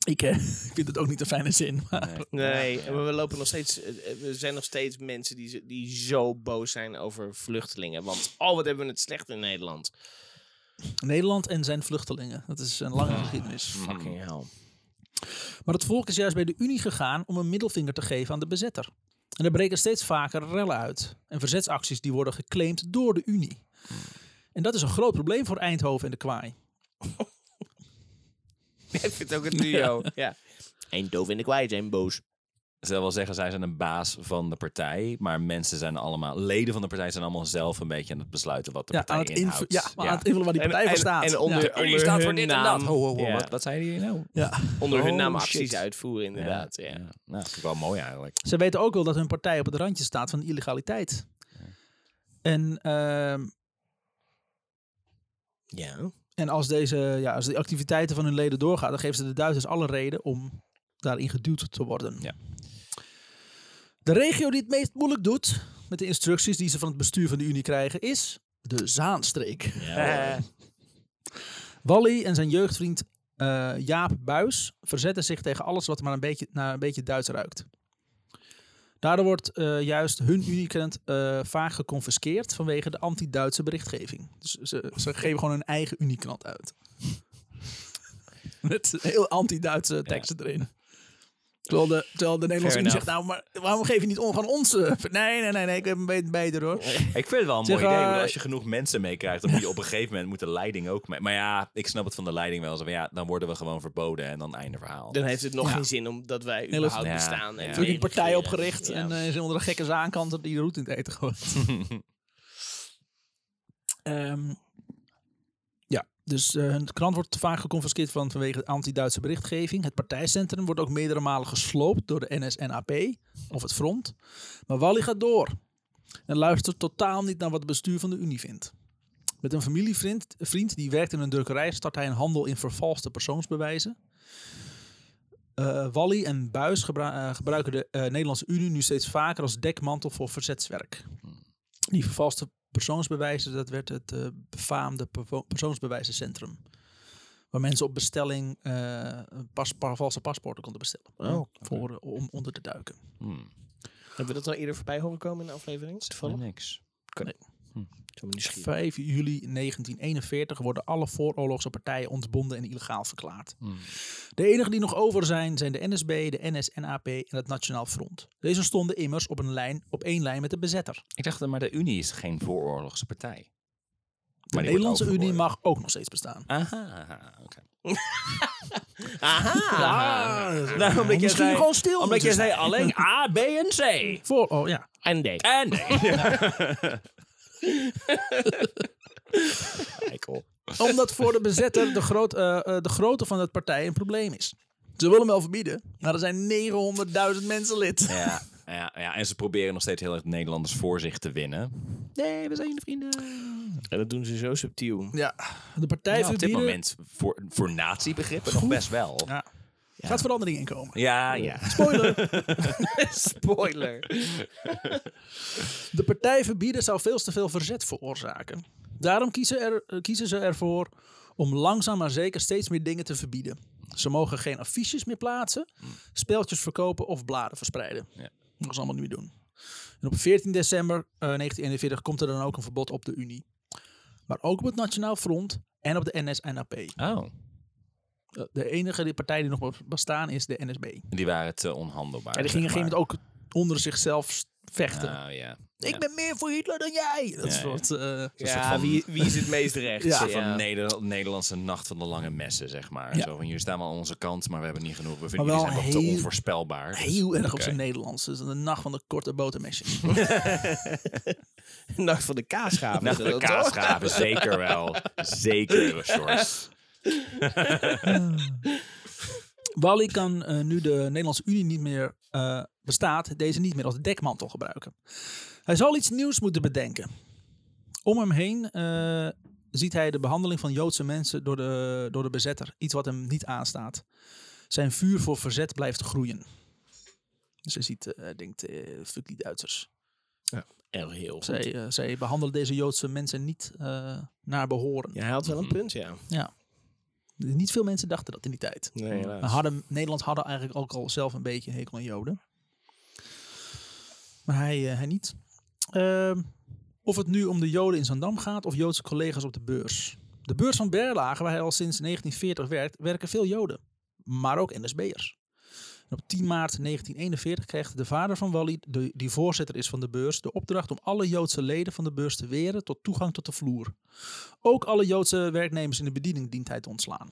[SPEAKER 1] Ik, eh, ik vind het ook niet een fijne zin. maar-
[SPEAKER 3] Nee, maar we lopen nog steeds. eh, eh, Er zijn nog steeds mensen die, ze- die zo boos zijn over vluchtelingen. Want oh, wat hebben we het slecht in Nederland.
[SPEAKER 1] Nederland en zijn vluchtelingen, dat is een lange geschiedenis.
[SPEAKER 3] Fucking hell.
[SPEAKER 1] Maar het volk is juist bij de Unie gegaan om een middelvinger te geven aan de bezetter. En er breken steeds vaker rellen uit. En verzetsacties die worden geclaimd door de Unie.
[SPEAKER 3] Mm.
[SPEAKER 1] En dat is een groot probleem voor Eindhoven en de Kwaai.
[SPEAKER 3] Ik vind het ook een duo. ja. Eindhoven in de kwijt zijn boos.
[SPEAKER 2] Zij wil zeggen, zij zijn een baas van de partij. Maar mensen zijn allemaal, leden van de partij zijn allemaal zelf een beetje aan het besluiten wat de
[SPEAKER 1] Ja,
[SPEAKER 2] partij
[SPEAKER 1] aan het, inv-
[SPEAKER 2] inhoudt.
[SPEAKER 1] ja, maar aan het invullen waar die partij voor staat.
[SPEAKER 3] En onder,
[SPEAKER 1] Ja.
[SPEAKER 2] De Unie
[SPEAKER 3] onder
[SPEAKER 2] staat
[SPEAKER 3] hun
[SPEAKER 2] voor dit en
[SPEAKER 3] naam,
[SPEAKER 2] dat. Ho, ho, ho,
[SPEAKER 3] Ja.
[SPEAKER 2] Oh, wat, wat zei je nou?
[SPEAKER 1] Ja.
[SPEAKER 3] Onder hun
[SPEAKER 2] Oh,
[SPEAKER 3] naam
[SPEAKER 2] shit.
[SPEAKER 3] acties uitvoeren, inderdaad. Ja.
[SPEAKER 2] Nou, dat vind ik wel mooi eigenlijk.
[SPEAKER 1] Ze weten ook wel dat hun partij op het randje staat van illegaliteit. En, ehm,
[SPEAKER 3] Ja.
[SPEAKER 1] en als, deze, ja, als de activiteiten van hun leden doorgaan, dan geven ze de Duitsers alle reden om daarin geduwd te worden.
[SPEAKER 2] Ja.
[SPEAKER 1] De regio die het meest moeilijk doet met de instructies die ze van het bestuur van de Unie krijgen, is de Zaanstreek.
[SPEAKER 2] Eh.
[SPEAKER 1] Wally en zijn jeugdvriend eh, Jaap Buis verzetten zich tegen alles wat maar een beetje, naar een beetje Duits ruikt. Daardoor wordt eh, juist hun unicrent eh, vaak geconfiskeerd vanwege de anti-Duitse berichtgeving. Dus ze, ze geven gewoon hun eigen unicrant uit. Met heel anti-Duitse teksten erin. Terwijl de, terwijl de Nederlandse Unie zegt,
[SPEAKER 3] enough.
[SPEAKER 1] nou, maar waarom geef je niet om van ons? eh, Nee, nee, nee, nee, ik heb een beetje beter hoor.
[SPEAKER 2] Ik vind het wel een
[SPEAKER 1] Zeg,
[SPEAKER 2] mooi idee.
[SPEAKER 1] eh,
[SPEAKER 2] want als je genoeg mensen meekrijgt, dan moet je op een gegeven moment moet de leiding ook mee. Maar ja, ik snap het van de leiding wel. Zo van, ja, dan worden we gewoon verboden en dan einde verhaal.
[SPEAKER 3] Dan heeft het nog
[SPEAKER 1] Ja.
[SPEAKER 3] geen zin omdat wij
[SPEAKER 1] dat-
[SPEAKER 3] überhaupt
[SPEAKER 2] Ja,
[SPEAKER 3] bestaan.
[SPEAKER 2] ja.
[SPEAKER 3] en
[SPEAKER 2] Toen
[SPEAKER 1] Toen
[SPEAKER 3] wij
[SPEAKER 1] ik een partij
[SPEAKER 3] regeren.
[SPEAKER 1] opgericht
[SPEAKER 3] Ja.
[SPEAKER 1] en eh, is onder de gekke zaankant die de roet in het eten gooit. Ehm, ja, Dus eh, hun krant wordt vaak geconfiskeerd van, vanwege de anti-Duitse berichtgeving. Het partijcentrum wordt ook meerdere malen gesloopt door de NSNAP of het Front. Maar Wally gaat door en luistert totaal niet naar wat het bestuur van de Unie vindt. Met een familievriend vriend die werkt in een drukkerij start hij een handel in vervalste persoonsbewijzen. Eh, Wally en Buis gebra- eh, gebruiken de eh, Nederlandse Unie nu steeds vaker als dekmantel voor verzetswerk. Die vervalste persoonsbewijzen, dat werd het eh, befaamde pervo- persoonsbewijzencentrum. Waar mensen op bestelling eh, pas, pa- valse paspoorten konden bestellen. voor, eh, om onder te duiken.
[SPEAKER 3] Hebben we dat al eerder voorbij horen komen in de aflevering? Toevallig?
[SPEAKER 2] Niks.
[SPEAKER 3] Ik ben nieuwsgierig.
[SPEAKER 1] 5 juli 1941 worden alle vooroorlogse partijen ontbonden en illegaal verklaard.
[SPEAKER 2] Hmm.
[SPEAKER 1] De enigen die nog over zijn, zijn de NSB, de NSNAP en het Nationaal Front. Deze stonden immers op, een lijn, op één lijn met de bezetter.
[SPEAKER 2] Ik dacht, maar de Unie is geen vooroorlogse partij.
[SPEAKER 1] De Nederlandse Unie mag ook nog steeds bestaan.
[SPEAKER 2] Ah. Aha, oké.
[SPEAKER 1] Ah,
[SPEAKER 2] Daarom dat Nou, jij
[SPEAKER 1] misschien
[SPEAKER 2] zei-
[SPEAKER 1] gewoon stil
[SPEAKER 2] Omdat
[SPEAKER 1] moeten
[SPEAKER 2] jij
[SPEAKER 1] zijn.
[SPEAKER 2] zei alleen A, B en C.
[SPEAKER 1] Voor, oh ja.
[SPEAKER 3] En D.
[SPEAKER 2] En
[SPEAKER 1] Omdat voor de bezetter de, groot, eh, eh, de grootte van het partij een probleem is. Ze willen hem wel verbieden, maar er zijn 900.000 mensen lid.
[SPEAKER 2] Ja, ja, ja, en ze proberen nog steeds heel erg Nederlanders voor zich te winnen. Nee, we zijn jullie vrienden.
[SPEAKER 3] En dat doen ze zo subtiel.
[SPEAKER 1] Ja, de partij
[SPEAKER 2] op dit
[SPEAKER 1] verbieden.
[SPEAKER 2] moment voor, voor natiebegrippen nog best wel. Ja,
[SPEAKER 1] Ja. Gaat verandering in komen.
[SPEAKER 2] ja.
[SPEAKER 1] Spoiler.
[SPEAKER 3] Spoiler.
[SPEAKER 1] De partij verbieden zou veel te veel verzet veroorzaken. Daarom kiezen, er, eh, kiezen ze ervoor om langzaam maar zeker steeds meer dingen te verbieden. Ze mogen geen affiches meer plaatsen, speltjes verkopen of bladen verspreiden.
[SPEAKER 2] Mm. Ja.
[SPEAKER 1] Dat is allemaal niet meer doen. En op 14 december eh, 1941 komt er dan ook een verbod op de Unie. Maar ook op het Nationaal Front en op de NSNAP.
[SPEAKER 2] Oh.
[SPEAKER 1] Eh, De enige die- partij die nog be- bestaan is de NSB. En
[SPEAKER 2] Die waren te onhandelbaar.
[SPEAKER 1] die gingen op een gegeven moment ook onder zichzelf s- vechten.
[SPEAKER 2] Nou ja.
[SPEAKER 1] Ik
[SPEAKER 2] Ja.
[SPEAKER 1] ben meer voor Hitler dan jij. Dat is
[SPEAKER 2] Ja, ja.
[SPEAKER 1] wat. eh,
[SPEAKER 2] soort
[SPEAKER 3] Ja,
[SPEAKER 2] van-
[SPEAKER 3] wie, wie is het meest recht?
[SPEAKER 1] Ja.
[SPEAKER 2] Een soort van Neder- Nederlandse nacht van de lange messen, zeg maar. Zo van, jullie staan wel aan onze kant, maar we hebben niet genoeg. We vinden
[SPEAKER 1] Maar
[SPEAKER 2] jullie
[SPEAKER 1] wel
[SPEAKER 2] zijn ook te
[SPEAKER 1] heel-
[SPEAKER 2] onvoorspelbaar. Dus-
[SPEAKER 1] heel erg op
[SPEAKER 2] Oké.
[SPEAKER 1] zijn Nederlands. Dus de nacht van de korte botermesjes.
[SPEAKER 3] Nacht Nou, van de kaasgaven.
[SPEAKER 2] Nacht van de
[SPEAKER 3] Dat toch?
[SPEAKER 2] kaasgraven, zeker wel. Zeker, Sjors.
[SPEAKER 1] Wally kan eh, nu de Nederlandse Unie niet meer eh, bestaat, deze niet meer als dekmantel gebruiken. Hij zal iets nieuws moeten bedenken. Om hem heen eh, ziet hij de behandeling van Joodse mensen door de, door de bezetter. Iets wat hem niet aanstaat. Zijn vuur voor verzet blijft groeien. Dus hij ziet, eh, hij denkt, eh, fuck die Duitsers.
[SPEAKER 3] Heel, heel goed.
[SPEAKER 1] Zij, eh, zij behandelen deze Joodse mensen niet eh, naar behoren.
[SPEAKER 3] Ja, hij had wel een punt, ja.
[SPEAKER 1] Niet veel mensen dachten dat in die tijd.
[SPEAKER 3] Nee,
[SPEAKER 1] Maar
[SPEAKER 3] helaas.
[SPEAKER 1] hadden, Nederland hadden eigenlijk ook al zelf een beetje een hekel aan Joden. Maar hij, eh, hij niet. Ehm, of het nu om de Joden in Zandam gaat of Joodse collega's op de beurs. De beurs van Berlage, waar hij al sinds 1940 werkt, werken veel Joden. Maar ook NSB'ers. En op 10 maart 1941 krijgt de vader van Wally, de, die voorzitter is van de beurs, de opdracht om alle Joodse leden van de beurs te weren tot toegang tot de vloer. Ook alle Joodse werknemers in de bediening dient hij te ontslaan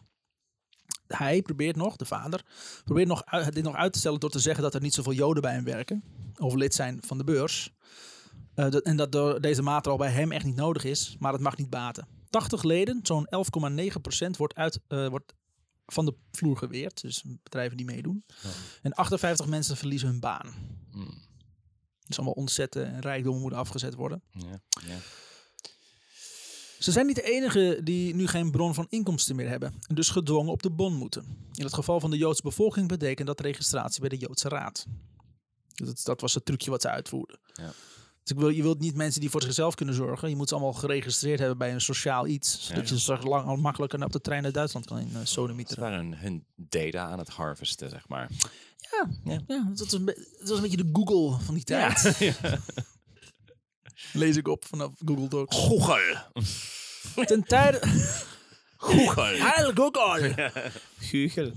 [SPEAKER 1] hij probeert nog, de vader, probeert nog, u- dit nog uit te stellen door te zeggen dat er niet zoveel Joden bij hem werken. Of lid zijn van de beurs. Eh, dat, en dat door deze maatregel bij hem echt niet nodig is, maar het mag niet baten. 80 leden, zo'n 11,9% wordt, uit, eh, wordt van de vloer geweerd. Dus bedrijven die meedoen. En 58 mensen verliezen hun baan.
[SPEAKER 2] Hmm.
[SPEAKER 1] Dus allemaal ontzetten en rijkdommen moeten afgezet worden.
[SPEAKER 2] Ja, ja.
[SPEAKER 1] Ze zijn niet de enigen die nu geen bron van inkomsten meer hebben en dus gedwongen op de bon moeten. In het geval van de Joodse bevolking betekent dat registratie bij de Joodse Raad. Dus Dat, dat was het trucje wat ze uitvoerden.
[SPEAKER 2] Ja.
[SPEAKER 1] Dus ik wil, je wilt niet mensen die voor zichzelf kunnen zorgen. Je moet ze allemaal geregistreerd hebben bij een sociaal iets. Zodat je ze straks lang, al makkelijker op de trein naar Duitsland kan in uh,
[SPEAKER 2] Ze waren hun data aan het harvesten, zeg maar.
[SPEAKER 1] Ja, ja. dat, was een be- dat was een beetje de Google van die tijd. Lees ik op vanaf Google Docs.
[SPEAKER 2] Google.
[SPEAKER 1] Ten tijde...
[SPEAKER 2] Google.
[SPEAKER 1] Heil Google!
[SPEAKER 3] Guugel.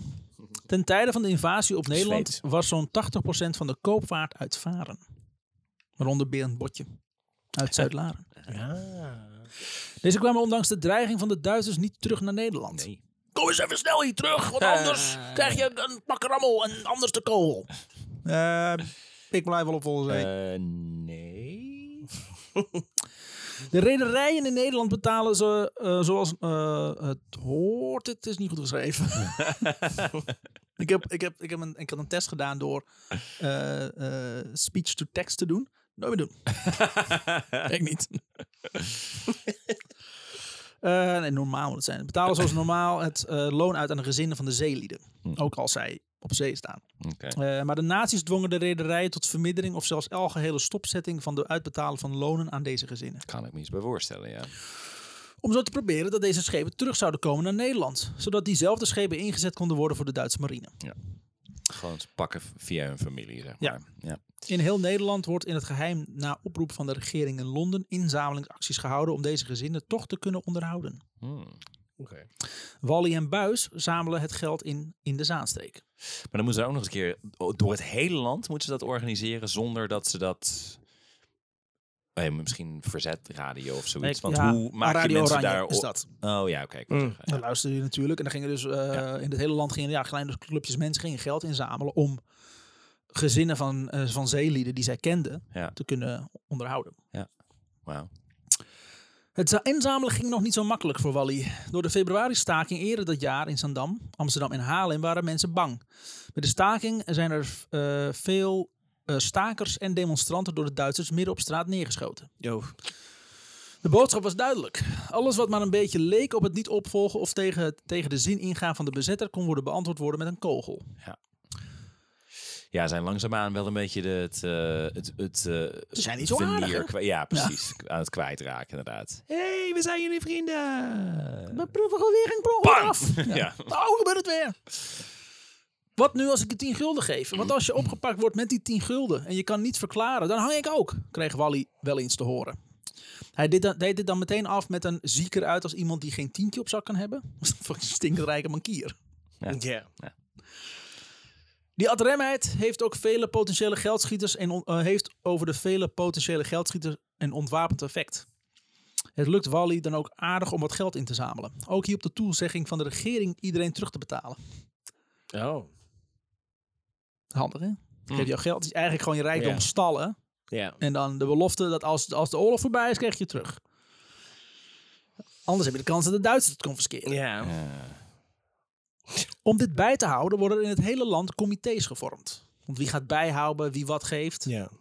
[SPEAKER 1] Ten tijde van de invasie op Nederland
[SPEAKER 3] Zweeds.
[SPEAKER 1] was zo'n 80% van de koopvaart uit Varen. Waaronder Berend Botje. Uit Zuid-Laren. Deze kwamen ondanks de dreiging van de Duitsers niet terug naar Nederland.
[SPEAKER 2] Nee.
[SPEAKER 1] Kom eens even snel hier terug, want anders krijg je een pak rammel en anders de kogel. ik blijf wel op volgens
[SPEAKER 2] Eh, nee.
[SPEAKER 1] De rederijen in Nederland betalen ze eh, zoals eh, het hoort. Het is niet goed geschreven. ik, heb, ik, heb, ik, heb een, ik had een test gedaan door eh, eh, speech to text te doen. Nooit meer doen. ik niet. Eh, nee, normaal moet het zijn. Betalen zoals normaal het eh, loon uit aan de gezinnen van de zeelieden. Ook als zij op zee staan.
[SPEAKER 2] Oké.
[SPEAKER 1] Eh, maar de nazi's dwongen de rederijen tot vermindering of zelfs algehele stopzetting van de uitbetalen van lonen aan deze gezinnen.
[SPEAKER 2] Kan ik me iets bij voorstellen, ja.
[SPEAKER 1] Om zo te proberen dat deze schepen terug zouden komen naar Nederland. Zodat diezelfde schepen ingezet konden worden voor de Duitse marine.
[SPEAKER 2] Gewoon ze pakken via hun familie, zeg
[SPEAKER 1] Ja.
[SPEAKER 2] maar. Ja.
[SPEAKER 1] In heel Nederland wordt in het geheim na oproep van de regering in Londen inzamelingsacties gehouden om deze gezinnen toch te kunnen onderhouden.
[SPEAKER 2] Hmm.
[SPEAKER 1] Wally en Buis zamelen het geld in in de Zaanstreek.
[SPEAKER 2] Maar dan moeten ze ook nog eens een keer door het hele land moeten ze dat organiseren zonder dat ze dat. Oh ja, misschien verzetradio of zoiets.
[SPEAKER 1] Ik-
[SPEAKER 2] Want
[SPEAKER 1] ja,
[SPEAKER 2] hoe maak je
[SPEAKER 1] Radio
[SPEAKER 2] mensen
[SPEAKER 1] Oranje
[SPEAKER 2] daar
[SPEAKER 1] is
[SPEAKER 2] op-
[SPEAKER 1] dat.
[SPEAKER 2] Oh ja, oké. ik wou
[SPEAKER 3] Mm.
[SPEAKER 2] zeggen,
[SPEAKER 1] Dan luisterde je natuurlijk. En dan gingen dus eh, in het hele land gingen, ja, kleine clubjes mensen gingen geld inzamelen om gezinnen van, eh, van zeelieden die zij kenden
[SPEAKER 2] Ja.
[SPEAKER 1] te kunnen onderhouden.
[SPEAKER 2] Wauw.
[SPEAKER 1] Het za- inzamelen ging nog niet zo makkelijk voor Wally. Door de februari-staking eerder dat jaar in Zandam, Amsterdam en Haarlem waren mensen bang. Met de staking zijn er eh, veel eh, stakers en demonstranten door de Duitsers midden op straat neergeschoten. De boodschap was duidelijk. Alles wat maar een beetje leek op het niet opvolgen of tegen, tegen de zin ingaan van de bezetter kon worden beantwoord worden met een kogel.
[SPEAKER 2] Ja, zijn langzaamaan wel een beetje de, het. eh, het, het eh,
[SPEAKER 1] Ze zijn niet zo aardig,
[SPEAKER 2] veneer
[SPEAKER 1] hè?
[SPEAKER 2] kwa- Ja, precies. Aan het kwijtraken, inderdaad. hey, we zijn jullie vrienden.
[SPEAKER 1] Mijn proefvergoeding
[SPEAKER 2] Bang!
[SPEAKER 1] prong af.
[SPEAKER 2] Ja.
[SPEAKER 1] Oh, gebeurt het weer. Wat nu als ik de 10 gulden geef? Want als je opgepakt wordt met die 10 gulden en je kan niet verklaren, dan hang ik ook, kreeg Wally wel eens te horen. Hij deed, dan- deed dit dan meteen af met een zieker uit als iemand die geen tientje op zak kan hebben. Fucking stinkend rijke bankier.
[SPEAKER 3] Ja.
[SPEAKER 1] Die adremheid heeft ook vele potentiële geldschieters en on- eh, heeft over de vele potentiële geldschieters een ontwapend effect. Het lukt Wally dan ook aardig om wat geld in te zamelen. Ook hier op de toezegging van de regering iedereen terug te betalen.
[SPEAKER 3] Oh.
[SPEAKER 1] Handig hè? Je hebt jouw geld, het is eigenlijk gewoon je rijkdom
[SPEAKER 3] Ja.
[SPEAKER 1] stallen.
[SPEAKER 3] Ja.
[SPEAKER 1] En dan de belofte dat als, als de oorlog voorbij is, krijg je het terug. Anders heb je de kans dat de Duitsers het confisceren.
[SPEAKER 3] Ja.
[SPEAKER 2] Eh,
[SPEAKER 1] Om dit bij te houden worden er in het hele land comité's gevormd. Want wie gaat bijhouden, wie wat geeft.
[SPEAKER 3] Ja.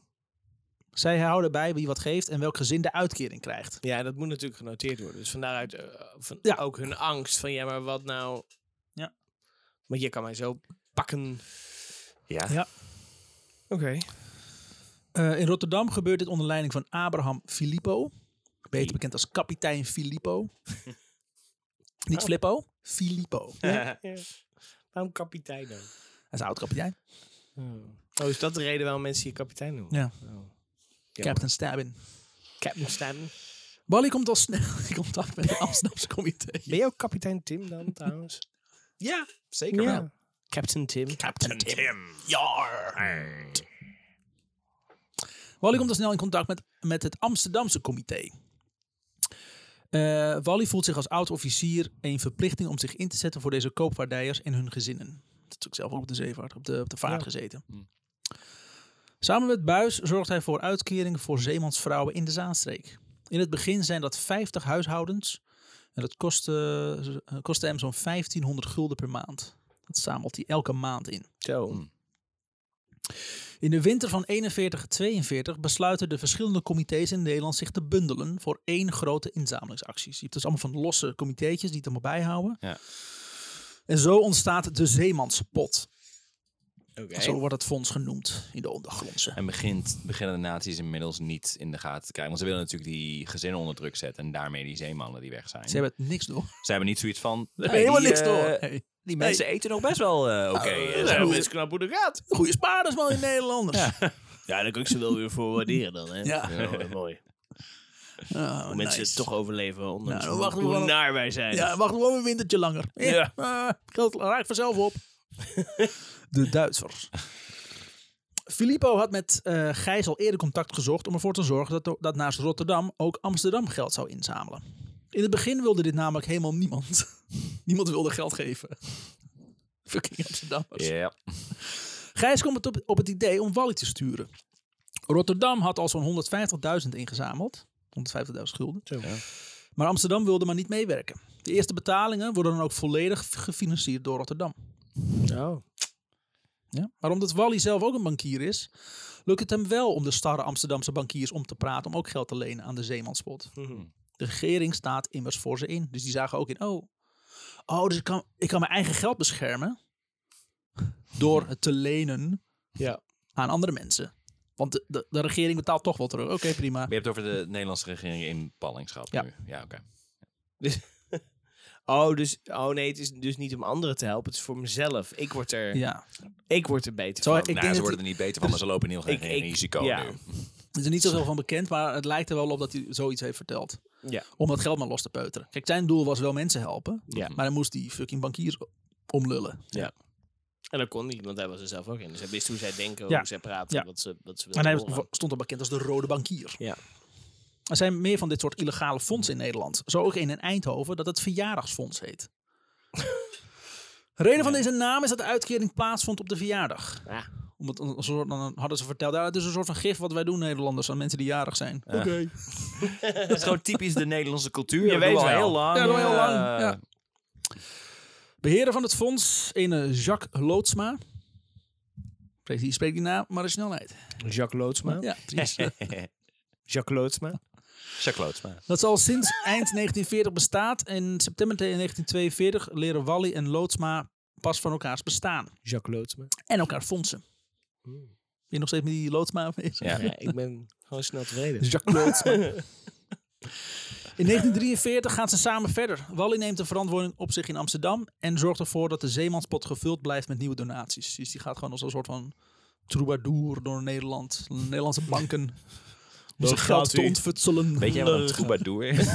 [SPEAKER 1] Zij houden bij wie wat geeft en welk gezin de uitkering krijgt.
[SPEAKER 3] Ja, dat moet natuurlijk genoteerd worden. Dus van daaruit eh, van
[SPEAKER 1] Ja.
[SPEAKER 3] ook hun angst van ja, maar wat nou?
[SPEAKER 1] Ja.
[SPEAKER 3] Want je kan mij zo pakken.
[SPEAKER 2] Ja.
[SPEAKER 1] Ja.
[SPEAKER 3] Oké.
[SPEAKER 1] Eh, in Rotterdam gebeurt dit onder leiding van Abraham Filippo. Beter bekend als kapitein Filippo. Niet Flippo, Filippo.
[SPEAKER 3] Waarom kapitein dan?
[SPEAKER 1] Hij is oud-kapitein.
[SPEAKER 3] Oh, is dat de reden waarom mensen je kapitein noemen?
[SPEAKER 1] Ja.
[SPEAKER 3] Oh.
[SPEAKER 1] Captain Stabin.
[SPEAKER 3] Captain Stan.
[SPEAKER 1] Wally komt al snel in contact met het Amsterdamse comité.
[SPEAKER 3] Ben je ook kapitein Tim dan trouwens?
[SPEAKER 1] Ja,
[SPEAKER 3] Zeker wel. Captain Tim.
[SPEAKER 1] Captain Tim. Wally komt al snel in contact met, met het Amsterdamse comité. Eh, Wally voelt zich als oud-officier een verplichting om zich in te zetten voor deze koopvaardijers en hun gezinnen. Dat is natuurlijk zelf ook op de zeevaart, op de, op de vaart gezeten. Samen met Buis zorgt hij voor uitkeringen voor zeemansvrouwen in de Zaanstreek. In het begin zijn dat 50 huishoudens. En dat kostte, eh, kostte hem zo'n 1500 gulden per maand. Dat zamelt hij elke maand in.
[SPEAKER 3] Zo.
[SPEAKER 1] In de winter van 41-42 besluiten de verschillende comité's in Nederland zich te bundelen voor één grote inzamelingsactie. Je hebt dus allemaal van losse comitéetjes die het allemaal bijhouden.
[SPEAKER 2] Ja.
[SPEAKER 1] En zo ontstaat de Zeemanspot.
[SPEAKER 3] Oké.
[SPEAKER 1] Zo wordt het fonds genoemd in de ondergrondse.
[SPEAKER 2] En begint, beginnen de naties inmiddels niet in de gaten te krijgen. Want ze willen natuurlijk die gezinnen onder druk zetten. En daarmee die zeemannen die weg zijn.
[SPEAKER 1] Ze hebben het niks door.
[SPEAKER 2] Ze hebben niet zoiets van.
[SPEAKER 1] Ze
[SPEAKER 2] hey,
[SPEAKER 1] hebben helemaal
[SPEAKER 2] die,
[SPEAKER 1] niks
[SPEAKER 2] eh,
[SPEAKER 1] door. Hey.
[SPEAKER 2] Die mensen eten nog best wel eh, oké. eh, zo.
[SPEAKER 3] best knap hoe dat gaat.
[SPEAKER 1] Goede spaarders, man, in Nederlanders. Ja.
[SPEAKER 3] Ja, daar kan ik ze wel weer voor waarderen dan. Hè?
[SPEAKER 1] Ja.
[SPEAKER 3] mooi.
[SPEAKER 1] Oh,
[SPEAKER 3] Hoe mensen
[SPEAKER 1] nice.
[SPEAKER 3] het toch overleven, ondanks
[SPEAKER 1] Nou, dan
[SPEAKER 3] hoe-
[SPEAKER 1] wachten we
[SPEAKER 3] hoe
[SPEAKER 1] wel op-
[SPEAKER 3] naar wij zijn.
[SPEAKER 1] Ja, wacht gewoon een wintertje langer. Ja.
[SPEAKER 3] Ja.
[SPEAKER 1] eh, geld raakt vanzelf op. De Duitsers. Filippo had met eh Gijs al eerder contact gezocht om ervoor te zorgen dat, dat naast Rotterdam ook Amsterdam geld zou inzamelen. In het begin wilde dit namelijk helemaal niemand. niemand wilde geld geven. Fucking Amsterdammers.
[SPEAKER 2] Ja.
[SPEAKER 1] Gijs kwam het op, op het idee om Wally te sturen. Rotterdam had al zo'n 150.000 ingezameld. 150.000 gulden. Maar Amsterdam wilde maar niet meewerken. De eerste betalingen worden dan ook volledig gefinancierd door Rotterdam.
[SPEAKER 3] Oh.
[SPEAKER 1] Ja? Maar omdat Wally zelf ook een bankier is, lukt het hem wel om de starre Amsterdamse bankiers om te praten om ook geld te lenen aan de Zeemanspot.
[SPEAKER 3] Mhm.
[SPEAKER 1] De regering staat immers voor ze in. Dus die zagen ook in, oh, oh dus ik kan, ik kan mijn eigen geld beschermen door het te lenen
[SPEAKER 3] Ja.
[SPEAKER 1] aan andere mensen. Want de, de, de regering betaalt toch wel terug. Oké, prima.
[SPEAKER 2] je hebt het over de Nederlandse regering in ballingschap
[SPEAKER 1] Ja.
[SPEAKER 2] nu. Ja, oké. Nou
[SPEAKER 3] Dus Oh, dus, oh nee, het is dus niet om anderen te helpen. Het is voor mezelf. Ik word er,
[SPEAKER 1] Ja.
[SPEAKER 3] ik word er beter
[SPEAKER 1] Zo,
[SPEAKER 3] van.
[SPEAKER 1] ik denk
[SPEAKER 2] Nou, ze
[SPEAKER 1] dat
[SPEAKER 2] worden er niet beter van, maar ze lopen in heel geen
[SPEAKER 3] Ik- ik-
[SPEAKER 2] risico
[SPEAKER 3] ja.
[SPEAKER 2] nu.
[SPEAKER 1] Er is er niet zoveel van bekend, maar het lijkt er wel op dat hij zoiets heeft verteld.
[SPEAKER 3] Ja.
[SPEAKER 1] Om dat geld maar los te peuteren. Kijk, zijn doel was wel mensen helpen.
[SPEAKER 3] Ja.
[SPEAKER 1] Maar dan moest die fucking bankiers omlullen.
[SPEAKER 3] Ja. En dat kon niet, want hij was er zelf ook in. Dus hij wist hoe zij denken,
[SPEAKER 1] Ja.
[SPEAKER 3] hoe zij praten,
[SPEAKER 1] Ja.
[SPEAKER 3] wat ze, wat ze
[SPEAKER 1] En
[SPEAKER 3] wilden
[SPEAKER 1] hij
[SPEAKER 3] horen.
[SPEAKER 1] stond al bekend als de rode bankier.
[SPEAKER 3] Ja.
[SPEAKER 1] Er zijn meer van dit soort illegale fondsen in Nederland. Zo ook een in Eindhoven dat het verjaardagsfonds heet. Reden van deze naam is dat de uitkering plaatsvond op de verjaardag.
[SPEAKER 3] Ah.
[SPEAKER 1] Omdat een soort, dan hadden ze verteld, ja, het is een soort van gif wat wij doen Nederlanders aan mensen die jarig zijn. Oké.
[SPEAKER 2] Dat is gewoon typisch de Nederlandse cultuur.
[SPEAKER 3] Je
[SPEAKER 2] Dat doen we
[SPEAKER 3] weet
[SPEAKER 2] al
[SPEAKER 3] wel.
[SPEAKER 2] heel lang.
[SPEAKER 1] Ah, Ja, dat wel heel lang.
[SPEAKER 2] Eh,
[SPEAKER 1] Ja. Beheerder van het fonds, ene Jacques Lootsma. Spreekt die, spreekt die naam, maar de snelheid.
[SPEAKER 3] Jacques Loodsma.
[SPEAKER 1] Ja, precies.
[SPEAKER 3] Jacques Loodsma.
[SPEAKER 2] Jacques Loodsma.
[SPEAKER 1] dat ze al sinds eind 1940 bestaat. In september 1942 leren Wally en Lootsma pas van elkaars bestaan.
[SPEAKER 3] Jacques Loodsma.
[SPEAKER 1] En elkaar fondsen. Hmm. Ben je nog steeds met die Lootsma bezig?
[SPEAKER 2] Ja.
[SPEAKER 3] Ja, ik ben gewoon snel tevreden.
[SPEAKER 1] Jacques Lootsma. In 1943 gaan ze samen verder. Wally neemt de verantwoording op zich in Amsterdam en zorgt ervoor dat de zeemanspot gevuld blijft met nieuwe donaties. Dus die gaat gewoon als een soort van troubadour door Nederland, Nederlandse banken, om zijn
[SPEAKER 3] Daar
[SPEAKER 1] geld
[SPEAKER 3] gaat
[SPEAKER 1] te
[SPEAKER 3] ie.
[SPEAKER 1] ontfutselen.
[SPEAKER 2] Weet jij wat een
[SPEAKER 1] Leuk.
[SPEAKER 2] troubadour is?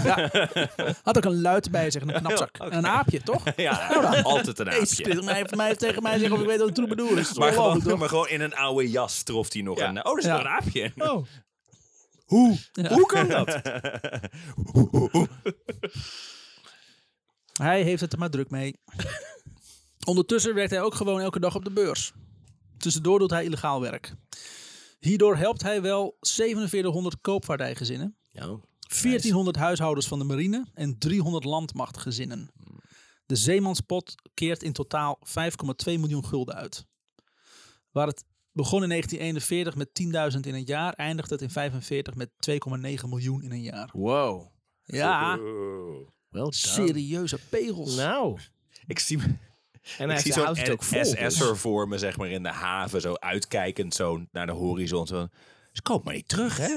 [SPEAKER 1] Had ook een luid bij zich en een knapzak. En een aapje, toch?
[SPEAKER 2] ja, altijd een
[SPEAKER 1] Hey, split
[SPEAKER 2] aapje.
[SPEAKER 1] om mij, mij tegen mij zeggen of ik weet wat een troubadour is.
[SPEAKER 2] Maar
[SPEAKER 1] Ongelooflijk,
[SPEAKER 2] gewoon, maar gewoon in een oude jas trof hij nog
[SPEAKER 3] Ja.
[SPEAKER 2] een... Oh, dat is
[SPEAKER 1] Ja.
[SPEAKER 2] nog een aapje.
[SPEAKER 3] Oh.
[SPEAKER 1] toch? Ja.
[SPEAKER 2] Hoe kan dat?
[SPEAKER 1] Hij heeft het er maar druk mee. Ondertussen werkt hij ook gewoon elke dag op de beurs. Tussendoor doet hij illegaal werk. Hierdoor helpt hij wel 4700 koopvaardijgezinnen, 1400 huishoudens van de marine en 300 landmachtgezinnen. De zeemanspot keert in totaal 5,2 miljoen gulden uit. Waar het begon in 1941 met 10.000 in een jaar, eindigt het in 45 met 2,9 miljoen in een jaar.
[SPEAKER 3] Wow.
[SPEAKER 1] Ja,
[SPEAKER 3] Wel
[SPEAKER 1] serieuze pegels.
[SPEAKER 3] Nou.
[SPEAKER 2] Ik zie...
[SPEAKER 3] En
[SPEAKER 2] ik
[SPEAKER 3] hij
[SPEAKER 2] zie
[SPEAKER 3] houdt het
[SPEAKER 2] zo'n
[SPEAKER 3] ook vol. dus.
[SPEAKER 2] SS'er voor me, zeg maar, in de haven. Zo uitkijkend zo naar de horizon. Zo. Ze komen maar niet terug, hè?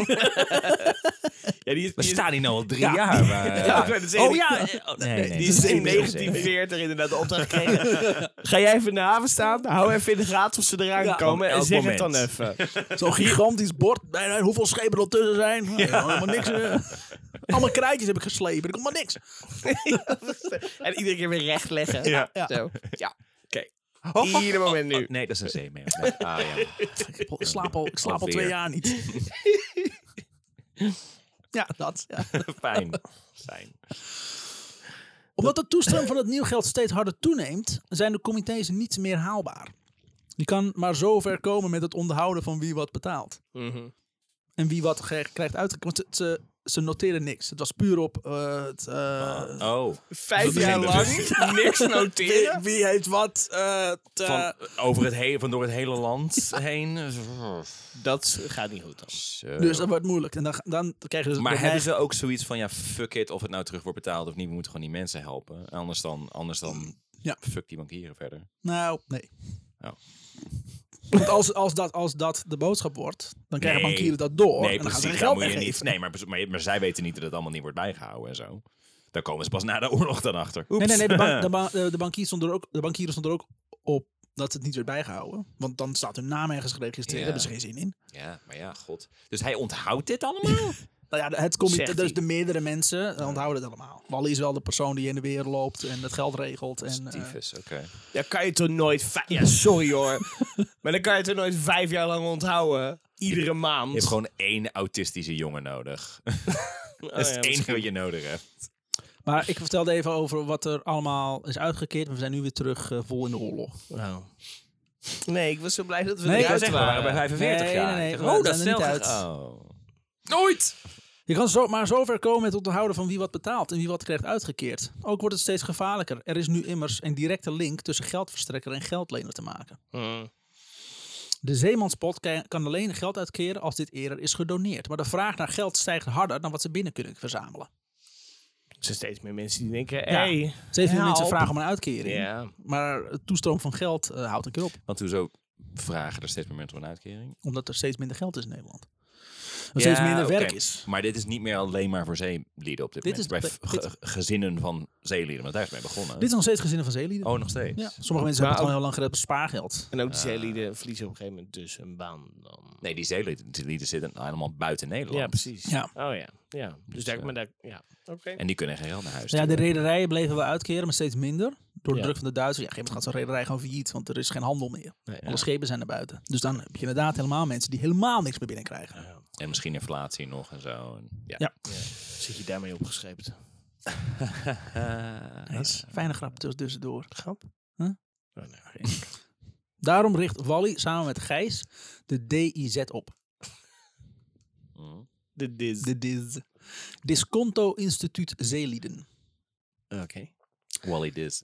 [SPEAKER 3] Ja, die is,
[SPEAKER 2] We
[SPEAKER 3] die is-
[SPEAKER 2] staan hier nou al drie jaar. Maar,
[SPEAKER 3] Ja, ik wou net zeggen,
[SPEAKER 2] oh ja.
[SPEAKER 3] die-
[SPEAKER 2] eh, oh, nee, nee,
[SPEAKER 3] die
[SPEAKER 2] dat
[SPEAKER 3] is in
[SPEAKER 2] niet meer.
[SPEAKER 3] 1940 inderdaad de opdracht gekregen. Ga jij even in de haven staan? Hou even in de gaten of ze eraan
[SPEAKER 1] Ja,
[SPEAKER 3] komen.
[SPEAKER 2] op
[SPEAKER 3] En
[SPEAKER 2] elk
[SPEAKER 3] zeg het dan
[SPEAKER 2] moment.
[SPEAKER 3] even.
[SPEAKER 1] Zo'n gigantisch bord. Nee, nee, hoeveel schepen er al tussen zijn. Nee, helemaal niks. eh. Allemaal krijtjes heb ik geslepen. Er komt maar niks.
[SPEAKER 3] en iedere keer weer recht leggen.
[SPEAKER 2] Ja. Oh.
[SPEAKER 3] Zo. Ja. Oké. Ieder moment nu.
[SPEAKER 2] Nee, dat is een zeemeer. Nee. Ah, ja.
[SPEAKER 1] Ik slaap al, ik slaap al
[SPEAKER 2] Alweer.
[SPEAKER 1] twee jaar niet. Ja, dat. Ja.
[SPEAKER 2] Fijn. Fijn.
[SPEAKER 1] Omdat de toestroom van het nieuw geld steeds harder toeneemt, zijn de comité's niet meer haalbaar. Je kan maar zo ver komen met het onderhouden van wie wat betaalt.
[SPEAKER 2] Mhm.
[SPEAKER 1] En wie wat ge- krijgt uitgekeerd. Want ze, ze, ze noteren niks. Het was puur op eh, het, eh,
[SPEAKER 2] Oh.
[SPEAKER 3] Vijf
[SPEAKER 2] Dat
[SPEAKER 3] jaar
[SPEAKER 2] begint
[SPEAKER 3] lang niks noteren.
[SPEAKER 1] wie, wie heeft wat. eh, het, eh,
[SPEAKER 2] Van, over het hele, van door het hele land heen.
[SPEAKER 3] Dat gaat niet goed dan.
[SPEAKER 2] Zo.
[SPEAKER 1] Dus dat wordt moeilijk. En dan, dan dus krijgen ze.
[SPEAKER 2] maar
[SPEAKER 1] dan
[SPEAKER 2] hebben
[SPEAKER 1] krijgen-
[SPEAKER 2] ze ook zoiets van, ja, fuck it, of het nou terug wordt betaald of niet, we moeten gewoon die mensen helpen. Anders dan, anders dan
[SPEAKER 1] Ja.
[SPEAKER 2] fuck die bankieren verder.
[SPEAKER 1] Nou, nee.
[SPEAKER 2] Oh.
[SPEAKER 1] Want als, als, dat, als dat de boodschap wordt, dan krijgen
[SPEAKER 2] Nee.
[SPEAKER 1] bankieren dat door.
[SPEAKER 2] nee,
[SPEAKER 1] en dan gaan ze
[SPEAKER 2] precies,
[SPEAKER 1] hun
[SPEAKER 2] daar
[SPEAKER 1] geld
[SPEAKER 2] moet je
[SPEAKER 1] weggeven.
[SPEAKER 2] niet. Nee, maar, maar, maar zij weten niet dat het allemaal niet wordt bijgehouden en zo. Daar komen ze pas na de oorlog dan achter.
[SPEAKER 1] Nee, nee, nee. De, bank,
[SPEAKER 2] bank.
[SPEAKER 1] de, ba- eh, de, bankier stond er ook, de bankieren stonden er ook op dat het niet werd bijgehouden. Want dan staat hun naam ergens geregistreerd.
[SPEAKER 2] Ja.
[SPEAKER 1] Daar hebben ze geen zin in.
[SPEAKER 2] Ja, maar ja, god. Dus hij onthoudt dit allemaal?
[SPEAKER 1] Nou ja, het comité,
[SPEAKER 3] Zegt
[SPEAKER 1] dus
[SPEAKER 3] hij.
[SPEAKER 1] de meerdere mensen eh, onthouden het allemaal. Wally is wel de persoon die in de weer loopt en het geld regelt. En, eh,
[SPEAKER 2] Tyfus, oké.
[SPEAKER 3] Dan kan je toch nooit... vij- Ja, sorry hoor. maar dan kan je toch nooit vijf jaar lang onthouden. Iedere maand.
[SPEAKER 2] Je hebt gewoon één autistische jongen nodig.
[SPEAKER 3] Oh,
[SPEAKER 2] dat is
[SPEAKER 3] ja,
[SPEAKER 2] het enige wat je nodig hebt.
[SPEAKER 1] maar ik vertelde even over wat er allemaal is uitgekeerd. maar We zijn nu weer terug eh, vol in de oorlog.
[SPEAKER 3] Nou. Nee, ik was zo blij dat we
[SPEAKER 1] Nee,
[SPEAKER 3] nee,
[SPEAKER 1] ik wou
[SPEAKER 3] eruit
[SPEAKER 1] zeggen,
[SPEAKER 3] waren.
[SPEAKER 2] bij 45
[SPEAKER 1] Nee,
[SPEAKER 2] jaar.
[SPEAKER 1] nee, nee,
[SPEAKER 2] Ik zeg,
[SPEAKER 1] we
[SPEAKER 2] oh,
[SPEAKER 1] zijn
[SPEAKER 2] dat
[SPEAKER 1] er
[SPEAKER 2] is
[SPEAKER 1] niet
[SPEAKER 2] snel
[SPEAKER 1] uit.
[SPEAKER 2] gegaan. Oh.
[SPEAKER 3] Nooit!
[SPEAKER 1] Je kan zo, maar zover komen met onthouden van wie wat betaalt en wie wat krijgt uitgekeerd. Ook wordt het steeds gevaarlijker. Er is nu immers een directe link tussen geldverstrekker en geldlener te maken.
[SPEAKER 2] Hmm.
[SPEAKER 1] De Zeemanspot ki- kan alleen geld uitkeren als dit eerder is gedoneerd. Maar de vraag naar geld stijgt harder dan wat ze binnen kunnen verzamelen.
[SPEAKER 3] Er zijn steeds meer mensen die denken, hey,
[SPEAKER 1] Ja. Steeds meer
[SPEAKER 3] help.
[SPEAKER 1] mensen vragen om een uitkering.
[SPEAKER 3] Ja.
[SPEAKER 1] Maar het toestroom van geld eh, houdt een keer op.
[SPEAKER 2] Want hoezo vragen er steeds meer mensen om een uitkering?
[SPEAKER 1] Omdat er steeds minder geld is in Nederland. Er steeds
[SPEAKER 2] Ja,
[SPEAKER 1] minder
[SPEAKER 2] oké.
[SPEAKER 1] werk is.
[SPEAKER 2] Maar dit is niet meer alleen maar voor zeelieden op dit,
[SPEAKER 1] Dit
[SPEAKER 2] moment. Bij
[SPEAKER 1] is-
[SPEAKER 2] v- ge- gezinnen van zeelieden, want daar is mee begonnen.
[SPEAKER 1] Dit is nog steeds gezinnen van zeelieden.
[SPEAKER 2] Oh, nog steeds?
[SPEAKER 1] Ja. Sommige mensen hebben het
[SPEAKER 3] ook-
[SPEAKER 1] al heel lang gered op spaargeld.
[SPEAKER 3] En ook die zeelieden verliezen op een gegeven moment dus een baan. Dan.
[SPEAKER 2] Nee, die zeelieden die lieden zitten helemaal buiten Nederland.
[SPEAKER 3] Ja, precies.
[SPEAKER 1] Ja.
[SPEAKER 3] Oh ja, ja. Dus daar,
[SPEAKER 2] eh,
[SPEAKER 3] maar daar, ja. Oké.
[SPEAKER 2] En die kunnen geen geld naar huis.
[SPEAKER 1] Nou Ja, de
[SPEAKER 2] sturen.
[SPEAKER 1] rederijen bleven wel uitkeren, maar steeds minder. Door de
[SPEAKER 3] Ja.
[SPEAKER 1] druk van de Duitsers. Ja, op een gegeven moment gaat zo'n rederij gewoon failliet, want er is geen handel meer.
[SPEAKER 3] Nee,
[SPEAKER 1] Alle schepen zijn naar buiten. Dus dan heb je inderdaad helemaal mensen die helemaal niks meer binnenkrijgen.
[SPEAKER 2] En misschien inflatie nog en zo. En, ja.
[SPEAKER 1] Ja.
[SPEAKER 3] Zit je daarmee opgeschreven?
[SPEAKER 1] Nice. Fijne grap tuss- tussendoor.
[SPEAKER 3] Grap?
[SPEAKER 1] Huh?
[SPEAKER 3] Oh, nee.
[SPEAKER 1] Daarom richt Wally samen met Gijs de DIZ op.
[SPEAKER 2] Mm.
[SPEAKER 3] De dis.
[SPEAKER 1] De DIZ. Disconto Instituut Zeelieden.
[SPEAKER 3] Oké.
[SPEAKER 2] Wally Diz.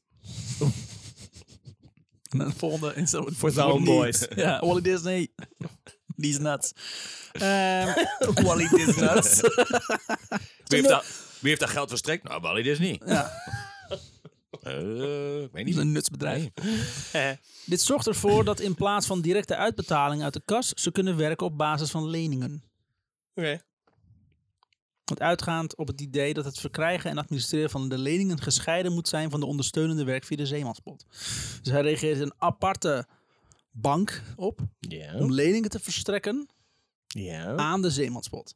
[SPEAKER 1] En dan de volgende Instagram.
[SPEAKER 3] For the homeboys.
[SPEAKER 1] Ja, Wally Disney. Die is nuts. Ehm, Wally Disney nuts.
[SPEAKER 2] Wie heeft, dat, wie heeft dat geld verstrekt? Nou, Wally Diz niet.
[SPEAKER 1] ja,
[SPEAKER 2] Eh, ik weet
[SPEAKER 1] die
[SPEAKER 2] niet.
[SPEAKER 1] is een nutsbedrijf. Dit zorgt ervoor dat in plaats van directe uitbetaling uit de kas, ze kunnen werken op basis van leningen.
[SPEAKER 3] Oké.
[SPEAKER 1] Want uitgaand op het idee dat het verkrijgen en administreren van de leningen gescheiden moet zijn van de ondersteunende werk via de Zeemansbond. Dus hij reageert een aparte bank op
[SPEAKER 3] Ja.
[SPEAKER 1] om leningen te verstrekken
[SPEAKER 3] Ja.
[SPEAKER 1] aan de Zeemansbond.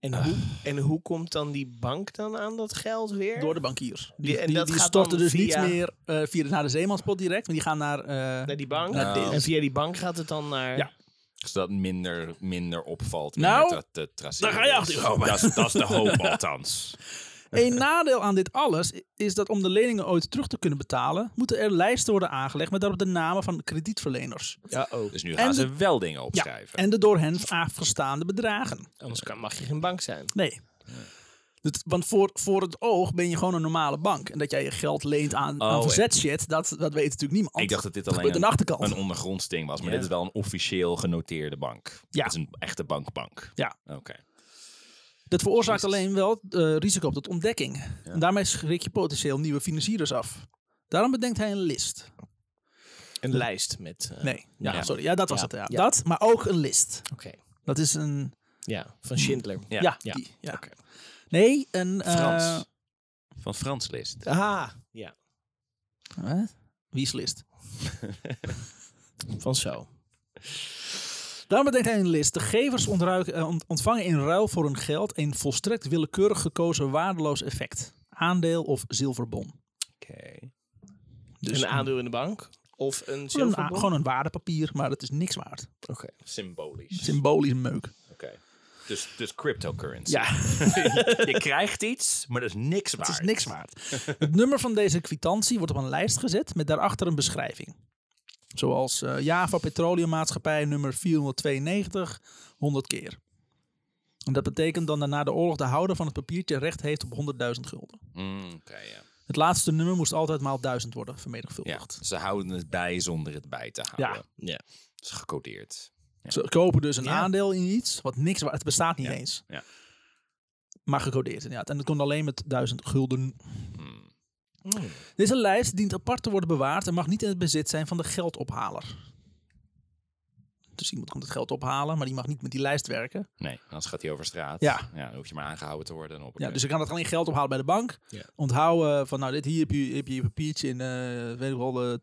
[SPEAKER 3] En hoe, en hoe komt dan die bank dan aan dat geld weer?
[SPEAKER 1] Door de bankiers. Die,
[SPEAKER 3] Die- en
[SPEAKER 1] die,
[SPEAKER 3] dat
[SPEAKER 1] die
[SPEAKER 3] gaat
[SPEAKER 1] storten
[SPEAKER 3] dan
[SPEAKER 1] dus niet
[SPEAKER 3] via-
[SPEAKER 1] meer eh, via de, naar de Zeemansbond direct, maar die gaan naar... eh,
[SPEAKER 3] Naar die bank?
[SPEAKER 1] Naar
[SPEAKER 2] dit.
[SPEAKER 3] En via die bank gaat het dan naar...
[SPEAKER 1] Ja.
[SPEAKER 2] Zodat minder, minder opvalt.
[SPEAKER 1] Nou,
[SPEAKER 2] minder te, te traceren
[SPEAKER 1] daar ga je
[SPEAKER 2] is.
[SPEAKER 1] achter komen.
[SPEAKER 2] Dat is- dat is de hoop althans.
[SPEAKER 1] Een nadeel aan dit alles i- is dat om de leningen ooit terug te kunnen betalen, moeten er lijsten worden aangelegd met daarop de namen van kredietverleners.
[SPEAKER 3] Ja, oh. ook.
[SPEAKER 2] Dus nu
[SPEAKER 1] En
[SPEAKER 2] gaan
[SPEAKER 1] de-
[SPEAKER 2] ze wel dingen opschrijven.
[SPEAKER 1] En de door hen afgestaande bedragen.
[SPEAKER 3] Anders kan, mag je geen bank zijn.
[SPEAKER 1] Nee. Dat- want voor, voor het oog ben je gewoon een normale bank. En dat jij je geld leent aan, aan
[SPEAKER 2] Oh,
[SPEAKER 1] verzet shit, dat, dat weet natuurlijk niemand.
[SPEAKER 2] ik dacht dat dit
[SPEAKER 1] Dat
[SPEAKER 2] alleen
[SPEAKER 1] gebeurt aan de achterkant.
[SPEAKER 2] een ondergronds ding was. Maar dit is wel een officieel genoteerde bank.
[SPEAKER 1] Ja.
[SPEAKER 2] Het is een echte bankbank.
[SPEAKER 1] Ja.
[SPEAKER 2] Oké.
[SPEAKER 1] Dat veroorzaakt alleen wel eh, risico op tot ontdekking. En daarmee schrik je potentieel nieuwe financiers af. Daarom bedenkt hij een list.
[SPEAKER 3] Een lijst met... eh,
[SPEAKER 1] Nee, ja,
[SPEAKER 2] Ja.
[SPEAKER 1] sorry. Ja, dat was
[SPEAKER 3] Ja.
[SPEAKER 1] het. Ja.
[SPEAKER 3] Ja.
[SPEAKER 1] Dat, maar ook een list.
[SPEAKER 3] Oké.
[SPEAKER 1] Dat is een...
[SPEAKER 3] Ja, van Schindler.
[SPEAKER 2] Ja.
[SPEAKER 1] Ja,
[SPEAKER 3] Ja.
[SPEAKER 1] die. Ja.
[SPEAKER 3] Oké.
[SPEAKER 1] Nee, een... eh,
[SPEAKER 3] Frans.
[SPEAKER 2] Van Frans List.
[SPEAKER 3] Aha. Ah. Ja.
[SPEAKER 1] Huh? Wie is list?
[SPEAKER 3] Van zo.
[SPEAKER 1] Daarom bedenkt hij een list. De gevers ontruiken- eh, ont- ontvangen in ruil voor hun geld een volstrekt willekeurig gekozen waardeloos effect. Aandeel of zilverbon.
[SPEAKER 2] Oké.
[SPEAKER 1] Dus
[SPEAKER 3] een aandeel in de bank? Of een
[SPEAKER 1] Gewoon een, a-
[SPEAKER 3] zilverbon?
[SPEAKER 1] gewoon een waardepapier, maar het is niks waard.
[SPEAKER 3] Oké.
[SPEAKER 2] Symbolisch.
[SPEAKER 1] Symbolisch meuk.
[SPEAKER 2] Oké. Dus, dus cryptocurrency.
[SPEAKER 1] Ja,
[SPEAKER 2] Je krijgt iets, maar dat is niks waard.
[SPEAKER 1] het is niks waard. Het nummer van deze kwitantie wordt op een lijst gezet met daarachter een beschrijving. Zoals eh, Java Petroleummaatschappij nummer 492, 100 keer. En dat betekent dan dat na de oorlog de houder van het papiertje recht heeft op 100.000 gulden.
[SPEAKER 2] Mm, Oké, ja.
[SPEAKER 1] Het laatste nummer moest altijd maal 1000 worden
[SPEAKER 2] ja.
[SPEAKER 1] vermenigvuldigd.
[SPEAKER 2] Ze houden het bij zonder het bij te houden.
[SPEAKER 3] Ja.
[SPEAKER 2] Het is gecodeerd.
[SPEAKER 1] Ze kopen dus een
[SPEAKER 3] Ja.
[SPEAKER 1] aandeel in iets wat niks waard Het bestaat niet eens.
[SPEAKER 2] ja.
[SPEAKER 1] Maar gecodeerd inderdaad. En dat komt alleen met 1000 gulden. Deze lijst dient apart te worden bewaard en mag niet in het bezit zijn van de geldophaler. Dus iemand komt het geld ophalen, maar die mag niet met die lijst werken.
[SPEAKER 2] Nee, anders gaat hij over straat.
[SPEAKER 1] Ja.
[SPEAKER 2] ja. Dan hoef je maar aangehouden te worden. En op
[SPEAKER 1] Ja, dus ik kan het alleen geld ophalen bij de bank.
[SPEAKER 3] Ja.
[SPEAKER 1] Onthouden van, nou, dit hier heb je, heb je je papiertje in, eh, weet ik wel, eh,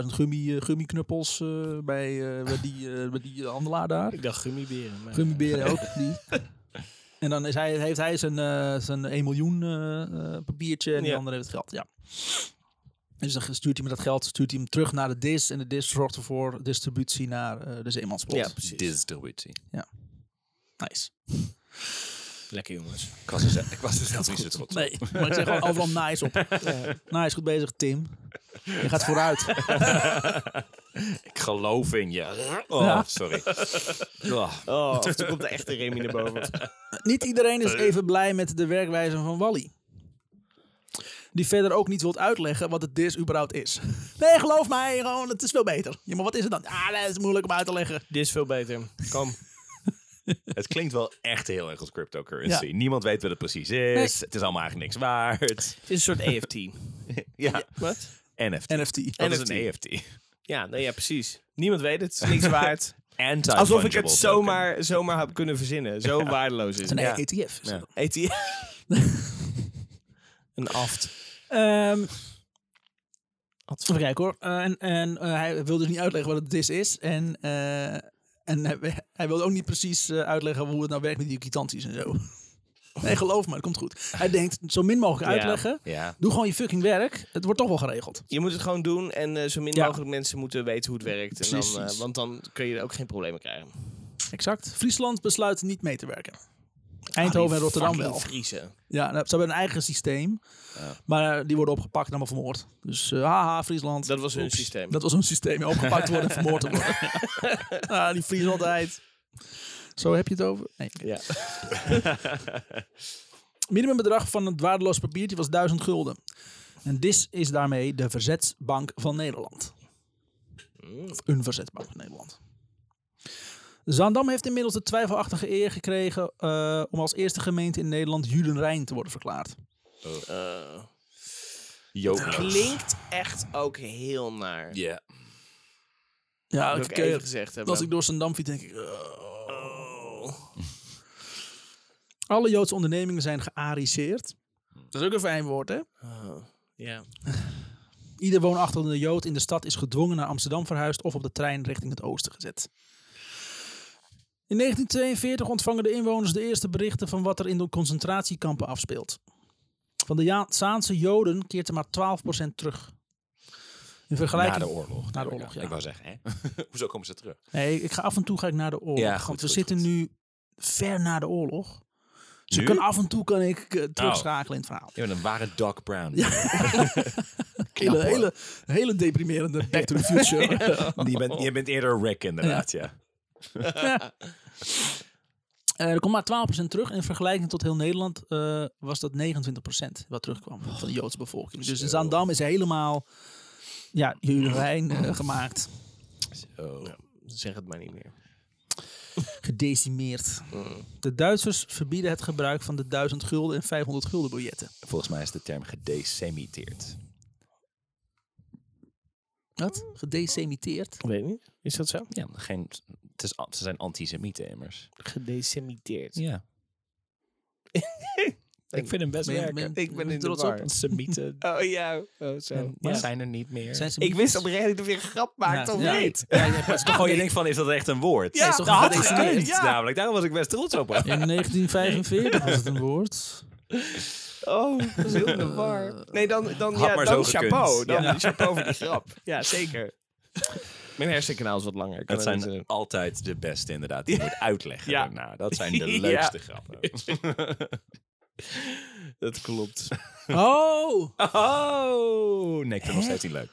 [SPEAKER 1] 10.000 gummi, eh, gummiknuppels eh, bij, eh, bij, die, eh, bij die handelaar daar.
[SPEAKER 3] Ik dacht gummiberen. Maar...
[SPEAKER 1] Gummiberen ook, die. En dan is hij, heeft hij zijn, eh, zijn 1 miljoen eh, eh, papiertje en die
[SPEAKER 3] Ja.
[SPEAKER 1] andere heeft het geld, ja. Dus dan stuurt hij met dat geld stuurt hij hem terug naar de DIS. En de DIS zorgt ervoor distributie naar eh, de Zeemanspot.
[SPEAKER 3] Ja, precies.
[SPEAKER 2] distributie.
[SPEAKER 1] Nice.
[SPEAKER 3] Lekker jongens.
[SPEAKER 2] Ik was er, zelf- ik was er zelf niet zo trots op.
[SPEAKER 1] Nee, maar ik zeg gewoon overal nice op. Nice, goed bezig Tim. Je gaat vooruit.
[SPEAKER 2] Ik geloof in je. Oh,
[SPEAKER 1] Ja.
[SPEAKER 2] sorry. Oh,
[SPEAKER 3] Oh, of toen komt de echte Remy naar boven.
[SPEAKER 1] Niet iedereen
[SPEAKER 3] Eh.
[SPEAKER 1] is even blij met de werkwijze van Wally. Die verder ook niet wilt uitleggen wat het dis überhaupt is. Nee, geloof mij, gewoon, het is veel beter. Ja, maar wat is het dan? Ah, dat is moeilijk om uit te leggen.
[SPEAKER 3] Dit is veel beter. Kom.
[SPEAKER 2] het klinkt wel echt heel erg als cryptocurrency. Niemand weet wat het precies is. Het is allemaal eigenlijk niks waard.
[SPEAKER 3] Het is een soort EFT.
[SPEAKER 2] Ja,
[SPEAKER 3] Wat?
[SPEAKER 2] NFT.
[SPEAKER 1] NFT.
[SPEAKER 2] Dat is
[SPEAKER 3] NFT.
[SPEAKER 2] een E EFT.
[SPEAKER 3] Ja, nee, ja, precies. Niemand weet het. Het is niks waard.
[SPEAKER 2] Anti-fungible
[SPEAKER 3] Alsof ik het
[SPEAKER 2] token.
[SPEAKER 3] zomaar, zomaar had kunnen verzinnen. Zo waardeloos is het.
[SPEAKER 1] Nee,
[SPEAKER 3] Ja. E
[SPEAKER 1] ETF.
[SPEAKER 2] Ja.
[SPEAKER 3] ET. een aft.
[SPEAKER 1] Ehm, even kijken hoor. Eh, en en eh, hij wil dus niet uitleggen wat het dis is. En, eh, en hij, hij wil ook niet precies eh, uitleggen hoe het nou werkt met die kwitanties en zo. Nee, geloof me, het komt goed. Hij denkt, zo min mogelijk
[SPEAKER 3] Ja.
[SPEAKER 1] uitleggen.
[SPEAKER 2] Ja.
[SPEAKER 1] Doe gewoon je fucking werk. Het wordt toch wel geregeld.
[SPEAKER 3] Je moet het gewoon doen en eh, zo min
[SPEAKER 1] Ja.
[SPEAKER 3] mogelijk mensen moeten weten hoe het werkt. En dan, eh,
[SPEAKER 1] Precies.
[SPEAKER 3] want dan kun je er ook geen problemen krijgen.
[SPEAKER 1] Exact. Friesland besluit niet mee te werken. Eindhoven en Rotterdam wel.
[SPEAKER 3] Vriezen.
[SPEAKER 1] Ja, nou, ze hebben een eigen systeem. Maar eh, die worden opgepakt en allemaal vermoord. Dus eh, haha, Friesland.
[SPEAKER 3] Dat was hun systeem.
[SPEAKER 1] Dat was een systeem. ja, Opgepakt worden en vermoord te worden. ah, die Friesland altijd. Zo heb je het over? Nee.
[SPEAKER 3] Ja.
[SPEAKER 1] Minimumbedrag van het waardeloos papiertje was 1000 gulden. En DIS is daarmee de verzetsbank van Nederland. Of een verzetsbank van Nederland. Zaandam heeft inmiddels de twijfelachtige eer gekregen eh, om als eerste gemeente in Nederland Judenrijn te worden verklaard.
[SPEAKER 3] Eh,
[SPEAKER 2] Jokeloos.
[SPEAKER 3] klinkt echt ook heel naar. Dat
[SPEAKER 2] Ja.
[SPEAKER 1] Ja,
[SPEAKER 3] wil
[SPEAKER 1] ik,
[SPEAKER 3] ik
[SPEAKER 1] eh,
[SPEAKER 3] even gezegd Oh. hebben.
[SPEAKER 1] als ik door Zaandam fiets, denk ik... eh, Alle Joodse ondernemingen zijn geariseerd. Dat is ook een fijn woord, hè?
[SPEAKER 3] Oh, ja.
[SPEAKER 1] Ieder woonachtige Jood in de stad is gedwongen naar Amsterdam verhuisd of op de trein richting het oosten gezet. In 1942 ontvangen de inwoners de eerste berichten van wat er in de concentratiekampen afspeelt. Van de Ja- Zaanse Joden keert er maar 12% terug. In vergelijking...
[SPEAKER 2] Na de oorlog.
[SPEAKER 1] Na de oorlog, ja.
[SPEAKER 2] Ik wou zeggen, hè? Hoezo komen ze terug?
[SPEAKER 1] Nee, ik ga af en toe ga ik naar de oorlog.
[SPEAKER 2] Ja, goed,
[SPEAKER 1] want we
[SPEAKER 2] goed,
[SPEAKER 1] zitten
[SPEAKER 2] goed.
[SPEAKER 1] nu ver na de oorlog. Dus ik
[SPEAKER 2] Nu? Nou,
[SPEAKER 1] kan af en toe kan ik eh, terugschakelen in het verhaal.
[SPEAKER 2] Je bent een ware Doc Brown.
[SPEAKER 1] Hele, hele, hele deprimerende Back to the Future.
[SPEAKER 2] Je, bent, je bent eerder Rick, inderdaad, ja.
[SPEAKER 1] Eh, er komt maar 12% terug. In vergelijking tot heel Nederland eh, was dat 29% wat terugkwam van de Joodse bevolking. Dus in Zaandam is helemaal ja, Jurijn eh, gemaakt,
[SPEAKER 2] Zo.
[SPEAKER 3] Zeg het maar niet meer.
[SPEAKER 1] gedecimeerd. De Duitsers verbieden het gebruik van de 1000 gulden en 500 gulden biljetten.
[SPEAKER 2] Volgens mij is de term gedecimiteerd.
[SPEAKER 1] Wat? Gedecimiteerd?
[SPEAKER 3] Weet niet. Is dat zo?
[SPEAKER 2] Ja, geen, het is, ze zijn antisemieten immers.
[SPEAKER 3] Gedesemiteerd.
[SPEAKER 2] Ja. ik vind hem best
[SPEAKER 1] Ben je-
[SPEAKER 2] werken.
[SPEAKER 1] ben je-
[SPEAKER 3] Ik ben in de
[SPEAKER 1] trots
[SPEAKER 3] war.
[SPEAKER 1] op?
[SPEAKER 2] Semieten
[SPEAKER 3] Oh ja. Oh, zo.
[SPEAKER 2] en- zijn er niet meer.
[SPEAKER 1] Zijn ze
[SPEAKER 3] Ik wist dat Reddy er weer een grap maakte,
[SPEAKER 1] Ja.
[SPEAKER 3] of
[SPEAKER 1] Ja.
[SPEAKER 3] niet?
[SPEAKER 1] Ja, ja, pas-
[SPEAKER 2] Oh, je denkt van, is dat echt een woord?
[SPEAKER 1] Ja, dat
[SPEAKER 2] dat had ik
[SPEAKER 1] had ik
[SPEAKER 2] gekund,
[SPEAKER 1] gekund,
[SPEAKER 3] ja.
[SPEAKER 2] namelijk. Daarom was ik best trots op hem.
[SPEAKER 1] In 1945 was het een woord.
[SPEAKER 3] Oh, dat is heel in de war. Nee, dan, dan,
[SPEAKER 2] Had
[SPEAKER 3] ja,
[SPEAKER 2] maar
[SPEAKER 3] dan
[SPEAKER 2] zo gekund.
[SPEAKER 3] chapeau. Dan
[SPEAKER 2] Ja.
[SPEAKER 3] chapeau voor die grap. Ja, zeker. Mijn hersenkanaal is wat langer. Ik kan
[SPEAKER 2] Dat eh,
[SPEAKER 3] het niet
[SPEAKER 2] zijn
[SPEAKER 3] zo-
[SPEAKER 2] altijd de beste, inderdaad. Die moet uitleggen
[SPEAKER 3] Ja.
[SPEAKER 2] daarna. Dat zijn de
[SPEAKER 3] Ja.
[SPEAKER 2] leukste grappen.
[SPEAKER 3] Dat klopt.
[SPEAKER 1] Oh!
[SPEAKER 2] Oh! Nee, ik vind het nog steeds niet leuk.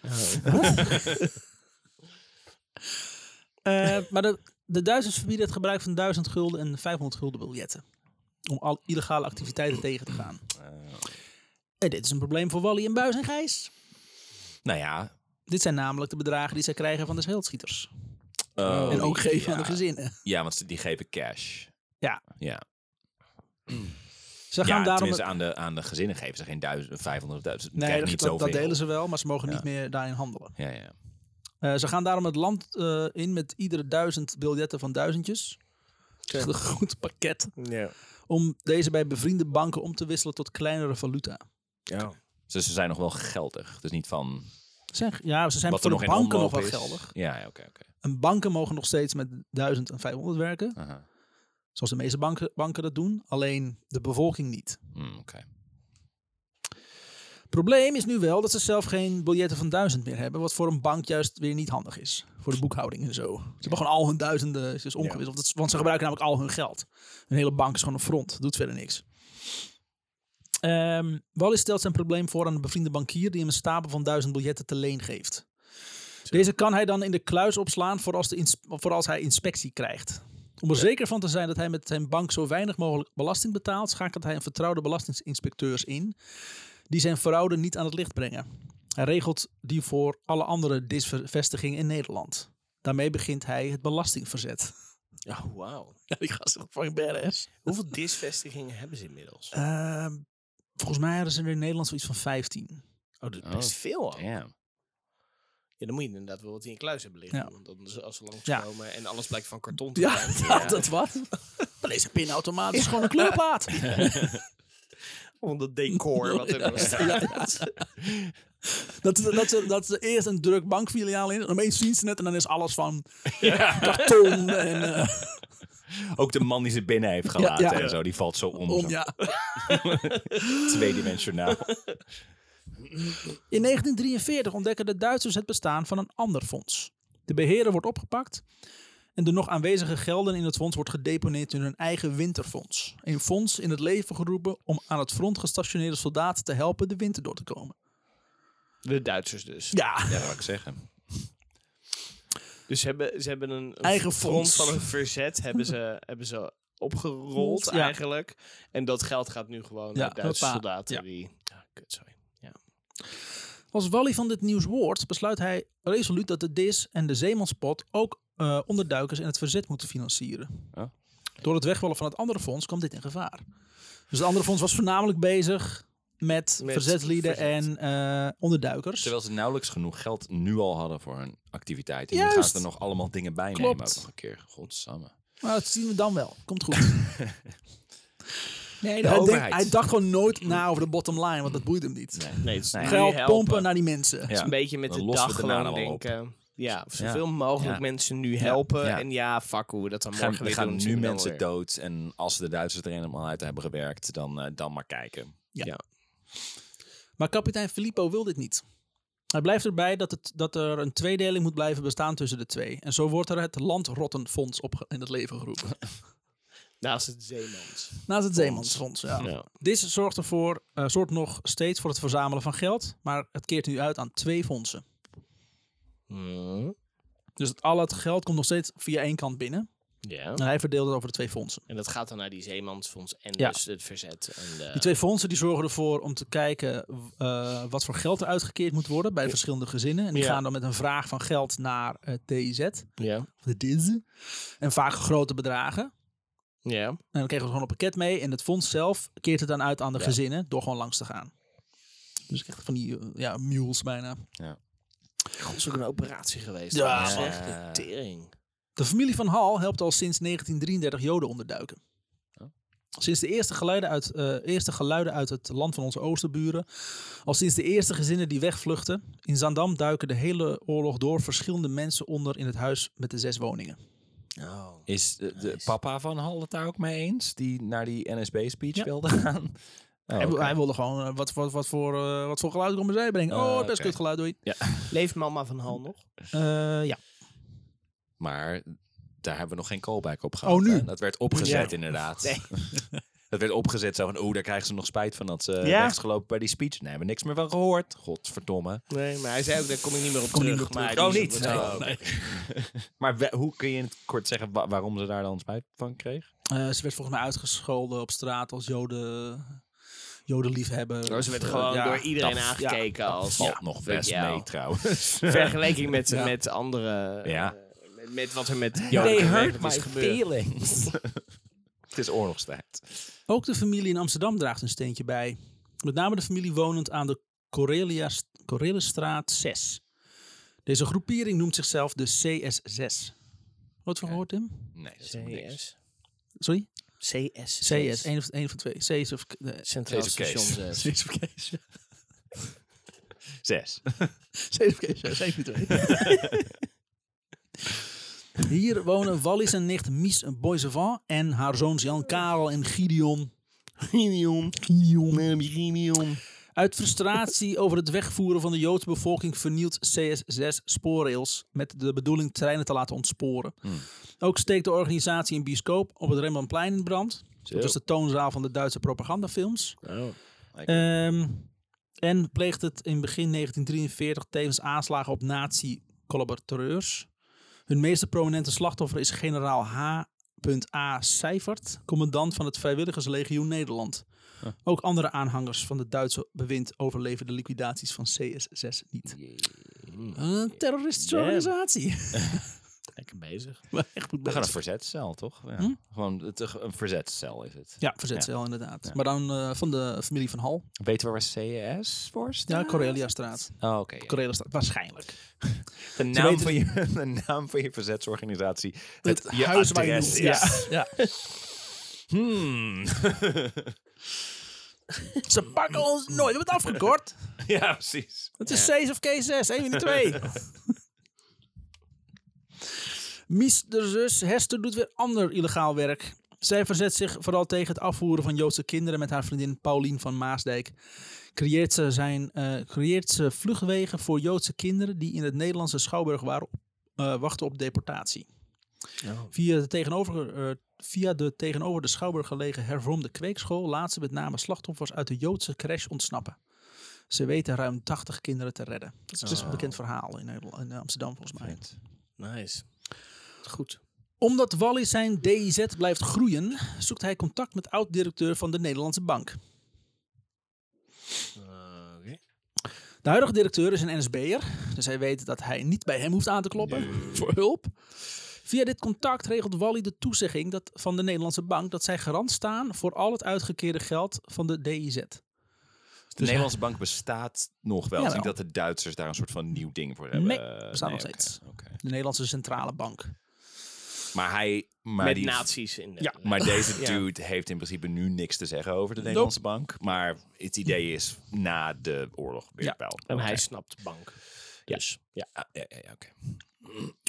[SPEAKER 1] Eh, maar de, de Duitsers verbieden het gebruik van 1000 gulden en 500 gulden biljetten. Om al illegale activiteiten tegen te gaan.
[SPEAKER 2] Eh,
[SPEAKER 1] En dit is een probleem voor Wally en Buis en Gijs.
[SPEAKER 2] Nou ja.
[SPEAKER 1] Dit zijn namelijk de bedragen die zij krijgen van de schildschieters.
[SPEAKER 2] eh,
[SPEAKER 1] Oh, en ook geven aan
[SPEAKER 2] ja.
[SPEAKER 1] de gezinnen.
[SPEAKER 2] Ja, want ze- die geven cash.
[SPEAKER 1] Ja.
[SPEAKER 2] Ja,
[SPEAKER 1] Ze gaan
[SPEAKER 2] ja
[SPEAKER 1] daarom.
[SPEAKER 2] tenminste aan de, aan de gezinnen geven ze geen duizend, 500 duizend.
[SPEAKER 1] Nee,
[SPEAKER 2] Nee,
[SPEAKER 1] dat,
[SPEAKER 2] niet
[SPEAKER 1] dat- dat
[SPEAKER 2] zoveel.
[SPEAKER 1] delen ze wel, maar ze mogen
[SPEAKER 2] Ja.
[SPEAKER 1] niet meer daarin handelen.
[SPEAKER 2] Ja, ja.
[SPEAKER 1] Eh, ze gaan daarom het land eh, in met iedere duizend biljetten van duizendjes. Echt een goed pakket.
[SPEAKER 3] Ja.
[SPEAKER 1] Om deze bij bevriende banken om te wisselen tot kleinere valuta.
[SPEAKER 3] ja.
[SPEAKER 2] Dus ze zijn nog wel geldig. Dus niet van
[SPEAKER 1] Zeg, ja, ze zijn
[SPEAKER 2] wat er
[SPEAKER 1] voor
[SPEAKER 2] nog
[SPEAKER 1] de
[SPEAKER 2] in
[SPEAKER 1] banken nog
[SPEAKER 2] omloop
[SPEAKER 1] wel
[SPEAKER 2] is.
[SPEAKER 1] geldig.
[SPEAKER 2] Ja, ja, oké, oké.
[SPEAKER 1] En banken mogen nog steeds met 1000 en 500 werken,
[SPEAKER 2] Aha.
[SPEAKER 1] zoals de meeste banken, banken dat doen, alleen de bevolking niet.
[SPEAKER 2] Mm, oké.
[SPEAKER 1] Probleem is nu wel dat ze zelf geen biljetten van 1000 meer hebben, wat voor een bank juist weer niet handig is. Voor de boekhouding en zo. Ze hebben gewoon al hun duizenden is dus omgewisseld, dat is- want ze gebruiken namelijk al hun geld. Een hele bank is gewoon een front, doet verder niks. Ehm Wallis stelt zijn probleem voor aan een bevriende bankier die hem een stapel van 1000 biljetten te leen geeft. Deze kan hij dan in de kluis opslaan voor als, de ins- voor als hij inspectie krijgt. Om er zeker van te zijn dat hij met zijn bank zo weinig mogelijk belasting betaalt, schakelt hij een vertrouwde belastinginspecteurs in, die zijn fraude niet aan het licht brengen. Hij regelt die voor alle andere disvestiging in Nederland. Daarmee begint hij het belastingverzet.
[SPEAKER 3] Oh, wauw.
[SPEAKER 1] Ja, die gast is fucking badass.
[SPEAKER 3] Hoeveel disvestigingen hebben ze inmiddels?
[SPEAKER 1] Ehm, volgens mij hadden ze er in Nederland zoiets van 15.
[SPEAKER 3] Oh, dat is
[SPEAKER 2] Oh,
[SPEAKER 3] best veel al.
[SPEAKER 2] Damn.
[SPEAKER 3] Ja, dan moet je inderdaad wel wat in je kluis hebben liggen.
[SPEAKER 1] Ja.
[SPEAKER 3] Want dan is- als ze
[SPEAKER 1] Ja.
[SPEAKER 3] langskomen en alles blijkt van karton te
[SPEAKER 1] Ja,
[SPEAKER 3] zijn. eh,
[SPEAKER 1] dat, dat wat? Dan is een pinautomaat, is gewoon een kleurplaat.
[SPEAKER 3] Van dat decor wat er dan staat.
[SPEAKER 1] Dat, ze- dat, ze, dat ze eerst een druk bankfiliaal in, en opeens zien ze het en dan is alles van karton en eh,
[SPEAKER 2] Ook de man die ze binnen heeft gelaten
[SPEAKER 1] Ja, ja.
[SPEAKER 2] en zo, die valt zo om.
[SPEAKER 1] eh, om,
[SPEAKER 2] zo
[SPEAKER 1] ja.
[SPEAKER 2] Tweedimensionaal.
[SPEAKER 1] In 1943 ontdekken de Duitsers het bestaan van een ander fonds. De beheerder wordt opgepakt en de nog aanwezige gelden in het fonds wordt gedeponeerd in hun eigen winterfonds. Een fonds in het leven geroepen om aan het front gestationeerde soldaten te helpen de winter door te komen.
[SPEAKER 3] De Duitsers dus.
[SPEAKER 1] Ja,
[SPEAKER 2] ja, dat wil ik zeggen.
[SPEAKER 3] Dus ze hebben, ze hebben een, een
[SPEAKER 1] Eigen
[SPEAKER 3] front
[SPEAKER 1] fonds.
[SPEAKER 3] van een verzet hebben ze, hebben ze opgerold
[SPEAKER 1] Ja.
[SPEAKER 3] eigenlijk. En dat geld gaat nu gewoon
[SPEAKER 1] Ja,
[SPEAKER 3] naar Duitse
[SPEAKER 1] hoppa.
[SPEAKER 3] soldaten
[SPEAKER 1] Ja.
[SPEAKER 3] die... Ah, kut, sorry.
[SPEAKER 1] Als Wally van dit nieuws hoort, besluit hij resoluut dat de DIS en de Zeemanspot ook eh, onderduikers in het verzet moeten financieren.
[SPEAKER 2] Ja.
[SPEAKER 1] Door het wegvallen van het andere fonds kwam dit in gevaar. Dus het andere fonds was voornamelijk bezig met,
[SPEAKER 3] Met
[SPEAKER 1] verzetslieden en
[SPEAKER 3] verzet.
[SPEAKER 1] eh, onderduikers.
[SPEAKER 2] Terwijl ze nauwelijks genoeg geld nu al hadden voor hun activiteit. En nu
[SPEAKER 1] Juist.
[SPEAKER 2] gaan ze er nog allemaal dingen bij nemen.
[SPEAKER 1] Klopt.
[SPEAKER 2] Ook nog een keer. Godsamme.
[SPEAKER 1] Maar dat zien we dan wel. Komt goed.
[SPEAKER 2] Nee,
[SPEAKER 1] hij, denkt- hij dacht gewoon nooit na over de bottom line, want dat boeit hem niet.
[SPEAKER 2] Nee.
[SPEAKER 3] Nee, het is nu
[SPEAKER 1] Geld
[SPEAKER 3] helpen.
[SPEAKER 1] pompen naar die mensen.
[SPEAKER 2] Ja.
[SPEAKER 3] Een beetje met
[SPEAKER 2] Dan
[SPEAKER 3] de
[SPEAKER 2] lossen we
[SPEAKER 3] dag
[SPEAKER 2] het daarna
[SPEAKER 3] gewoon
[SPEAKER 2] wel op.
[SPEAKER 3] denken... Ja, zoveel
[SPEAKER 2] Ja.
[SPEAKER 3] mogelijk
[SPEAKER 2] Ja.
[SPEAKER 3] mensen nu helpen.
[SPEAKER 2] Ja.
[SPEAKER 3] En ja, fuck hoe we dat dan
[SPEAKER 2] Gaan,
[SPEAKER 3] morgen
[SPEAKER 2] we
[SPEAKER 3] weer
[SPEAKER 2] gaan
[SPEAKER 3] doen.
[SPEAKER 2] nu
[SPEAKER 3] zien we dan
[SPEAKER 2] mensen
[SPEAKER 3] weer.
[SPEAKER 2] dood. En als de Duitsers er helemaal uit hebben gewerkt, dan, eh, dan maar kijken.
[SPEAKER 1] Maar kapitein Filippo wil dit niet. Hij blijft erbij dat, het, dat er een tweedeling moet blijven bestaan tussen de twee. En zo wordt er het Landrottenfonds opge- in het leven geroepen.
[SPEAKER 3] Naast het Zeemans.
[SPEAKER 1] Naast het Zeemansfonds, ja.
[SPEAKER 3] Ja.
[SPEAKER 1] Dit zorgt ervoor, eh zorgt nog steeds voor het verzamelen van geld. Maar het keert nu uit aan twee fondsen.
[SPEAKER 3] Hmm.
[SPEAKER 1] Dus het, al het geld komt nog steeds via één kant binnen.
[SPEAKER 3] Ja.
[SPEAKER 1] En hij verdeelt het over de twee fondsen.
[SPEAKER 3] En dat gaat dan naar die Zeemansfonds en
[SPEAKER 1] Ja.
[SPEAKER 3] dus het verzet. En de,
[SPEAKER 1] Die twee fondsen die zorgen ervoor om te kijken eh, wat voor geld er uitgekeerd moet worden bij verschillende gezinnen. En die
[SPEAKER 3] Ja.
[SPEAKER 1] gaan dan met een vraag van geld naar eh, het DIZ.
[SPEAKER 3] Ja.
[SPEAKER 1] of de DIZ. En vaak grote bedragen.
[SPEAKER 3] Ja.
[SPEAKER 1] En dan kregen we gewoon een pakket mee. En het fonds zelf keert het dan uit aan de gezinnen door gewoon langs te gaan. Dus echt van die eh, ja, mules bijna.
[SPEAKER 3] God, is ook een operatie geweest.
[SPEAKER 1] Ja,
[SPEAKER 3] Dat is
[SPEAKER 1] man.
[SPEAKER 3] echt een tering.
[SPEAKER 1] De familie van Hal helpt al sinds 1933 Joden onderduiken. Sinds de eerste geluiden, uit, eh, eerste geluiden uit het land van onze oosterburen, al sinds de eerste gezinnen die wegvluchten, in Zandam duiken de hele oorlog door verschillende mensen onder in het huis met de zes woningen.
[SPEAKER 3] Oh.
[SPEAKER 2] Is de, de papa van Hal het daar ook mee eens? Die naar die NSB-speech wilde gaan? Oh,
[SPEAKER 1] Hij,
[SPEAKER 2] oké.
[SPEAKER 1] hij wilde gewoon, eh, wat, wat, wat, voor, eh, wat voor geluid komen zij brengen?
[SPEAKER 2] Ah,
[SPEAKER 1] oh, best
[SPEAKER 2] oké.
[SPEAKER 1] kut geluid, doei.
[SPEAKER 3] Leeft mama van Hal nog?
[SPEAKER 1] Eh, ja.
[SPEAKER 2] Maar daar hebben we nog geen callback op gehad.
[SPEAKER 1] Oh, nu?
[SPEAKER 2] hè? Dat werd opgezet,
[SPEAKER 3] Ja.
[SPEAKER 2] inderdaad.
[SPEAKER 3] Nee.
[SPEAKER 2] dat werd opgezet zo van, oh, daar krijgen ze nog spijt van dat ze
[SPEAKER 3] Ja.
[SPEAKER 2] rechtsgelopen bij die speech. Nee, hebben we niks meer van gehoord. Godverdomme.
[SPEAKER 3] Nee, maar hij zei ook, daar kom ik niet meer op
[SPEAKER 1] Kom niet
[SPEAKER 3] terug.
[SPEAKER 1] meer op terug.
[SPEAKER 3] maar die
[SPEAKER 1] Oh,
[SPEAKER 3] is-
[SPEAKER 1] niet?
[SPEAKER 3] Nee.
[SPEAKER 1] Oh,
[SPEAKER 2] oké. maar we- hoe kun je in het kort zeggen wa- waarom ze daar dan spijt van kreeg?
[SPEAKER 1] Eh, ze werd volgens mij uitgescholden op straat als joden, jodenliefhebber.
[SPEAKER 3] Oh, ze werd
[SPEAKER 1] Of, eh,
[SPEAKER 3] gewoon
[SPEAKER 1] ja,
[SPEAKER 3] door iedereen
[SPEAKER 1] dat-
[SPEAKER 3] aangekeken als...
[SPEAKER 2] Valt nog best
[SPEAKER 3] Ja.
[SPEAKER 2] mee, trouwens.
[SPEAKER 3] Vergelijking met,
[SPEAKER 1] Ja.
[SPEAKER 3] met andere...
[SPEAKER 2] Ja.
[SPEAKER 3] eh, met, met wat er met Joden werkelijk is gebeurd.
[SPEAKER 2] feelings. het is oorlogstijd.
[SPEAKER 1] ja. Ook de familie in Amsterdam draagt een steentje bij. Met name de familie wonend aan de Corelia, Corelistraat 6. Deze groepering noemt zichzelf de CS6. Wat voor gehoord, Tim?
[SPEAKER 2] Nee, dat is helemaal niks.
[SPEAKER 3] CS.
[SPEAKER 1] Sorry?
[SPEAKER 3] CS.
[SPEAKER 1] CS, één of, één van twee. CS of... eh,
[SPEAKER 3] Centraal
[SPEAKER 2] Deze
[SPEAKER 3] Station
[SPEAKER 2] case.
[SPEAKER 3] 6.
[SPEAKER 1] CS of Kees.
[SPEAKER 2] Zes.
[SPEAKER 1] CS of Kees, ja, zeven van twee. Hier wonen Wallis en nicht Mies Boisevant en haar zoons Jan Karel en Gideon.
[SPEAKER 3] Premium. Premium. Premium.
[SPEAKER 1] Uit frustratie over het wegvoeren van de Joodse bevolking vernielt CS6 spoorrails met de bedoeling treinen te laten ontsporen. Ook steekt de organisatie een bioscoop op het Rembrandtplein in brand. Dat is de toonzaal van de Duitse propagandafilms.
[SPEAKER 3] Oh.
[SPEAKER 1] Ehm, en pleegt het in begin 1943 tevens aanslagen op nazi collaborateurs. Hun meest prominente slachtoffer is generaal H.A. Seifert, commandant van het Vrijwilligerslegioen Nederland. Ook andere aanhangers van het Duitse bewind overleven de liquidaties van CS6 niet. Een terroristische
[SPEAKER 6] Damn.
[SPEAKER 1] organisatie.
[SPEAKER 6] Lekker bezig.
[SPEAKER 1] Maar echt goed
[SPEAKER 2] We gaan een
[SPEAKER 1] bezig.
[SPEAKER 2] verzetcel, toch? Ja.
[SPEAKER 1] Hm?
[SPEAKER 2] Gewoon het, een verzetcel is het.
[SPEAKER 1] Ja, verzetcel inderdaad. Maar dan eh, van de familie van Hal.
[SPEAKER 2] Weet je waar CS voor
[SPEAKER 1] Ja,
[SPEAKER 2] staat?
[SPEAKER 1] Corellia-straat.
[SPEAKER 2] Oh, oké. ja.
[SPEAKER 1] Corellia-straat, waarschijnlijk.
[SPEAKER 2] De, naam
[SPEAKER 1] weten-
[SPEAKER 2] van je, de naam van je verzetsorganisatie. Het, je
[SPEAKER 1] huis waar je
[SPEAKER 2] adres
[SPEAKER 1] noemt,
[SPEAKER 2] is.
[SPEAKER 1] Ja.
[SPEAKER 2] Hmm.
[SPEAKER 1] Ze pakken ons nooit. We hebben het afgekort.
[SPEAKER 2] ja, precies.
[SPEAKER 1] Het is C's of K6, één van de twee. Mister Zus Hester doet weer ander illegaal werk. Zij verzet zich vooral tegen het afvoeren van Joodse kinderen met haar vriendin Paulien van Maasdijk. Creëert ze, zijn, eh, creëert ze vluchtwegen voor Joodse kinderen die in het Nederlandse Schouwburg waren, eh, wachten op deportatie. Via, de tegenover, eh, via de tegenover de Schouwburg gelegen hervormde kweekschool laat ze met name slachtoffers uit de Joodse crash ontsnappen. Ze weten ruim 80 kinderen te redden. Dat is best een bekend verhaal in, Nederland- in Amsterdam volgens mij.
[SPEAKER 6] Nice. Goed.
[SPEAKER 1] Omdat Wally zijn DIZ blijft groeien, zoekt hij contact met oud-directeur van de Nederlandse Bank. De huidige directeur is een NSB'er, dus hij weet dat hij niet bij hem hoeft aan te kloppen voor hulp. Via dit contact regelt Wally de toezegging dat, van de Nederlandse Bank dat zij garant staan voor al het uitgekeerde geld van de DIZ.
[SPEAKER 2] De
[SPEAKER 1] Dus-
[SPEAKER 2] Nederlandse bank bestaat nog wel. Ik
[SPEAKER 1] Jawel.
[SPEAKER 2] denk dat de Duitsers daar een soort van nieuw ding voor hebben.
[SPEAKER 1] Nee, bestaat nog
[SPEAKER 2] oké,
[SPEAKER 1] steeds.
[SPEAKER 2] oké.
[SPEAKER 1] De Nederlandse Centrale Bank.
[SPEAKER 2] Maar hij... Maar
[SPEAKER 3] Met
[SPEAKER 2] die-
[SPEAKER 3] nazi's in de...
[SPEAKER 2] Ja, maar deze dude heeft in principe nu niks te zeggen over de Nederlandse bank. Maar het idee is na de oorlog weer
[SPEAKER 1] Ja.
[SPEAKER 2] wel.
[SPEAKER 3] En hij
[SPEAKER 2] Oké.
[SPEAKER 3] snapt de bank.
[SPEAKER 2] Ja.
[SPEAKER 3] Dus, ja.
[SPEAKER 2] Ah, ja, ja, ja, oké.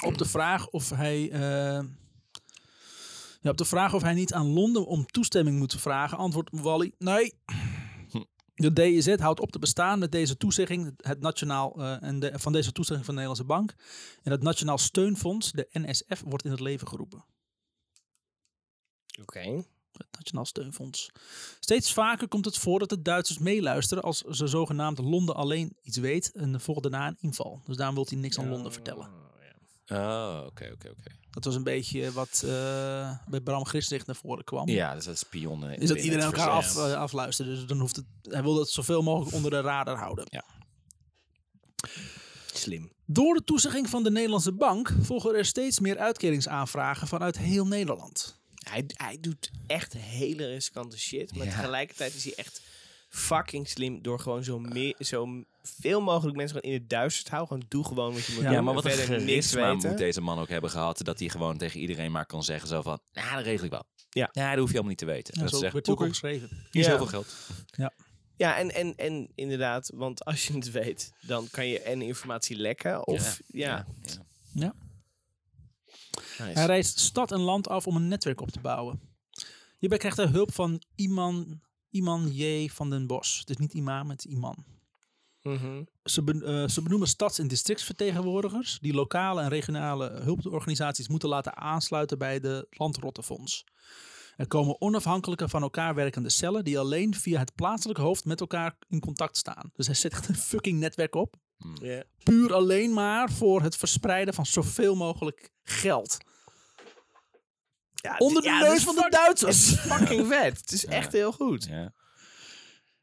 [SPEAKER 1] Op de vraag of hij. eh, ja, op de vraag of hij niet aan Londen om toestemming moet vragen, antwoordt Wally: nee. De DEZ houdt op te bestaan met deze toezegging het nationaal, eh, en de, van deze toezegging van de Nederlandse Bank. En het Nationaal Steunfonds, de NSF, wordt in het leven geroepen.
[SPEAKER 3] Oké.
[SPEAKER 1] Het Nationaal Steunfonds. Steeds vaker komt het voor dat de Duitsers meeluisteren als ze zogenaamd Londen alleen iets weet en volgt daarna een inval. Dus daarom wil hij niks aan Londen vertellen.
[SPEAKER 2] Oh, oké, oké, oké.
[SPEAKER 1] Dat was een beetje wat eh, bij Bram Grislicht naar voren kwam.
[SPEAKER 2] Ja, dus dat is spionnen.
[SPEAKER 1] Is dat
[SPEAKER 2] binnen
[SPEAKER 1] iedereen
[SPEAKER 2] het
[SPEAKER 1] elkaar af,
[SPEAKER 2] verzet.
[SPEAKER 1] eh, afluistert. Dus dan hoeft het, hij wil dat zoveel mogelijk onder de radar houden.
[SPEAKER 2] Ja.
[SPEAKER 3] Slim.
[SPEAKER 1] Door de toezegging van de Nederlandse bank volgen er steeds meer uitkeringsaanvragen vanuit heel Nederland.
[SPEAKER 3] Hij, hij doet echt hele riskante shit. Maar tegelijkertijd is hij echt fucking slim. Door gewoon zo, me- zo veel mogelijk mensen gewoon in het duister te houden. Gewoon doe gewoon wat je moet
[SPEAKER 1] Ja,
[SPEAKER 3] doen.
[SPEAKER 2] Ja, maar wat
[SPEAKER 3] en
[SPEAKER 2] een
[SPEAKER 3] verder niks
[SPEAKER 2] charisma
[SPEAKER 3] weten.
[SPEAKER 2] moet deze man ook hebben gehad. Dat hij gewoon tegen iedereen maar kan zeggen zo van... Nou, dat regel ik wel.
[SPEAKER 3] Ja.
[SPEAKER 2] Ja, dat hoef je helemaal niet te weten.
[SPEAKER 1] En
[SPEAKER 2] dat
[SPEAKER 1] zo
[SPEAKER 2] is
[SPEAKER 1] werd
[SPEAKER 2] echt
[SPEAKER 1] het ook
[SPEAKER 2] poeker.
[SPEAKER 1] geschreven.
[SPEAKER 2] Hier is
[SPEAKER 3] Ja.
[SPEAKER 2] heel veel geld.
[SPEAKER 3] Ja, en, en, en inderdaad, want als je het weet, dan kan je en informatie lekken. Of ja,
[SPEAKER 1] Ja.
[SPEAKER 3] Nice.
[SPEAKER 1] Hij reist stad en land af om een netwerk op te bouwen. Hierbij krijgt hij hulp van Iman, Iman J. van den Bos. Het is niet imam, het is Iman.
[SPEAKER 3] Mhm.
[SPEAKER 1] Ze, ben- eh, ze benoemen stads- en districtsvertegenwoordigers die lokale en regionale hulporganisaties moeten laten aansluiten bij de Landrottenfonds. Er komen onafhankelijke van elkaar werkende cellen die alleen via het plaatselijk hoofd met elkaar in contact staan. Dus hij zet echt een fucking netwerk op.
[SPEAKER 3] Ja.
[SPEAKER 1] Puur alleen maar voor het verspreiden van zoveel mogelijk geld.
[SPEAKER 3] Ja,
[SPEAKER 1] Onder
[SPEAKER 3] d-
[SPEAKER 1] de
[SPEAKER 3] ja, dat
[SPEAKER 1] neus
[SPEAKER 3] is
[SPEAKER 1] van de
[SPEAKER 3] fuck-
[SPEAKER 1] Duitsers.
[SPEAKER 3] Fucking vet. Het is echt heel goed.
[SPEAKER 2] Ja.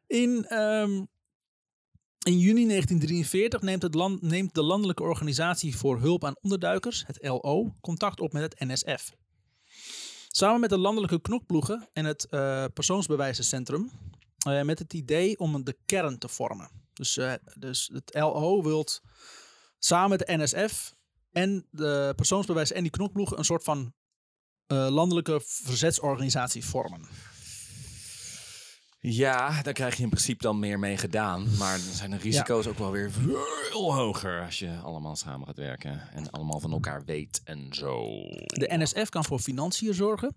[SPEAKER 1] In, ehm, in juni 1943 neemt, het land, neemt de Landelijke Organisatie voor Hulp aan Onderduikers, het LO, contact op met het NSF. Samen met de Landelijke Knokploegen en het eh, Persoonsbewijzencentrum eh, met het idee om de kern te vormen. Dus, eh, dus het LO wilt samen met de NSF en de persoonsbewijzen en die knokploegen een soort van eh, landelijke verzetsorganisatie vormen.
[SPEAKER 2] ja, daar krijg je in principe dan meer mee gedaan. Maar dan zijn de risico's ook wel weer veel hoger als je allemaal samen gaat werken. En allemaal van elkaar weet en zo.
[SPEAKER 1] De NSF kan voor financiën zorgen.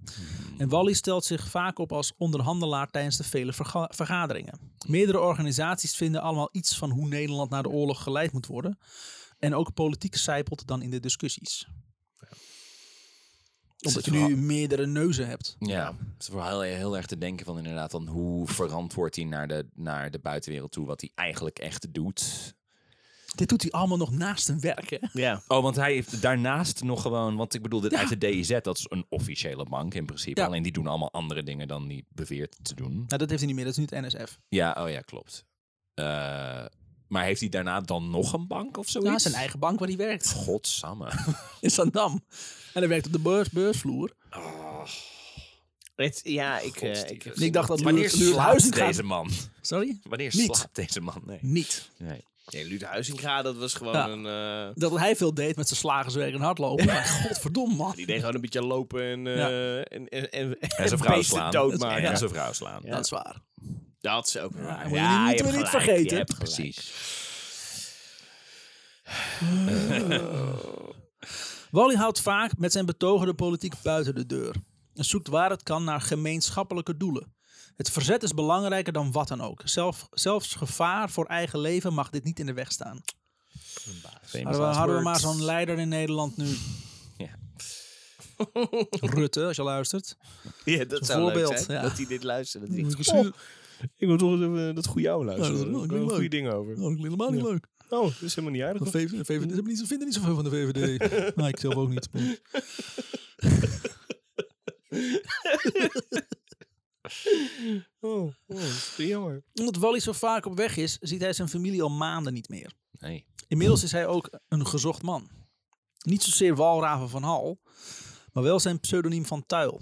[SPEAKER 1] En Wally stelt zich vaak op als onderhandelaar tijdens de vele verga- vergaderingen. Meerdere organisaties vinden allemaal iets van hoe Nederland na de oorlog geleid moet worden. En ook politiek zijpelt dan in de discussies. Omdat
[SPEAKER 2] Zit
[SPEAKER 1] je
[SPEAKER 2] vooral-
[SPEAKER 1] nu meerdere neuzen hebt.
[SPEAKER 2] Ja, het is vooral heel, heel erg te denken van inderdaad van hoe verantwoord hij naar de, naar de buitenwereld toe wat hij eigenlijk echt doet.
[SPEAKER 1] Dit doet hij allemaal nog naast zijn werk, hè? Nou,
[SPEAKER 6] Ja.
[SPEAKER 2] Oh, want hij heeft daarnaast nog gewoon... Want ik bedoel, dit
[SPEAKER 1] Ja.
[SPEAKER 2] uit de DIZ, dat is een officiële bank in principe.
[SPEAKER 1] Ja.
[SPEAKER 2] Alleen die doen allemaal andere dingen dan die beweert te doen.
[SPEAKER 1] Nou, dat heeft hij niet meer. Dat is nu het NSF.
[SPEAKER 2] Ja, oh ja, klopt. Eh, maar heeft hij daarna dan nog een bank of zoiets?
[SPEAKER 1] Ja, zijn eigen eh, bank waar hij werkt.
[SPEAKER 2] Godsamme.
[SPEAKER 1] In Zandam. En hij werkt op de beurs, beursvloer.
[SPEAKER 3] Het, ja, ik, eh, ik
[SPEAKER 2] Steven.
[SPEAKER 1] En ik dacht dat
[SPEAKER 2] Wanneer
[SPEAKER 1] Lu- Lu-
[SPEAKER 2] slaapt
[SPEAKER 1] Huizing gaat-
[SPEAKER 2] deze man?
[SPEAKER 1] Sorry?
[SPEAKER 2] Wanneer
[SPEAKER 1] Niet.
[SPEAKER 2] slaapt deze man? Nee.
[SPEAKER 1] Niet.
[SPEAKER 2] nee.
[SPEAKER 3] Nee, Luut Huizinga, dat was gewoon
[SPEAKER 1] Ja.
[SPEAKER 3] een... eh,
[SPEAKER 1] Dat hij veel deed met zijn slagerswerk en hardlopen. Maar godverdomme, man.
[SPEAKER 3] die deed gewoon een beetje lopen en, eh en, en, en,
[SPEAKER 2] En zijn vrouw
[SPEAKER 3] beesten
[SPEAKER 2] slaan.
[SPEAKER 3] doodmaken.
[SPEAKER 2] En
[SPEAKER 3] Ja.
[SPEAKER 2] zijn vrouw slaan.
[SPEAKER 1] Dat is waar.
[SPEAKER 3] Dat is ook
[SPEAKER 1] Ja,
[SPEAKER 3] waar.
[SPEAKER 1] moet je niet- moeten we
[SPEAKER 3] hebt
[SPEAKER 1] niet
[SPEAKER 3] gelijk,
[SPEAKER 1] vergeten.
[SPEAKER 3] je hebt gelijk.
[SPEAKER 2] Precies.
[SPEAKER 1] Wally houdt vaak met zijn betogen de politiek buiten de deur. En zoekt waar het kan naar gemeenschappelijke doelen. Het verzet is belangrijker dan wat dan ook. Zelf, zelfs gevaar voor eigen leven mag dit niet in de weg staan.
[SPEAKER 2] Famous
[SPEAKER 1] Hadden we,
[SPEAKER 2] last
[SPEAKER 1] hadden we maar
[SPEAKER 2] words.
[SPEAKER 1] zo'n leider in Nederland nu.
[SPEAKER 2] Ja.
[SPEAKER 1] Rutte, als je luistert.
[SPEAKER 3] Ja,
[SPEAKER 1] zou
[SPEAKER 3] dat zou
[SPEAKER 1] leuk
[SPEAKER 3] voorbeeld,
[SPEAKER 1] zijn, dat
[SPEAKER 3] Dat hij dit luistert. Dat "Oh,
[SPEAKER 1] denkt,
[SPEAKER 3] ik wil toch eens even dat goede oude
[SPEAKER 1] Ja, dat is wel-
[SPEAKER 3] Daar
[SPEAKER 1] ik
[SPEAKER 3] wel
[SPEAKER 1] vind
[SPEAKER 3] goede
[SPEAKER 1] het
[SPEAKER 3] dingen over.
[SPEAKER 1] dat helemaal niet leuk.
[SPEAKER 3] Oh, dat is helemaal niet aardig.
[SPEAKER 1] De VVD, VVD, ze niet- vinden niet zoveel van de VVD. nou, ik zelf ook niet. maar-
[SPEAKER 3] Oh, oh, dat is jammer.
[SPEAKER 1] Omdat Wally zo vaak op weg is, ziet hij zijn familie al maanden niet meer.
[SPEAKER 2] Nee.
[SPEAKER 1] Inmiddels is hij ook een gezocht man. Niet zozeer Walraven van Hal, maar wel zijn pseudoniem van Tuil.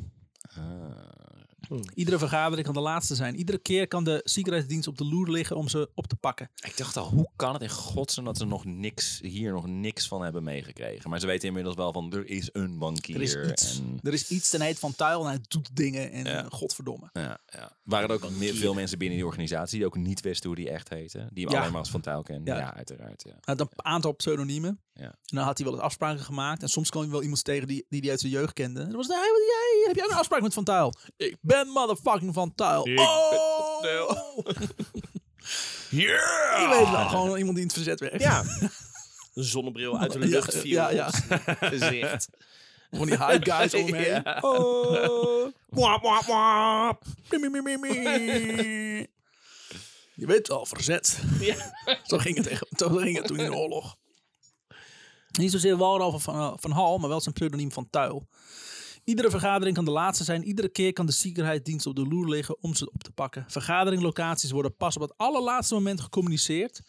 [SPEAKER 1] Iedere vergadering kan de laatste zijn. Iedere keer kan de secretdienst op de loer liggen om ze op te pakken.
[SPEAKER 2] Ik dacht al, hoe kan het in godsnaam dat ze nog niks, hier nog niks van hebben meegekregen? Maar ze weten inmiddels wel van, er is een bankier.
[SPEAKER 1] Er is iets.
[SPEAKER 2] En,
[SPEAKER 1] Er is iets ten heet van Tuil en hij doet dingen en eh, godverdomme.
[SPEAKER 2] ja, ja. Waren er ook meer, veel mensen binnen die organisatie die ook niet wisten hoe die echt heette? Die hem
[SPEAKER 1] Ja.
[SPEAKER 2] alleen maar als Van Tuyl kennen?
[SPEAKER 1] Ja.
[SPEAKER 2] Ja, uiteraard. Ja.
[SPEAKER 1] Hij had een aantal pseudoniemen.
[SPEAKER 2] Ja.
[SPEAKER 1] En dan had hij wel eens afspraken gemaakt. En soms kwam je wel iemand tegen die, die hij uit zijn jeugd kende. En dan was het, hey, wat- jij, heb jij nou een afspraak met Van Tuil? Ik ben motherfucking Van Tuil. oh! Je weet wel, gewoon iemand die in het verzet werkt.
[SPEAKER 3] Ja. Een zonnebril uit de
[SPEAKER 1] Ja,
[SPEAKER 3] lucht viel
[SPEAKER 1] ja,
[SPEAKER 3] ja,
[SPEAKER 1] ja.
[SPEAKER 3] gezicht.
[SPEAKER 1] Gewoon die hype guys om hem heen. Oh. Wap, wap, wap. Mie, mie, mie, mie, mie. Je weet wel, verzet. zo, ging het echt, zo ging het toen in de oorlog. Niet zozeer Walraven van, eh, van Hal, maar wel zijn pseudoniem van Tuil. Iedere vergadering kan de laatste zijn. Iedere keer kan de ziekenheidsdienst op de loer liggen om ze op te pakken. Vergaderinglocaties worden pas op het allerlaatste moment gecommuniceerd.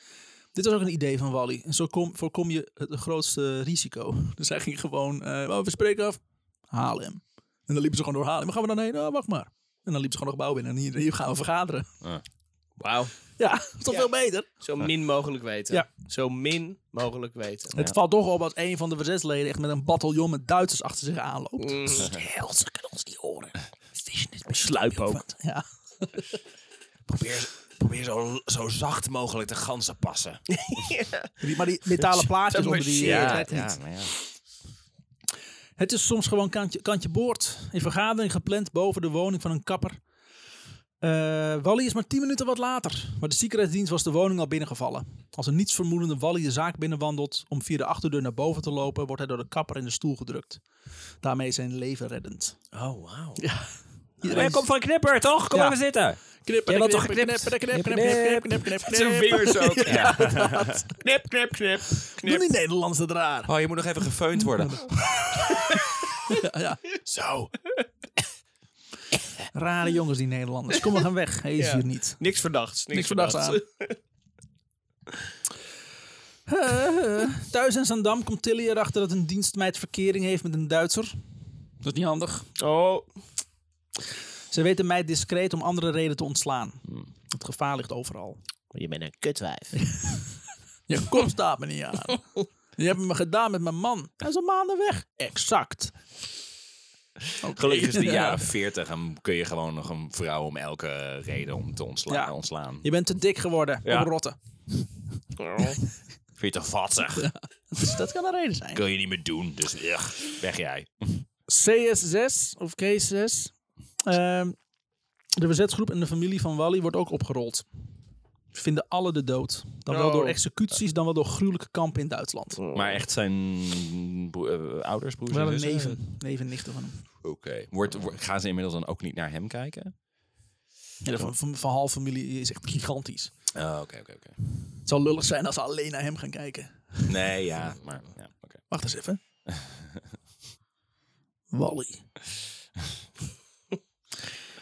[SPEAKER 1] Dit was ook een idee van Wally. En zo kom, voorkom je het grootste risico. Dus hij ging gewoon, eh, oh, we spreken af, Haarlem. En dan liepen ze gewoon door Haarlem. Waar gaan we dan heen? Oh, wacht maar. En dan liepen ze gewoon nog gebouw binnen. En hier, hier gaan we vergaderen.
[SPEAKER 3] Wauw.
[SPEAKER 1] Ja, dat is toch
[SPEAKER 3] Ja.
[SPEAKER 1] veel beter?
[SPEAKER 3] Zo min mogelijk weten.
[SPEAKER 1] Ja.
[SPEAKER 3] Zo min mogelijk weten.
[SPEAKER 1] Het valt toch op als een van de verzetsleden echt met een bataljon met Duitsers achter zich aanloopt. Stil, ze kunnen ons niet horen. Vision is Mm. Sluip ook. Ja.
[SPEAKER 2] Probeer, probeer zo, zo zacht mogelijk de ganzen passen.
[SPEAKER 1] Die- Maar die metalen plaatjes onder die... eh,
[SPEAKER 3] marcheert,
[SPEAKER 1] het werkt niet. Het is soms gewoon kantje, kantje boord. In vergadering gepland boven de woning van een kapper. Eh, Wally is maar 10 minuten wat later. Maar de secretdienst was de woning al binnengevallen. Als een nietsvermoedende Wally de zaak binnenwandelt om via de achterdeur naar boven te lopen, wordt hij door de kapper in de stoel gedrukt. Daarmee is zijn leven reddend.
[SPEAKER 6] Oh, wauw.
[SPEAKER 1] Iedereen
[SPEAKER 2] komt van Knipper, toch? Kom
[SPEAKER 1] Ja.
[SPEAKER 2] even zitten.
[SPEAKER 1] knippen,
[SPEAKER 2] Jij bent toch
[SPEAKER 1] knippen,
[SPEAKER 2] geknipt?
[SPEAKER 1] knippen,
[SPEAKER 2] Knip,
[SPEAKER 1] knippen, knippen, knippen,
[SPEAKER 3] Zijn
[SPEAKER 1] knippen.
[SPEAKER 3] vingers ook. Ja. knip, knip, knip.
[SPEAKER 1] Doe die Nederlands dat raar.
[SPEAKER 2] Oh, je moet nog even gefeund worden.
[SPEAKER 1] Ja, ja.
[SPEAKER 2] Zo.
[SPEAKER 1] Rare jongens die Nederlanders. Kom, we gaan weg. Hij is
[SPEAKER 3] Ja.
[SPEAKER 1] hier niet.
[SPEAKER 3] Niks verdachts. Niks,
[SPEAKER 1] Niks verdachts aan. Eh, eh, thuis in Zandam komt Tilly erachter dat een dienstmeid verkering heeft met een Duitser. Dat is niet handig.
[SPEAKER 3] Oh,
[SPEAKER 1] Ze weet de meid discreet om andere reden te ontslaan. Het gevaar ligt overal.
[SPEAKER 6] Je bent een kutwijf.
[SPEAKER 1] Je kop staat me niet aan. Je hebt me gedaan met mijn man. Hij is al maanden weg. Exact.
[SPEAKER 2] Gelukkig is het de
[SPEAKER 1] Ja.
[SPEAKER 2] jaren 40 en kun je gewoon nog een vrouw om elke reden om te ontslaan.
[SPEAKER 1] Ja.
[SPEAKER 2] ontslaan.
[SPEAKER 1] Je bent te dik geworden.
[SPEAKER 2] Ja.
[SPEAKER 1] Op rotten.
[SPEAKER 2] Vind je te vatzig?
[SPEAKER 1] Dus dat kan een reden zijn.
[SPEAKER 2] Kun je niet meer doen, dus ugh, weg jij.
[SPEAKER 1] CS6 of K6. Ehm, de verzetsgroep en de familie van Wally wordt ook opgerold. Ze vinden alle de dood. Dan wel
[SPEAKER 3] Oh.
[SPEAKER 1] door executies, dan wel door gruwelijke kampen in Duitsland.
[SPEAKER 2] Maar echt zijn bro- eh, ouders, broers
[SPEAKER 1] Wel
[SPEAKER 2] en
[SPEAKER 1] een
[SPEAKER 2] zussen?
[SPEAKER 1] neven. Neven en nichten van hem.
[SPEAKER 2] Oké. Wordt- wo- gaan ze inmiddels dan ook niet naar hem kijken?
[SPEAKER 1] Ja, de van, van, van Hal familie is echt gigantisch.
[SPEAKER 2] Oh, Oké, oké, oké.
[SPEAKER 1] Ze zal lullig zijn als we alleen naar hem gaan kijken.
[SPEAKER 2] Nee, ja, maar ja, oké.
[SPEAKER 1] Wacht eens even. Wally.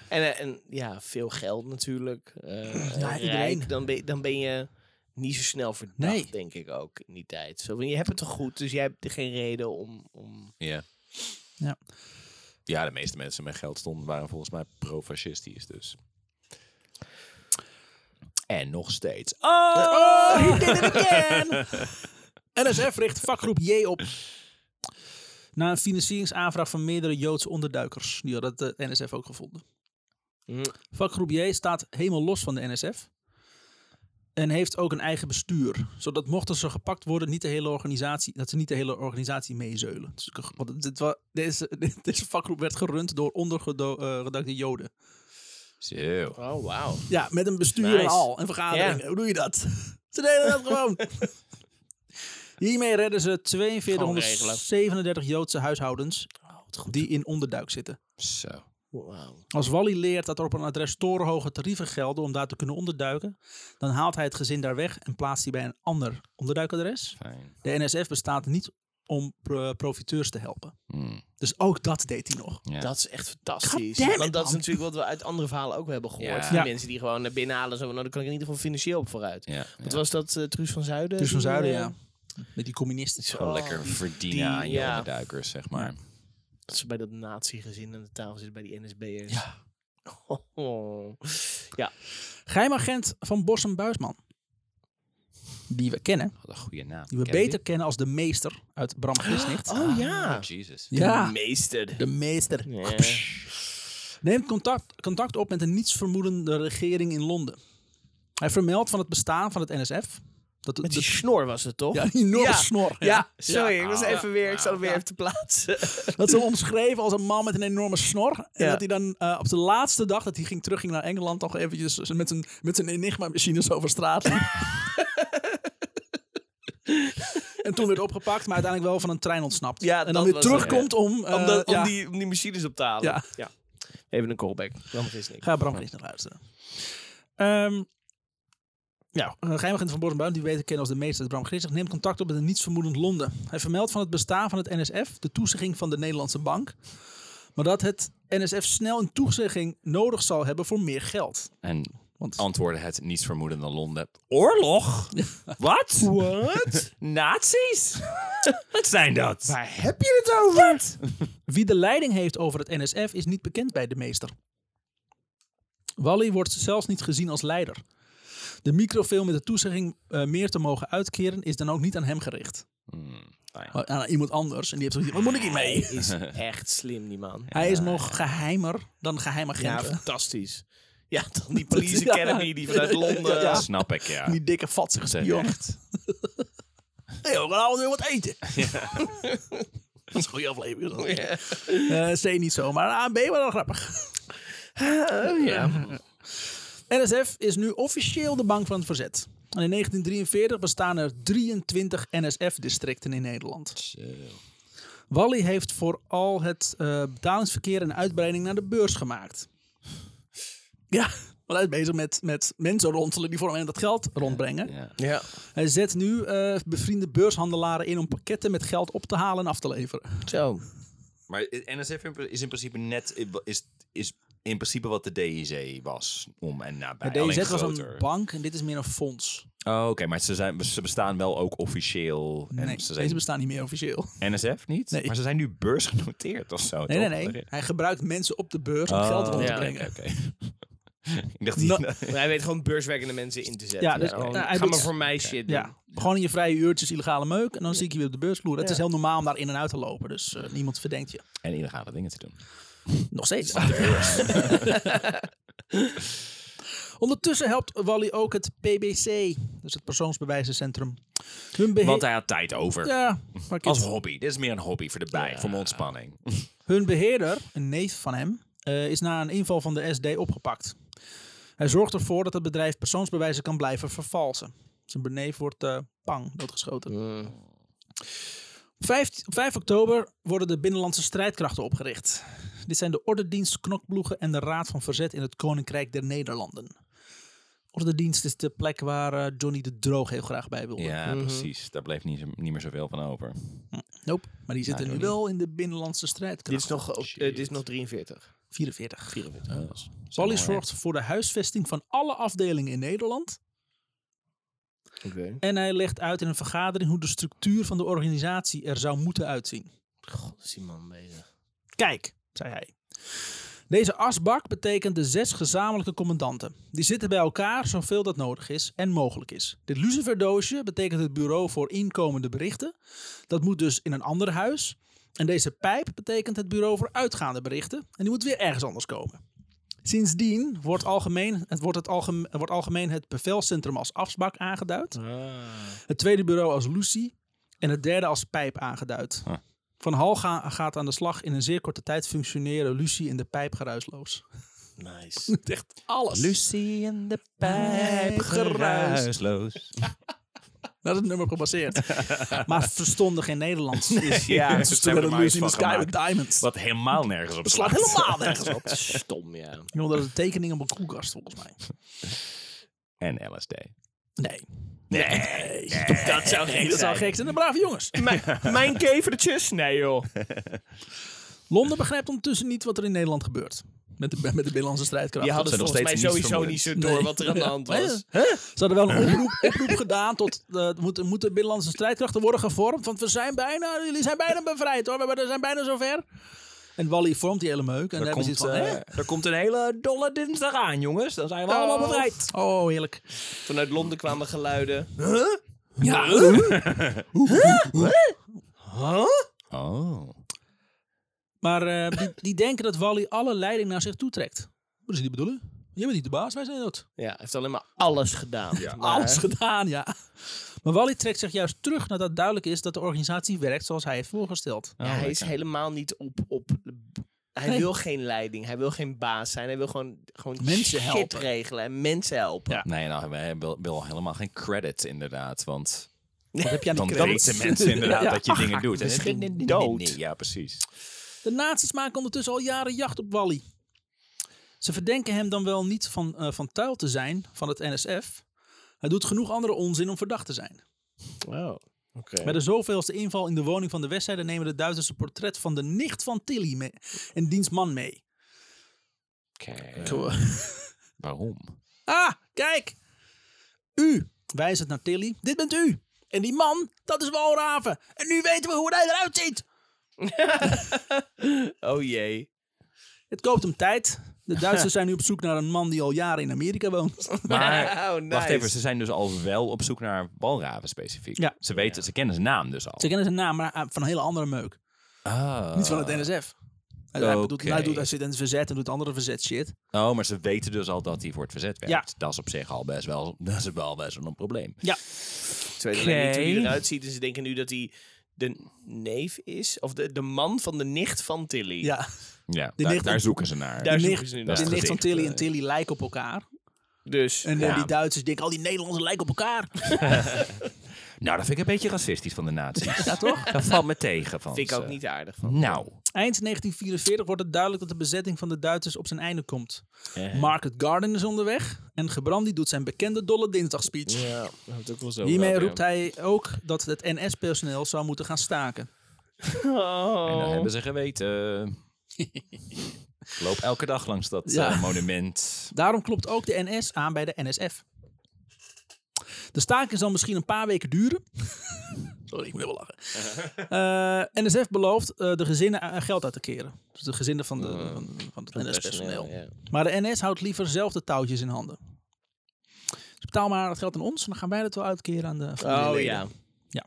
[SPEAKER 3] En, eh, en ja, veel geld natuurlijk. eh,
[SPEAKER 1] Ja,
[SPEAKER 3] rijk,
[SPEAKER 1] iedereen.
[SPEAKER 3] Dan ben, je- dan ben je niet zo snel verdacht,
[SPEAKER 1] Nee.
[SPEAKER 3] denk ik ook, in die tijd. Zo, van, je hebt het toch goed, dus jij hebt er geen reden om... om...
[SPEAKER 2] Ja.
[SPEAKER 1] Ja.
[SPEAKER 2] Ja, de meeste mensen met geld stonden waren volgens mij pro-fascistisch, dus. En nog steeds.
[SPEAKER 1] Oh, he did it again! NSF richt vakgroep J op. Na een financieringsaanvraag van meerdere Joodse onderduikers. Die hadden het eh, NSF ook gevonden.
[SPEAKER 3] Hm.
[SPEAKER 1] Vakgroep J staat helemaal los van de NSF. En heeft ook een eigen bestuur. Zodat mochten ze gepakt worden, niet de hele organisatie, dat ze niet de hele organisatie meezeulen. Dus, ik- want dit wa- deze, deze vakgroep werd gerund door ondergedachte Joden.
[SPEAKER 2] Zo.
[SPEAKER 3] Oh, wauw.
[SPEAKER 1] Ja, met een bestuur en
[SPEAKER 3] Nice.
[SPEAKER 1] al. En vergaderingen.
[SPEAKER 3] Ja.
[SPEAKER 1] Hoe doe je dat? Ze deden dat gewoon. Hiermee redden ze 4237 Joodse huishoudens die in onderduik zitten.
[SPEAKER 2] Zo.
[SPEAKER 3] Wauw.
[SPEAKER 1] Als Wally leert dat er op een adres torenhoge tarieven gelden om daar te kunnen onderduiken, dan haalt hij het gezin daar weg en plaatst die bij een ander onderduikadres.
[SPEAKER 2] Fijn.
[SPEAKER 1] De NSF bestaat niet om pro- profiteurs te helpen.
[SPEAKER 2] Hmm,
[SPEAKER 1] Dus ook dat deed hij nog.
[SPEAKER 2] ja.
[SPEAKER 3] Dat is echt
[SPEAKER 1] God
[SPEAKER 3] fantastisch.
[SPEAKER 1] damn it,
[SPEAKER 3] Want dat is
[SPEAKER 1] man.
[SPEAKER 3] natuurlijk wat we uit andere verhalen ook hebben gehoord.
[SPEAKER 2] Ja.
[SPEAKER 3] Van die
[SPEAKER 1] Ja.
[SPEAKER 3] mensen die gewoon naar binnen halen. en Zo, van, nou, daar kan ik in ieder geval financieel op vooruit.
[SPEAKER 2] ja,
[SPEAKER 3] Wat
[SPEAKER 2] ja.
[SPEAKER 3] was dat, eh Truus van Zuiden?
[SPEAKER 1] Dus van
[SPEAKER 3] Die,
[SPEAKER 1] Zuiden,
[SPEAKER 3] eh,
[SPEAKER 1] ja. Met die communisten.
[SPEAKER 2] Gewoon lekker verdienen
[SPEAKER 3] die-
[SPEAKER 2] aan je
[SPEAKER 3] ja.
[SPEAKER 2] onderduikers, zeg maar.
[SPEAKER 3] Dat ze bij dat nazi-gezin aan de tafel zit bij die NSB'ers. Ja. Oh.
[SPEAKER 1] Geheimagent van Bossum Buisman. Die we kennen.
[SPEAKER 2] Wat een goede naam.
[SPEAKER 1] Die we
[SPEAKER 2] Ken je
[SPEAKER 1] beter kennen als de meester uit Bram Gisnicht.
[SPEAKER 3] Oh
[SPEAKER 2] die?
[SPEAKER 3] ja.
[SPEAKER 2] Oh, Jesus.
[SPEAKER 1] Ah. ja,
[SPEAKER 3] Meester.
[SPEAKER 1] de Oh, meester.
[SPEAKER 3] Ja.
[SPEAKER 1] Neemt contact, contact op met een nietsvermoedende regering in Londen. Hij vermeldt van het bestaan van het NSF. Dat de,
[SPEAKER 3] Met die
[SPEAKER 1] de-
[SPEAKER 3] snor was het toch?
[SPEAKER 1] ja, die enorme
[SPEAKER 3] Ja.
[SPEAKER 1] snor.
[SPEAKER 3] Ja, sorry, ik was even weer, ik zal hem weer even te plaatsen.
[SPEAKER 1] Dat ze hem omschreven als een man met een enorme snor. En
[SPEAKER 3] Ja.
[SPEAKER 1] dat hij dan eh, op de laatste dag dat hij ging, terugging naar Engeland... nog eventjes met zijn, met zijn enigma-machine zo over straat. liep. en toen werd opgepakt, maar uiteindelijk wel van een trein ontsnapt.
[SPEAKER 3] Ja,
[SPEAKER 1] en
[SPEAKER 3] dat
[SPEAKER 1] dan weer
[SPEAKER 3] was-
[SPEAKER 1] terugkomt om... eh,
[SPEAKER 3] om, dat- om
[SPEAKER 1] ja.
[SPEAKER 3] die, om die machines op te halen.
[SPEAKER 1] Ja.
[SPEAKER 3] Even een callback. Dan is niks.
[SPEAKER 1] Ga Bram eens naar luisteren. Ehm ja, een geheimagent van Borsenbuin, die we beter kennen als de meester Bram Grissig, neemt contact op met een nietsvermoedend Londen. Hij vermeldt van het bestaan van het NSF de toezegging van de Nederlandse bank, maar dat het NSF snel een toezegging nodig zal hebben voor meer geld.
[SPEAKER 2] En
[SPEAKER 1] Want
[SPEAKER 2] antwoordde het niets vermoedende Londen. Oorlog? Wat? Wat? Nazi's? Wat zijn dat?
[SPEAKER 3] Waar heb je het over?
[SPEAKER 1] wie de leiding heeft over het NSF is niet bekend bij de meester. Wally wordt zelfs niet gezien als leider. De microfilm met de toezegging eh, meer te mogen uitkeren is dan ook niet aan hem gericht.
[SPEAKER 3] Hmm, nou
[SPEAKER 1] Maar aan iemand anders. En die heeft zoiets van, wat moet ik hiermee?
[SPEAKER 3] Hij is echt slim, die man.
[SPEAKER 1] Hij is nog geheimer dan
[SPEAKER 3] Ja,
[SPEAKER 1] geheimagenten.
[SPEAKER 3] fantastisch. Ja, dan die Police
[SPEAKER 1] Ja.
[SPEAKER 3] Academy die vanuit Londen...
[SPEAKER 1] Ja.
[SPEAKER 2] Snap ik, ja.
[SPEAKER 1] Die dikke vatsige spion.
[SPEAKER 2] Terecht.
[SPEAKER 1] Hé, we gaan allemaal weer wat eten. dat is een goede aflevering. Eh, C niet zo, maar A en B wel wel grappig. NSF is nu officieel de bank van het verzet. En in 1943 bestaan er 23 NSF-districten in Nederland. Wally heeft vooral het eh, betalingsverkeer en uitbreiding naar de beurs gemaakt. Ja, want hij is bezig met, met mensen ronselen die voor hem dat geld rondbrengen.
[SPEAKER 2] Ja.
[SPEAKER 3] Ja.
[SPEAKER 1] Hij zet nu eh, bevriende beurshandelaren in om pakketten met geld op te halen en af te leveren.
[SPEAKER 3] Zo.
[SPEAKER 2] Maar het NSF in pr- is in principe net... Is, is in principe wat de DIC was om en nabij.
[SPEAKER 1] De
[SPEAKER 2] alleen
[SPEAKER 1] DZ was
[SPEAKER 2] groter.
[SPEAKER 1] een bank en dit is meer een fonds.
[SPEAKER 2] Oh, oké. maar ze, zijn, ze bestaan wel ook officieel. En
[SPEAKER 1] Nee,
[SPEAKER 2] ze
[SPEAKER 1] deze
[SPEAKER 2] zijn
[SPEAKER 1] bestaan niet meer officieel.
[SPEAKER 2] NSF niet?
[SPEAKER 1] Nee.
[SPEAKER 2] Maar ze zijn nu beursgenoteerd of zo,
[SPEAKER 1] Nee, nee,
[SPEAKER 2] toch?
[SPEAKER 1] nee. Hij gebruikt mensen op de beurs om geld rond te
[SPEAKER 2] Oh, ja,
[SPEAKER 1] brengen.
[SPEAKER 2] oké, oké. ik dacht... die-
[SPEAKER 1] Nou,
[SPEAKER 3] Maar hij weet gewoon beurswerkende mensen in te zetten.
[SPEAKER 1] Ja, dus,
[SPEAKER 3] Gewoon,
[SPEAKER 1] nou, hij
[SPEAKER 3] ga
[SPEAKER 1] doet-
[SPEAKER 3] maar voor mij shit doen.
[SPEAKER 1] Ja, gewoon in je vrije uurtjes illegale meuk en dan zie ik je weer op de beursvloer. Het is heel normaal om daar in en uit te lopen, dus eh, niemand verdenkt je.
[SPEAKER 2] En illegale dingen te doen.
[SPEAKER 1] Nog steeds. Ondertussen helpt Wally ook het PBC, dus het persoonsbewijzencentrum. Hun beheer...
[SPEAKER 2] Want hij had tijd over.
[SPEAKER 1] Ja, maar
[SPEAKER 2] Als
[SPEAKER 1] kind.
[SPEAKER 2] hobby. Dit is meer een hobby voor de bij, voor mijn ontspanning.
[SPEAKER 1] Hun beheerder, een neef van hem, eh, is na een inval van de SD opgepakt. Hij zorgt ervoor dat het bedrijf persoonsbewijzen kan blijven vervalsen. Zijn beneef wordt eh, pang doodgeschoten.
[SPEAKER 2] Mm.
[SPEAKER 1] Vijf- Op 5 oktober worden de binnenlandse strijdkrachten opgericht. Dit zijn de Ordendienst, Knokploegen en de Raad van Verzet in het Koninkrijk der Nederlanden. Ordendienst is de plek waar eh, Johnny de Droog heel graag bij wil.
[SPEAKER 2] Ja, precies. Daar bleef niet, zo- niet meer zoveel van over.
[SPEAKER 1] Nope. Maar die zitten nu
[SPEAKER 2] Johnny.
[SPEAKER 1] wel in de binnenlandse strijd.
[SPEAKER 3] Dit is, nog, op- eh, dit is nog 43.
[SPEAKER 1] 44. 44.
[SPEAKER 2] Ja, dat is-
[SPEAKER 1] Wally
[SPEAKER 2] mooi, hè?
[SPEAKER 1] zorgt voor de huisvesting van alle afdelingen in Nederland.
[SPEAKER 3] Oké.
[SPEAKER 1] En hij legt uit in een vergadering hoe de structuur van de organisatie er zou moeten uitzien.
[SPEAKER 3] Oh
[SPEAKER 6] God, is die man bezig.
[SPEAKER 1] Kijk, zei hij. Deze asbak betekent de zes gezamenlijke commandanten. Die zitten bij elkaar zoveel dat nodig is en mogelijk is. Dit luciferdoosje betekent het bureau voor inkomende berichten. Dat moet dus in een ander huis. En deze pijp betekent het bureau voor uitgaande berichten. En die moet weer ergens anders komen. Sindsdien wordt algemeen het, wordt het, algemeen, wordt algemeen het bevelcentrum als asbak aangeduid.
[SPEAKER 3] Ah.
[SPEAKER 1] Het tweede bureau als Lucy. En het derde als pijp aangeduid.
[SPEAKER 2] Ah.
[SPEAKER 1] Van Hal ga- gaat aan de slag in een zeer korte tijd functioneren Lucie in de pijp geruisloos.
[SPEAKER 6] Nice.
[SPEAKER 1] Echt alles.
[SPEAKER 2] Lucy in de
[SPEAKER 1] Pijp
[SPEAKER 2] pijp,
[SPEAKER 1] geruis.
[SPEAKER 2] geruisloos.
[SPEAKER 1] Dat is het nummer gebaseerd. maar verstonden geen Nederlands. Dus
[SPEAKER 2] Ja,
[SPEAKER 1] dus
[SPEAKER 2] dus
[SPEAKER 1] toen
[SPEAKER 2] hebben we er
[SPEAKER 1] werden
[SPEAKER 2] maar
[SPEAKER 1] Lucy
[SPEAKER 2] iets
[SPEAKER 1] in the
[SPEAKER 2] van
[SPEAKER 1] Sky with Diamonds.
[SPEAKER 2] Wat helemaal nergens op
[SPEAKER 1] Dat slaat
[SPEAKER 2] slaat.
[SPEAKER 1] helemaal nergens op.
[SPEAKER 6] Stom, ja.
[SPEAKER 1] Ik bedoel, dat is een tekening op een koelkast volgens mij.
[SPEAKER 2] En LSD.
[SPEAKER 1] Nee.
[SPEAKER 2] Nee.
[SPEAKER 3] Dat zou
[SPEAKER 1] Nee,
[SPEAKER 3] gek
[SPEAKER 1] dat zou gek zijn. De brave jongens.
[SPEAKER 3] Mijn, mijn kevertjes? Nee joh.
[SPEAKER 1] Londen begrijpt ondertussen niet wat er in Nederland gebeurt. Met de, met de binnenlandse strijdkrachten.
[SPEAKER 3] Die hadden
[SPEAKER 2] zijn nog
[SPEAKER 3] volgens mij
[SPEAKER 2] steeds niet
[SPEAKER 3] sowieso niet zo
[SPEAKER 1] Nee.
[SPEAKER 3] door wat er aan de hand
[SPEAKER 1] Ja.
[SPEAKER 3] was.
[SPEAKER 1] Ze hadden wel een oproep, oproep gedaan tot... eh, er moeten moeten binnenlandse strijdkrachten worden gevormd? Want we zijn bijna... Jullie zijn bijna bevrijd hoor. We hebben- we zijn bijna zover. En Wally vormt die hele meuk. En dan
[SPEAKER 2] Er
[SPEAKER 1] hebben ze
[SPEAKER 2] komt,
[SPEAKER 1] iets van...
[SPEAKER 2] eh,
[SPEAKER 1] hè?
[SPEAKER 2] er komt een hele dolle dinsdag aan, jongens. Dan zijn we allemaal bevrijd.
[SPEAKER 1] Oh, heerlijk.
[SPEAKER 3] Vanuit Londen kwamen geluiden.
[SPEAKER 1] Ja.
[SPEAKER 2] Oh.
[SPEAKER 1] Maar eh, die, die denken dat Wally alle leiding naar zich toe trekt. Wat is die bedoelen? Jij bent niet de baas, wij zijn dat.
[SPEAKER 3] Ja, hij heeft alleen maar alles gedaan. Maar-
[SPEAKER 1] Alles gedaan, ja. Maar Wally trekt zich juist terug nadat duidelijk is dat de organisatie werkt zoals hij heeft voorgesteld.
[SPEAKER 3] Ja, hij is helemaal niet op... op hij
[SPEAKER 1] Oh, Nee.
[SPEAKER 3] wil geen leiding. Hij wil geen baas zijn. Hij wil gewoon, gewoon
[SPEAKER 1] Mensen
[SPEAKER 3] shit
[SPEAKER 1] helpen.
[SPEAKER 3] regelen en mensen helpen.
[SPEAKER 1] Ja.
[SPEAKER 2] Nee, nou, wij hebben wel- wel helemaal geen credit inderdaad, want
[SPEAKER 1] Wat heb jij aan
[SPEAKER 2] dan
[SPEAKER 1] die credits?
[SPEAKER 2] weten mensen inderdaad
[SPEAKER 1] Ja.
[SPEAKER 2] dat je dingen doet.
[SPEAKER 3] is geen
[SPEAKER 2] Nee, nee, nee,
[SPEAKER 3] dood.
[SPEAKER 2] nee, Ja, precies.
[SPEAKER 1] De nazi's maken ondertussen al jaren jacht op Wally. Ze verdenken hem dan wel niet van, eh, van tuil te zijn van het NSF. Hij doet genoeg andere onzin om verdacht te zijn. Oh,
[SPEAKER 3] Wow. Oké.
[SPEAKER 1] Bij de zoveelste inval in de woning van de Westzijde nemen de Duitsers een portret van de nicht van Tilly mee, en diens man mee. Gewoon-
[SPEAKER 2] Eh, Waarom?
[SPEAKER 1] Ah, kijk! U, wijzend naar Tilly, dit bent u. En die man, dat is Walraven. En nu weten we hoe hij eruit ziet.
[SPEAKER 3] Oh jee.
[SPEAKER 1] Het koopt hem tijd. De Duitsers zijn nu op zoek naar een man die al jaren in Amerika woont.
[SPEAKER 2] Maar
[SPEAKER 3] Oh, nice.
[SPEAKER 2] wacht even, ze zijn dus al wel op zoek naar walraven specifiek.
[SPEAKER 1] Ja.
[SPEAKER 2] Ze weten, ze kennen zijn naam dus al.
[SPEAKER 1] Ze kennen zijn naam, maar eh, van een hele andere meuk.
[SPEAKER 2] Ah.
[SPEAKER 1] Niet van het NSF. Hij, hij doet,
[SPEAKER 2] Oké.
[SPEAKER 1] hij, doet, hij zit in het verzet en doet andere verzet shit.
[SPEAKER 2] Oh, maar ze weten dus al dat hij voor het verzet werkt.
[SPEAKER 1] Ja.
[SPEAKER 2] Dat is op zich al best wel, dat is wel best wel een probleem.
[SPEAKER 3] Ze weten alleen niet hoe hij
[SPEAKER 2] Oké.
[SPEAKER 3] eruit ziet. En ze denken nu dat hij de neef is. Of de, de man van de nicht van Tilly.
[SPEAKER 1] Ja.
[SPEAKER 2] Ja,
[SPEAKER 1] Die
[SPEAKER 2] daar,
[SPEAKER 1] ligt-
[SPEAKER 2] daar zoeken ze naar.
[SPEAKER 3] Daar
[SPEAKER 1] de
[SPEAKER 3] zoeken
[SPEAKER 1] nicht,
[SPEAKER 3] ze nu
[SPEAKER 1] de
[SPEAKER 3] naar.
[SPEAKER 1] nicht van
[SPEAKER 3] Gezicht,
[SPEAKER 1] Tilly
[SPEAKER 3] eh.
[SPEAKER 1] en Tilly lijken op elkaar.
[SPEAKER 3] Dus.
[SPEAKER 1] En eh,
[SPEAKER 2] Ja.
[SPEAKER 1] die Duitsers denken, al die Nederlanders lijken op elkaar.
[SPEAKER 2] Nou, dat vind ik een beetje racistisch van de nazi's. Ja, toch? Dat valt me tegen van
[SPEAKER 3] vind ik ook
[SPEAKER 2] ze.
[SPEAKER 3] niet aardig van.
[SPEAKER 2] Nou,
[SPEAKER 1] Eind 1944 wordt het duidelijk dat de bezetting van de Duitsers op zijn einde komt.
[SPEAKER 2] Eh.
[SPEAKER 1] Market Garden is onderweg en Gebrandi doet zijn bekende dolle dinsdag speech.
[SPEAKER 3] Ja, dat ook wel zo.
[SPEAKER 1] Hiermee roept hij ook dat het NS-personeel zou moeten gaan staken.
[SPEAKER 2] En dat
[SPEAKER 3] Oh.
[SPEAKER 2] hebben ze geweten. Ik Loop elke dag langs dat
[SPEAKER 1] Ja.
[SPEAKER 2] eh, monument.
[SPEAKER 1] Daarom klopt ook de NS aan bij de NSF. De staking zal misschien een paar weken duren. Sorry, ik moet wel lachen. Eh, NSF belooft eh, de gezinnen eh, geld uit te keren. Dus de gezinnen van, de,
[SPEAKER 3] Oh,
[SPEAKER 1] van, van het NS-personeel. Maar de NS houdt liever zelf de touwtjes in handen. Dus betaal maar het geld aan ons en dan gaan wij dat wel uitkeren aan de
[SPEAKER 3] ja. Oh
[SPEAKER 1] familieleden.
[SPEAKER 3] ja.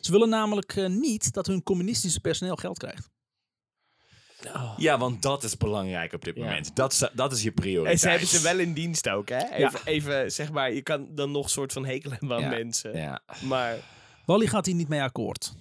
[SPEAKER 1] Ze willen namelijk eh, niet dat hun communistische personeel geld krijgt.
[SPEAKER 2] Ja, want dat is belangrijk op dit
[SPEAKER 3] Oh. Ja.
[SPEAKER 2] moment. Dat is, dat is je prioriteit.
[SPEAKER 3] En ze hebben ze wel in dienst ook, hè? Even, even zeg maar, je kan dan nog soort van hekelen aan
[SPEAKER 2] Ja.
[SPEAKER 3] mensen.
[SPEAKER 2] Ja.
[SPEAKER 3] Maar
[SPEAKER 1] Wally gaat hier niet mee akkoord.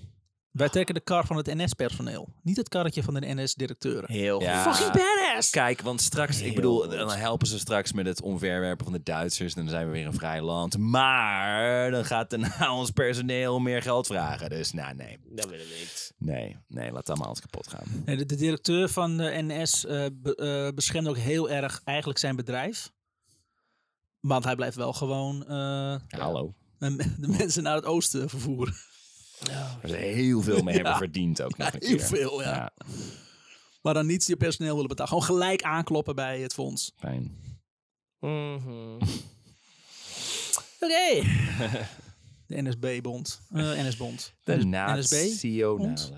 [SPEAKER 1] Wij trekken de kar van het NS-personeel, niet het karretje van de NS-directeuren.
[SPEAKER 3] heel
[SPEAKER 2] Ja.
[SPEAKER 1] Fucking badass!
[SPEAKER 2] Kijk, want straks, ik bedoel, dan helpen ze straks met het omverwerpen van de Duitsers. Dan zijn we weer een vrij land. Maar dan gaat daarna ons personeel meer geld vragen. Dus nou, nee.
[SPEAKER 3] Dat willen we niet.
[SPEAKER 2] Nee, nee, laat dat maar alles kapot gaan.
[SPEAKER 1] Nee, De, de directeur van de NS eh, be- eh, beschermde ook heel erg eigenlijk zijn bedrijf. Want hij blijft wel gewoon eh,
[SPEAKER 2] Hallo.
[SPEAKER 1] de de mensen naar het oosten vervoeren.
[SPEAKER 2] Waar ze heel veel mee hebben verdiend ook nog een keer.
[SPEAKER 1] Heel veel, ja.
[SPEAKER 2] Ja,
[SPEAKER 1] Maar dan niet je personeel willen betalen. Gewoon gelijk aankloppen bij het fonds.
[SPEAKER 2] fijn.
[SPEAKER 3] Mhm.
[SPEAKER 1] Oké. De NSB-bond. NS-bond.
[SPEAKER 2] De
[SPEAKER 1] NSB?
[SPEAKER 2] nationale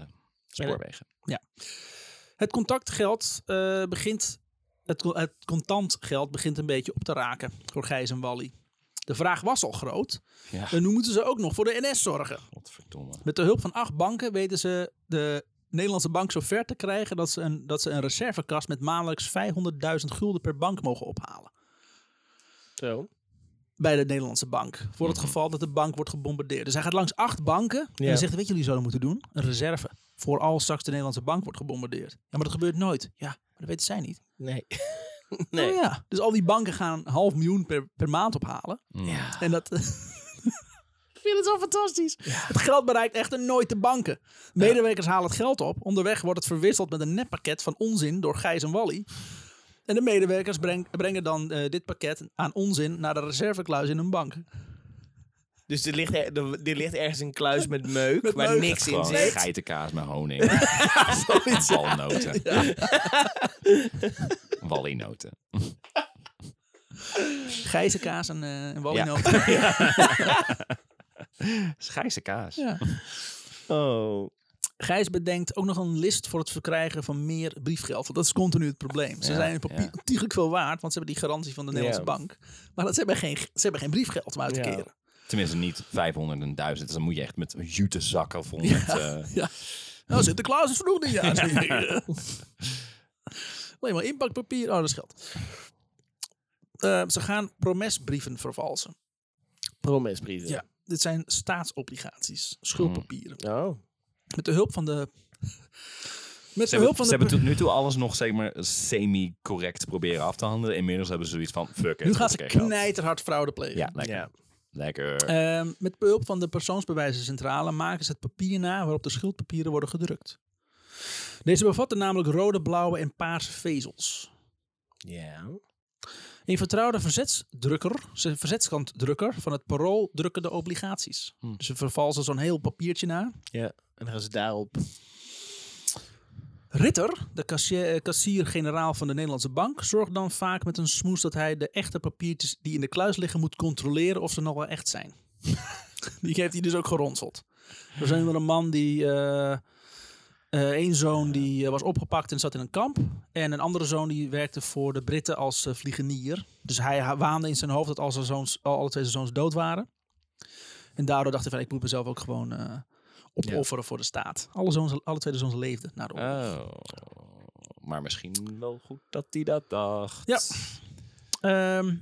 [SPEAKER 2] spoorwegen.
[SPEAKER 1] Het contactgeld eh, begint. Het, co- het contant geld begint een beetje op te raken voor Gijs en Wally. De vraag was al groot.
[SPEAKER 2] Ja.
[SPEAKER 1] En nu moeten ze ook nog voor de NS zorgen.
[SPEAKER 2] Godverdomme.
[SPEAKER 1] Met de hulp van acht banken weten ze de Nederlandse bank zo ver te krijgen dat ze een, dat ze een reservekast met maandelijks 500.000 gulden per bank mogen ophalen.
[SPEAKER 3] Zo.
[SPEAKER 1] Bij de Nederlandse bank. Voor het geval dat de bank wordt gebombardeerd. Dus hij gaat langs acht banken. En
[SPEAKER 3] Ja.
[SPEAKER 1] hij zegt: Weet je, jullie zouden moeten doen? Een reserve. Voor als straks de Nederlandse bank wordt gebombardeerd. Ja, maar dat gebeurt nooit. Ja, maar dat weten zij niet.
[SPEAKER 3] Nee.
[SPEAKER 1] Oh ja. Dus al die banken gaan een half miljoen per, per maand ophalen.
[SPEAKER 2] Ja.
[SPEAKER 1] En dat. Ik vind het zo fantastisch. Het geld bereikt echter nooit de banken. Medewerkers halen het geld op. Onderweg wordt het verwisseld met een neppakket van onzin door Gijs en Wally. En de medewerkers breng- brengen dan eh, dit pakket aan onzin naar de reservekluis in hun bank.
[SPEAKER 3] Dus er ligt, er, er- er ligt ergens een kluis met meuk
[SPEAKER 1] Met
[SPEAKER 3] waar
[SPEAKER 1] meuk.
[SPEAKER 3] niks in
[SPEAKER 2] Gewoon
[SPEAKER 3] zit.
[SPEAKER 2] geitenkaas met honing. Walnoten. Wallinoten.
[SPEAKER 1] Gijze kaas en, eh en Wally
[SPEAKER 2] Ja.
[SPEAKER 1] noten.
[SPEAKER 2] Schijse kaas.
[SPEAKER 1] Ja.
[SPEAKER 3] Oh.
[SPEAKER 1] Gijs bedenkt ook nog een list voor het verkrijgen van meer briefgeld. Want dat is continu het probleem. Ze
[SPEAKER 2] Ja,
[SPEAKER 1] zijn in papier
[SPEAKER 2] ja.
[SPEAKER 1] ontiegelijk veel waard, want ze hebben die garantie van de Nederlandse bank. Maar dat, ze, hebben geen, ze hebben geen briefgeld om uit te
[SPEAKER 3] Ja.
[SPEAKER 1] keren.
[SPEAKER 2] Tenminste niet 500 en 1000. Dus dan moet je echt met jute zakken vol met... eh,
[SPEAKER 1] Nou, Sinterklaas is vroeg dit jaar. zeg je. Alleen maar inpakpapier. Oh, dat scheelt. Eh, ze gaan promesbrieven vervalsen.
[SPEAKER 6] Promesbrieven.
[SPEAKER 1] Ja. Dit zijn staatsobligaties, schuldpapieren.
[SPEAKER 6] Oh.
[SPEAKER 1] Met de hulp van de. Met
[SPEAKER 2] Mhm. Ze
[SPEAKER 1] de hulp van
[SPEAKER 2] hebben, ze
[SPEAKER 1] de.
[SPEAKER 2] hebben tot nu toe alles nog zeg maar, semi-correct proberen af te handelen. Inmiddels hebben ze zoiets van, fuck it.
[SPEAKER 1] nu gaan ze
[SPEAKER 2] hoppakee, geld.
[SPEAKER 1] knijterhard fraude plegen.
[SPEAKER 2] Ja, lekker.
[SPEAKER 3] Ja.
[SPEAKER 2] Lekker.
[SPEAKER 1] Ehm, met behulp van de persoonsbewijzencentrale maken ze het papier na waarop de schuldpapieren worden gedrukt. Deze bevatten namelijk rode, blauwe en paarse vezels.
[SPEAKER 6] Ja.
[SPEAKER 1] Een vertrouwde verzetsdrukker, ze- verzetskantdrukker van het parool drukken de obligaties. Dus ze vervalsen zo'n heel papiertje na.
[SPEAKER 6] En dan gaan ze daarop.
[SPEAKER 1] Ritter, de kassier- eh, kassier-generaal van de Nederlandse Bank, zorgt dan vaak met een smoes dat hij de echte papiertjes die in de kluis liggen moet controleren of ze nog wel echt zijn. die heeft hij dus ook geronseld. Er zijn wel een man die. eh Eén zoon die eh, was opgepakt en zat in een kamp. En een andere zoon die werkte voor de Britten als eh, vliegenier. Dus hij ha- waande in zijn hoofd dat al zijn zoons, al- alle twee zijn zoons dood waren. En daardoor dacht hij van ik moet mezelf ook gewoon eh, opofferen voor de staat. Alle, zoons, alle twee de zoons leefden na de oorlog.
[SPEAKER 2] Oh. Maar misschien wel goed dat hij dat dacht.
[SPEAKER 1] Ja. Ehm,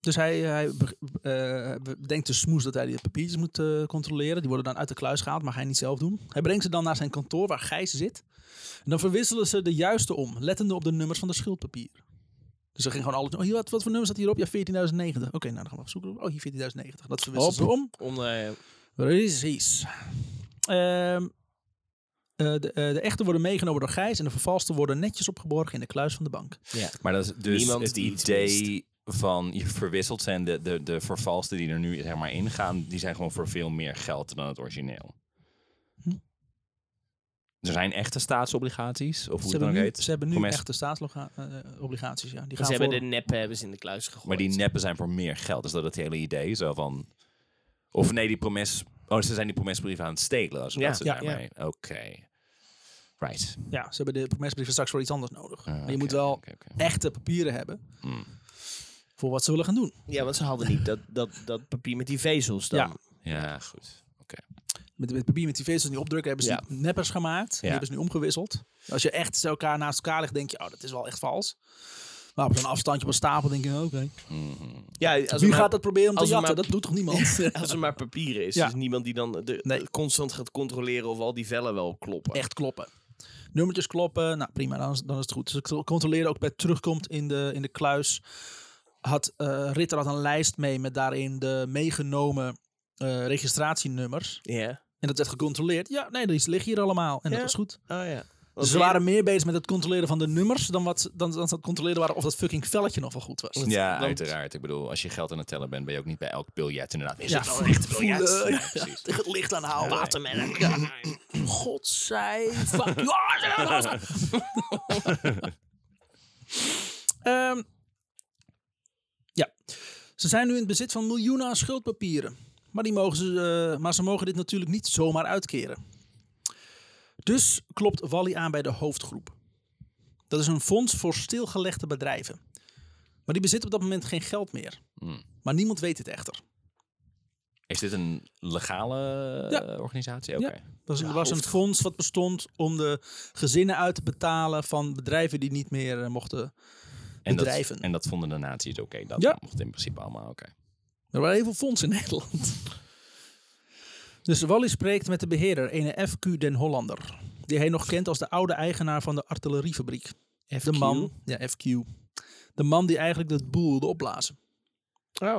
[SPEAKER 1] dus hij, hij be- eh, bedenkt de smoes dat hij die papiertjes moet eh, controleren. Die worden dan uit de kluis gehaald, mag hij niet zelf doen. Hij brengt ze dan naar zijn kantoor waar Gijs zit. En dan verwisselen ze de juiste om, lettende op de nummers van de schuldpapier. Dus ze ging gewoon alles. Oh, hier, wat, wat voor nummer staat hierop? Ja, 14.090. Oké, nou dan gaan we even zoeken. Oh, hier 14.090. Dat verwisselen ze om.
[SPEAKER 3] eh,
[SPEAKER 6] Onder.
[SPEAKER 1] Precies. Ehm, eh, de, eh, de echte worden meegenomen door Gijs en de vervalste worden netjes opgeborgen in de kluis van de bank.
[SPEAKER 2] Maar dat is dus
[SPEAKER 6] Niemand
[SPEAKER 2] het
[SPEAKER 6] die iets
[SPEAKER 2] idee van je verwisseld zijn. De, de, de vervalsten die er nu zeg maar ingaan, die zijn gewoon voor veel meer geld dan het origineel.
[SPEAKER 1] Hm.
[SPEAKER 2] Er zijn echte staatsobligaties, of hoe
[SPEAKER 1] Ze
[SPEAKER 2] het dan
[SPEAKER 1] hebben,
[SPEAKER 2] ook
[SPEAKER 1] nu,
[SPEAKER 2] heet.
[SPEAKER 1] ze hebben nu
[SPEAKER 2] Promes-
[SPEAKER 1] echte staatsobligaties. Ja. Die
[SPEAKER 6] Ze
[SPEAKER 1] gaan
[SPEAKER 6] hebben
[SPEAKER 1] voor,
[SPEAKER 6] de neppen hebben ze in de kluis gegooid.
[SPEAKER 2] Maar die neppen zijn voor meer geld. Is dat het hele idee? Zo van... Of nee, die promes... Oh, ze zijn die promesbrieven aan het stelen. Als
[SPEAKER 3] Ja,
[SPEAKER 2] dat ze
[SPEAKER 1] ja,
[SPEAKER 2] daarmee... Oké. Right.
[SPEAKER 1] ja, ze hebben de promesbrieven straks voor iets anders nodig.
[SPEAKER 2] Ah,
[SPEAKER 1] maar je
[SPEAKER 2] oké,
[SPEAKER 1] moet wel
[SPEAKER 2] oké, oké.
[SPEAKER 1] echte papieren hebben
[SPEAKER 2] Hmm.
[SPEAKER 1] voor wat ze willen gaan doen.
[SPEAKER 6] Ja, want ze hadden
[SPEAKER 3] Niet dat, dat, dat papier met die vezels dan.
[SPEAKER 1] Ja.
[SPEAKER 2] Ja, goed. Oké.
[SPEAKER 1] Met, met papier met die vezels en die opdrukken hebben ze
[SPEAKER 6] Ja.
[SPEAKER 1] die neppers gemaakt. Die
[SPEAKER 2] Ja.
[SPEAKER 1] hebben ze nu omgewisseld. Als je echt ze elkaar naast elkaar legt, denk je, oh, dat is wel echt vals. Maar op zo'n afstandje op een stapel denk je, oh, oké.
[SPEAKER 3] Ja, als er
[SPEAKER 1] Wie
[SPEAKER 3] maar-
[SPEAKER 1] gaat dat proberen om te
[SPEAKER 3] als we
[SPEAKER 1] jatten?
[SPEAKER 3] maar-
[SPEAKER 1] Dat doet toch niemand?
[SPEAKER 3] Als er maar papieren is.
[SPEAKER 1] Ja.
[SPEAKER 3] Dus niemand die dan de,
[SPEAKER 1] Nee.
[SPEAKER 3] constant gaat controleren of al die vellen wel kloppen.
[SPEAKER 1] Echt kloppen. Nummertjes kloppen, nou prima, dan is, dan is het goed. Dus ik controleerde ook bij terugkomt in de, in de kluis. Had, eh, Ritter had een lijst mee met daarin de meegenomen eh, registratienummers.
[SPEAKER 3] Ja.
[SPEAKER 1] En dat werd gecontroleerd. Ja, nee, die liggen hier allemaal. En
[SPEAKER 3] Ja.
[SPEAKER 1] dat was goed.
[SPEAKER 3] Oh ja.
[SPEAKER 1] Dus ze waren meer bezig met het controleren van de nummers dan, wat, ze- dan, dan ze aan het controleren waren of dat fucking velletje nog wel goed was.
[SPEAKER 2] Ja,
[SPEAKER 3] want-
[SPEAKER 2] uiteraard. Ik bedoel, als je geld aan het tellen bent, ben je ook niet bij elk biljet inderdaad. Is
[SPEAKER 1] Ja,
[SPEAKER 2] het wel een echt
[SPEAKER 1] voelen,
[SPEAKER 2] biljet?
[SPEAKER 1] ja,
[SPEAKER 2] Ja, precies.
[SPEAKER 1] Tegen het licht aanhouden.
[SPEAKER 2] Ja.
[SPEAKER 1] Watermerk. Ja. Godzij. Fuck. Ah, Ja. Ehm, ja. Ze zijn nu in het bezit van miljoenen aan schuldpapieren. Maar, die mogen ze, eh, maar ze mogen dit natuurlijk niet zomaar uitkeren. Dus klopt Wally aan bij de hoofdgroep. Dat is een fonds voor stilgelegde bedrijven. Maar die bezit op dat moment geen geld meer.
[SPEAKER 2] Hmm.
[SPEAKER 1] Maar niemand weet dit echter.
[SPEAKER 2] Is dit een legale eh,
[SPEAKER 1] Ja.
[SPEAKER 2] organisatie? Oké.
[SPEAKER 1] Ja. Dat was, een- was een fonds wat bestond om de gezinnen uit te betalen van bedrijven die niet meer eh, mochten.
[SPEAKER 2] En, dat,
[SPEAKER 1] Bedrijven.
[SPEAKER 2] en dat vonden de nazi's oké. dat
[SPEAKER 1] Ja.
[SPEAKER 2] mocht in principe allemaal oké.
[SPEAKER 1] Er waren heel veel fondsen in Nederland. Dus Wally spreekt met de beheerder, ene FQ Den Hollander. Die hij nog kent als de oude eigenaar van de artilleriefabriek. De man, ja, FQ. De man die eigenlijk de boel wilde opblazen.
[SPEAKER 3] Oh.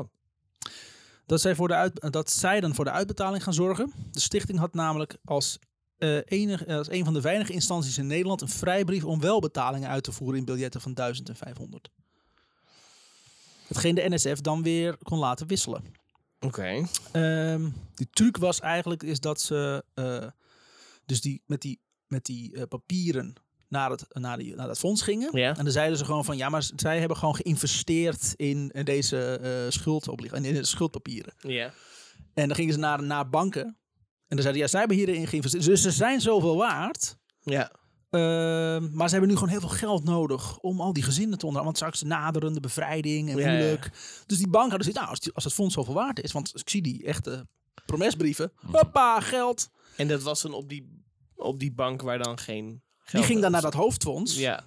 [SPEAKER 1] dat zij, voor de uit, dat zij dan voor de uitbetaling gaan zorgen. De stichting had namelijk als, eh, enig, als een van de weinige instanties in Nederland een vrijbrief om wel betalingen uit te voeren in biljetten van 1500. Hetgeen de NSF dan weer kon laten wisselen.
[SPEAKER 3] Oké.
[SPEAKER 1] Ehm, die truc was eigenlijk is dat ze eh, dus die, met die, met die eh, papieren naar, het, naar, die, naar dat fonds gingen.
[SPEAKER 3] Ja.
[SPEAKER 1] En dan zeiden ze gewoon van ja, maar z- zij hebben gewoon geïnvesteerd in, eh, deze eh schuldoblig- in de schuldpapieren.
[SPEAKER 3] Ja.
[SPEAKER 1] En dan gingen ze naar, naar banken. En dan zeiden ja, zij hebben hierin geïnvesteerd. Dus ze zijn zoveel waard.
[SPEAKER 3] Ja.
[SPEAKER 1] Ehm, maar ze hebben nu gewoon heel veel geld nodig om al die gezinnen te onderhouden. Want straks naderende bevrijding en
[SPEAKER 3] Ja, ja, ja.
[SPEAKER 1] moeilijk. Dus die bank hadden zoiets, nou, als, die- als het fonds zoveel waard is. Want ik zie die echte promesbrieven.
[SPEAKER 3] Mhm.
[SPEAKER 1] Hoppa, geld.
[SPEAKER 3] En dat was dan op die, op die bank waar dan geen geld
[SPEAKER 1] die ging dan naar
[SPEAKER 3] was.
[SPEAKER 1] dat hoofdfonds.
[SPEAKER 3] Ja.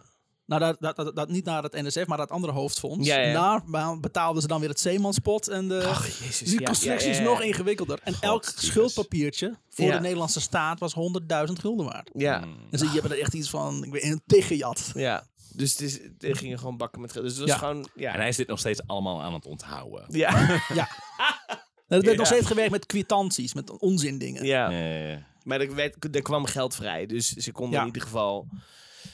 [SPEAKER 1] Nou, dat, dat, dat, dat- niet naar het NSF, maar dat andere hoofdfonds.
[SPEAKER 3] Ja, ja.
[SPEAKER 1] Daar ba- betaalden ze dan weer het zeemanspot. En de,
[SPEAKER 3] jezus.
[SPEAKER 1] Eh, die constructie
[SPEAKER 3] ja, ja,
[SPEAKER 1] is
[SPEAKER 3] ja.
[SPEAKER 1] nog ingewikkelder. En elk schuldpapiertje voor
[SPEAKER 3] Ja.
[SPEAKER 1] de Nederlandse staat was 100.000 gulden waard.
[SPEAKER 3] Ja.
[SPEAKER 2] Mm.
[SPEAKER 1] En ze hebben er echt iets van, ik ben een tegenjat.
[SPEAKER 3] Ja. Dus het is, er gingen gewoon bakken met geld. Dus het was
[SPEAKER 1] Ja.
[SPEAKER 3] gewoon... Ja.
[SPEAKER 2] En hij is dit nog steeds allemaal aan het onthouden.
[SPEAKER 3] Ja.
[SPEAKER 1] Ja. Nou, Er werd
[SPEAKER 3] Ja.
[SPEAKER 1] nog steeds gewerkt met kwitanties, met onzin dingen.
[SPEAKER 3] ja.
[SPEAKER 2] Eh,
[SPEAKER 3] Maar er, werd, er kwam geld vrij. Dus ze konden
[SPEAKER 1] Ja.
[SPEAKER 3] in ieder geval...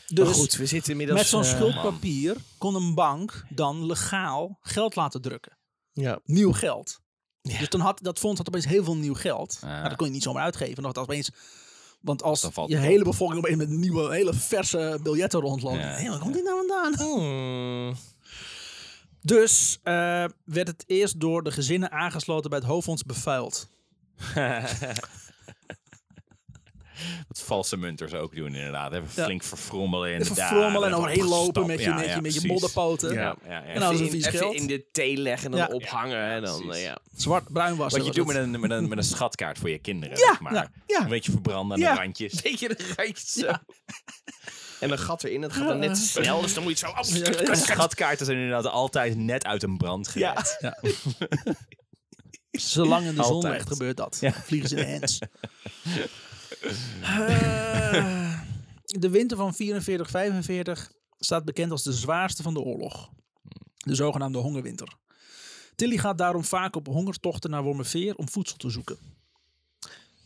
[SPEAKER 1] Dus
[SPEAKER 3] maar goed, we zitten inmiddels...
[SPEAKER 1] met zo'n
[SPEAKER 3] eh,
[SPEAKER 1] schuldpapier kon een bank dan legaal geld laten drukken.
[SPEAKER 3] Ja.
[SPEAKER 1] Nieuw geld.
[SPEAKER 3] Ja.
[SPEAKER 1] Dus dan had dat fonds had opeens heel veel nieuw geld.
[SPEAKER 2] Ah.
[SPEAKER 1] Maar dat kon je niet zomaar uitgeven. Want als opeens, want als
[SPEAKER 2] Dan valt
[SPEAKER 1] je
[SPEAKER 2] het
[SPEAKER 1] hele bevolking opeens met nieuwe, hele verse biljetten rondloopt.
[SPEAKER 2] Ja.
[SPEAKER 1] Hé, waar komt dit nou vandaan?
[SPEAKER 3] Hmm.
[SPEAKER 1] Dus eh, werd het eerst door de gezinnen aangesloten bij het hoofdfonds bevuild.
[SPEAKER 2] wat valse munters ook doen inderdaad. Even flink verfrommelen
[SPEAKER 1] Even
[SPEAKER 2] inderdaad.
[SPEAKER 1] frommelen en overheen lopen met je,
[SPEAKER 2] Ja,
[SPEAKER 1] met je,
[SPEAKER 2] ja,
[SPEAKER 1] met je
[SPEAKER 2] precies.
[SPEAKER 1] modderpoten.
[SPEAKER 2] Ja, ja, ja.
[SPEAKER 1] En dan is het
[SPEAKER 3] Even in-
[SPEAKER 1] vies
[SPEAKER 3] even
[SPEAKER 1] geld.
[SPEAKER 3] in de thee leggen en dan
[SPEAKER 1] Ja.
[SPEAKER 3] ophangen. en dan,
[SPEAKER 2] precies.
[SPEAKER 3] eh, ja.
[SPEAKER 1] Zwart, bruin was
[SPEAKER 2] Wat je
[SPEAKER 1] dat.
[SPEAKER 2] doet met een, met, een, met een schatkaart voor je kinderen.
[SPEAKER 1] Ja,
[SPEAKER 2] zeg maar.
[SPEAKER 1] ja, ja.
[SPEAKER 2] Een beetje verbranden aan
[SPEAKER 1] Ja.
[SPEAKER 2] de randjes.
[SPEAKER 3] Beetje de rijtjes zo. En een gat erin. Het gaat dan net te snel. Dus dan moet je het zo...
[SPEAKER 1] Ja, ja.
[SPEAKER 2] Schatkaarten zijn inderdaad altijd net uit een brand
[SPEAKER 3] Ja.
[SPEAKER 2] gered.
[SPEAKER 1] Zolang in de zon
[SPEAKER 2] Altijd.
[SPEAKER 1] ligt, gebeurt dat. Vliegen ze in de hens. Eh, de winter van 44-45 staat bekend als de zwaarste van de oorlog. De zogenaamde hongerwinter. Tilly gaat daarom vaak op hongertochten naar Wormerveer om voedsel te zoeken.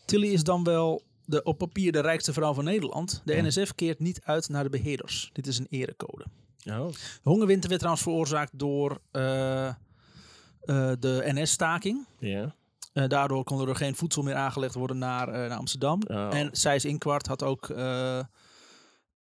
[SPEAKER 1] Tilly is dan wel de, op papier de rijkste vrouw van Nederland. De NSF keert niet uit naar de beheerders. Dit is een erecode.
[SPEAKER 3] Oh,
[SPEAKER 1] De hongerwinter werd trouwens veroorzaakt door eh, eh, de NS-staking.
[SPEAKER 6] Ja.
[SPEAKER 1] Eh, daardoor kon er geen voedsel meer aangelegd worden naar, eh, naar Amsterdam.
[SPEAKER 3] Oh.
[SPEAKER 1] En Sijs Inkwart had ook eh,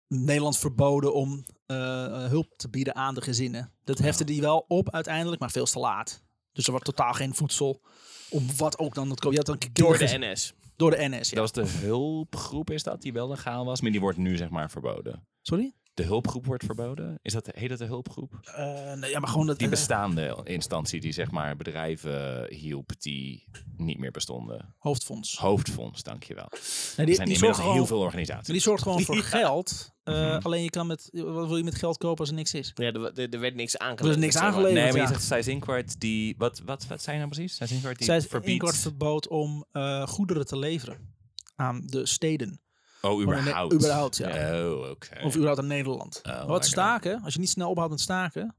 [SPEAKER 1] Nederland verboden om eh, eh, hulp te bieden aan de gezinnen. Dat hefte die wel op uiteindelijk, maar veel te laat. Dus er was totaal geen voedsel. Om wat ook dan. dat ko- Je had dan
[SPEAKER 3] Door
[SPEAKER 1] kinderen-
[SPEAKER 3] de NS.
[SPEAKER 1] door de NS. Ja.
[SPEAKER 2] Dat was de hulpgroep, is dat? Die wel legaal was, maar die wordt nu zeg maar verboden.
[SPEAKER 1] Sorry?
[SPEAKER 2] De hulpgroep wordt verboden? Is dat, heet dat de hulpgroep?
[SPEAKER 1] Eh, nee, ja, maar gewoon dat.
[SPEAKER 2] Die
[SPEAKER 1] eh,
[SPEAKER 2] bestaande instantie die zeg maar bedrijven hielp die niet meer bestonden.
[SPEAKER 1] hoofdfonds.
[SPEAKER 2] Hoofdfonds, dankjewel.
[SPEAKER 1] Nee,
[SPEAKER 2] Er
[SPEAKER 1] die,
[SPEAKER 2] zijn
[SPEAKER 1] die,
[SPEAKER 2] inmiddels
[SPEAKER 1] zorgt
[SPEAKER 2] heel
[SPEAKER 1] gewoon,
[SPEAKER 2] veel organisaties.
[SPEAKER 1] die zorgt gewoon voor geld. Eh, Alleen je kan met. Wat wil je met geld kopen als er niks is?
[SPEAKER 3] Ja, er, wa- er- er werd niks aangelegd.
[SPEAKER 1] Er is niks
[SPEAKER 3] zeg maar.
[SPEAKER 1] aangelegd.
[SPEAKER 2] Nee, maar je
[SPEAKER 1] ja.
[SPEAKER 2] zegt Sijs Inkwart die... Wat, wat, wat zijn nou precies? Sijs Inkwart die
[SPEAKER 1] Zij is
[SPEAKER 2] verbiedt... Oh,
[SPEAKER 1] Inkwart verbood om eh, goederen te leveren aan de steden.
[SPEAKER 2] Oh, überhaupt.
[SPEAKER 1] nee, überhaupt, ja.
[SPEAKER 2] Oh, oké.
[SPEAKER 1] Of überhaupt aan Nederland.
[SPEAKER 2] Oh,
[SPEAKER 1] Maar wat
[SPEAKER 2] lekker.
[SPEAKER 1] staken, als je niet snel ophoudt met staken,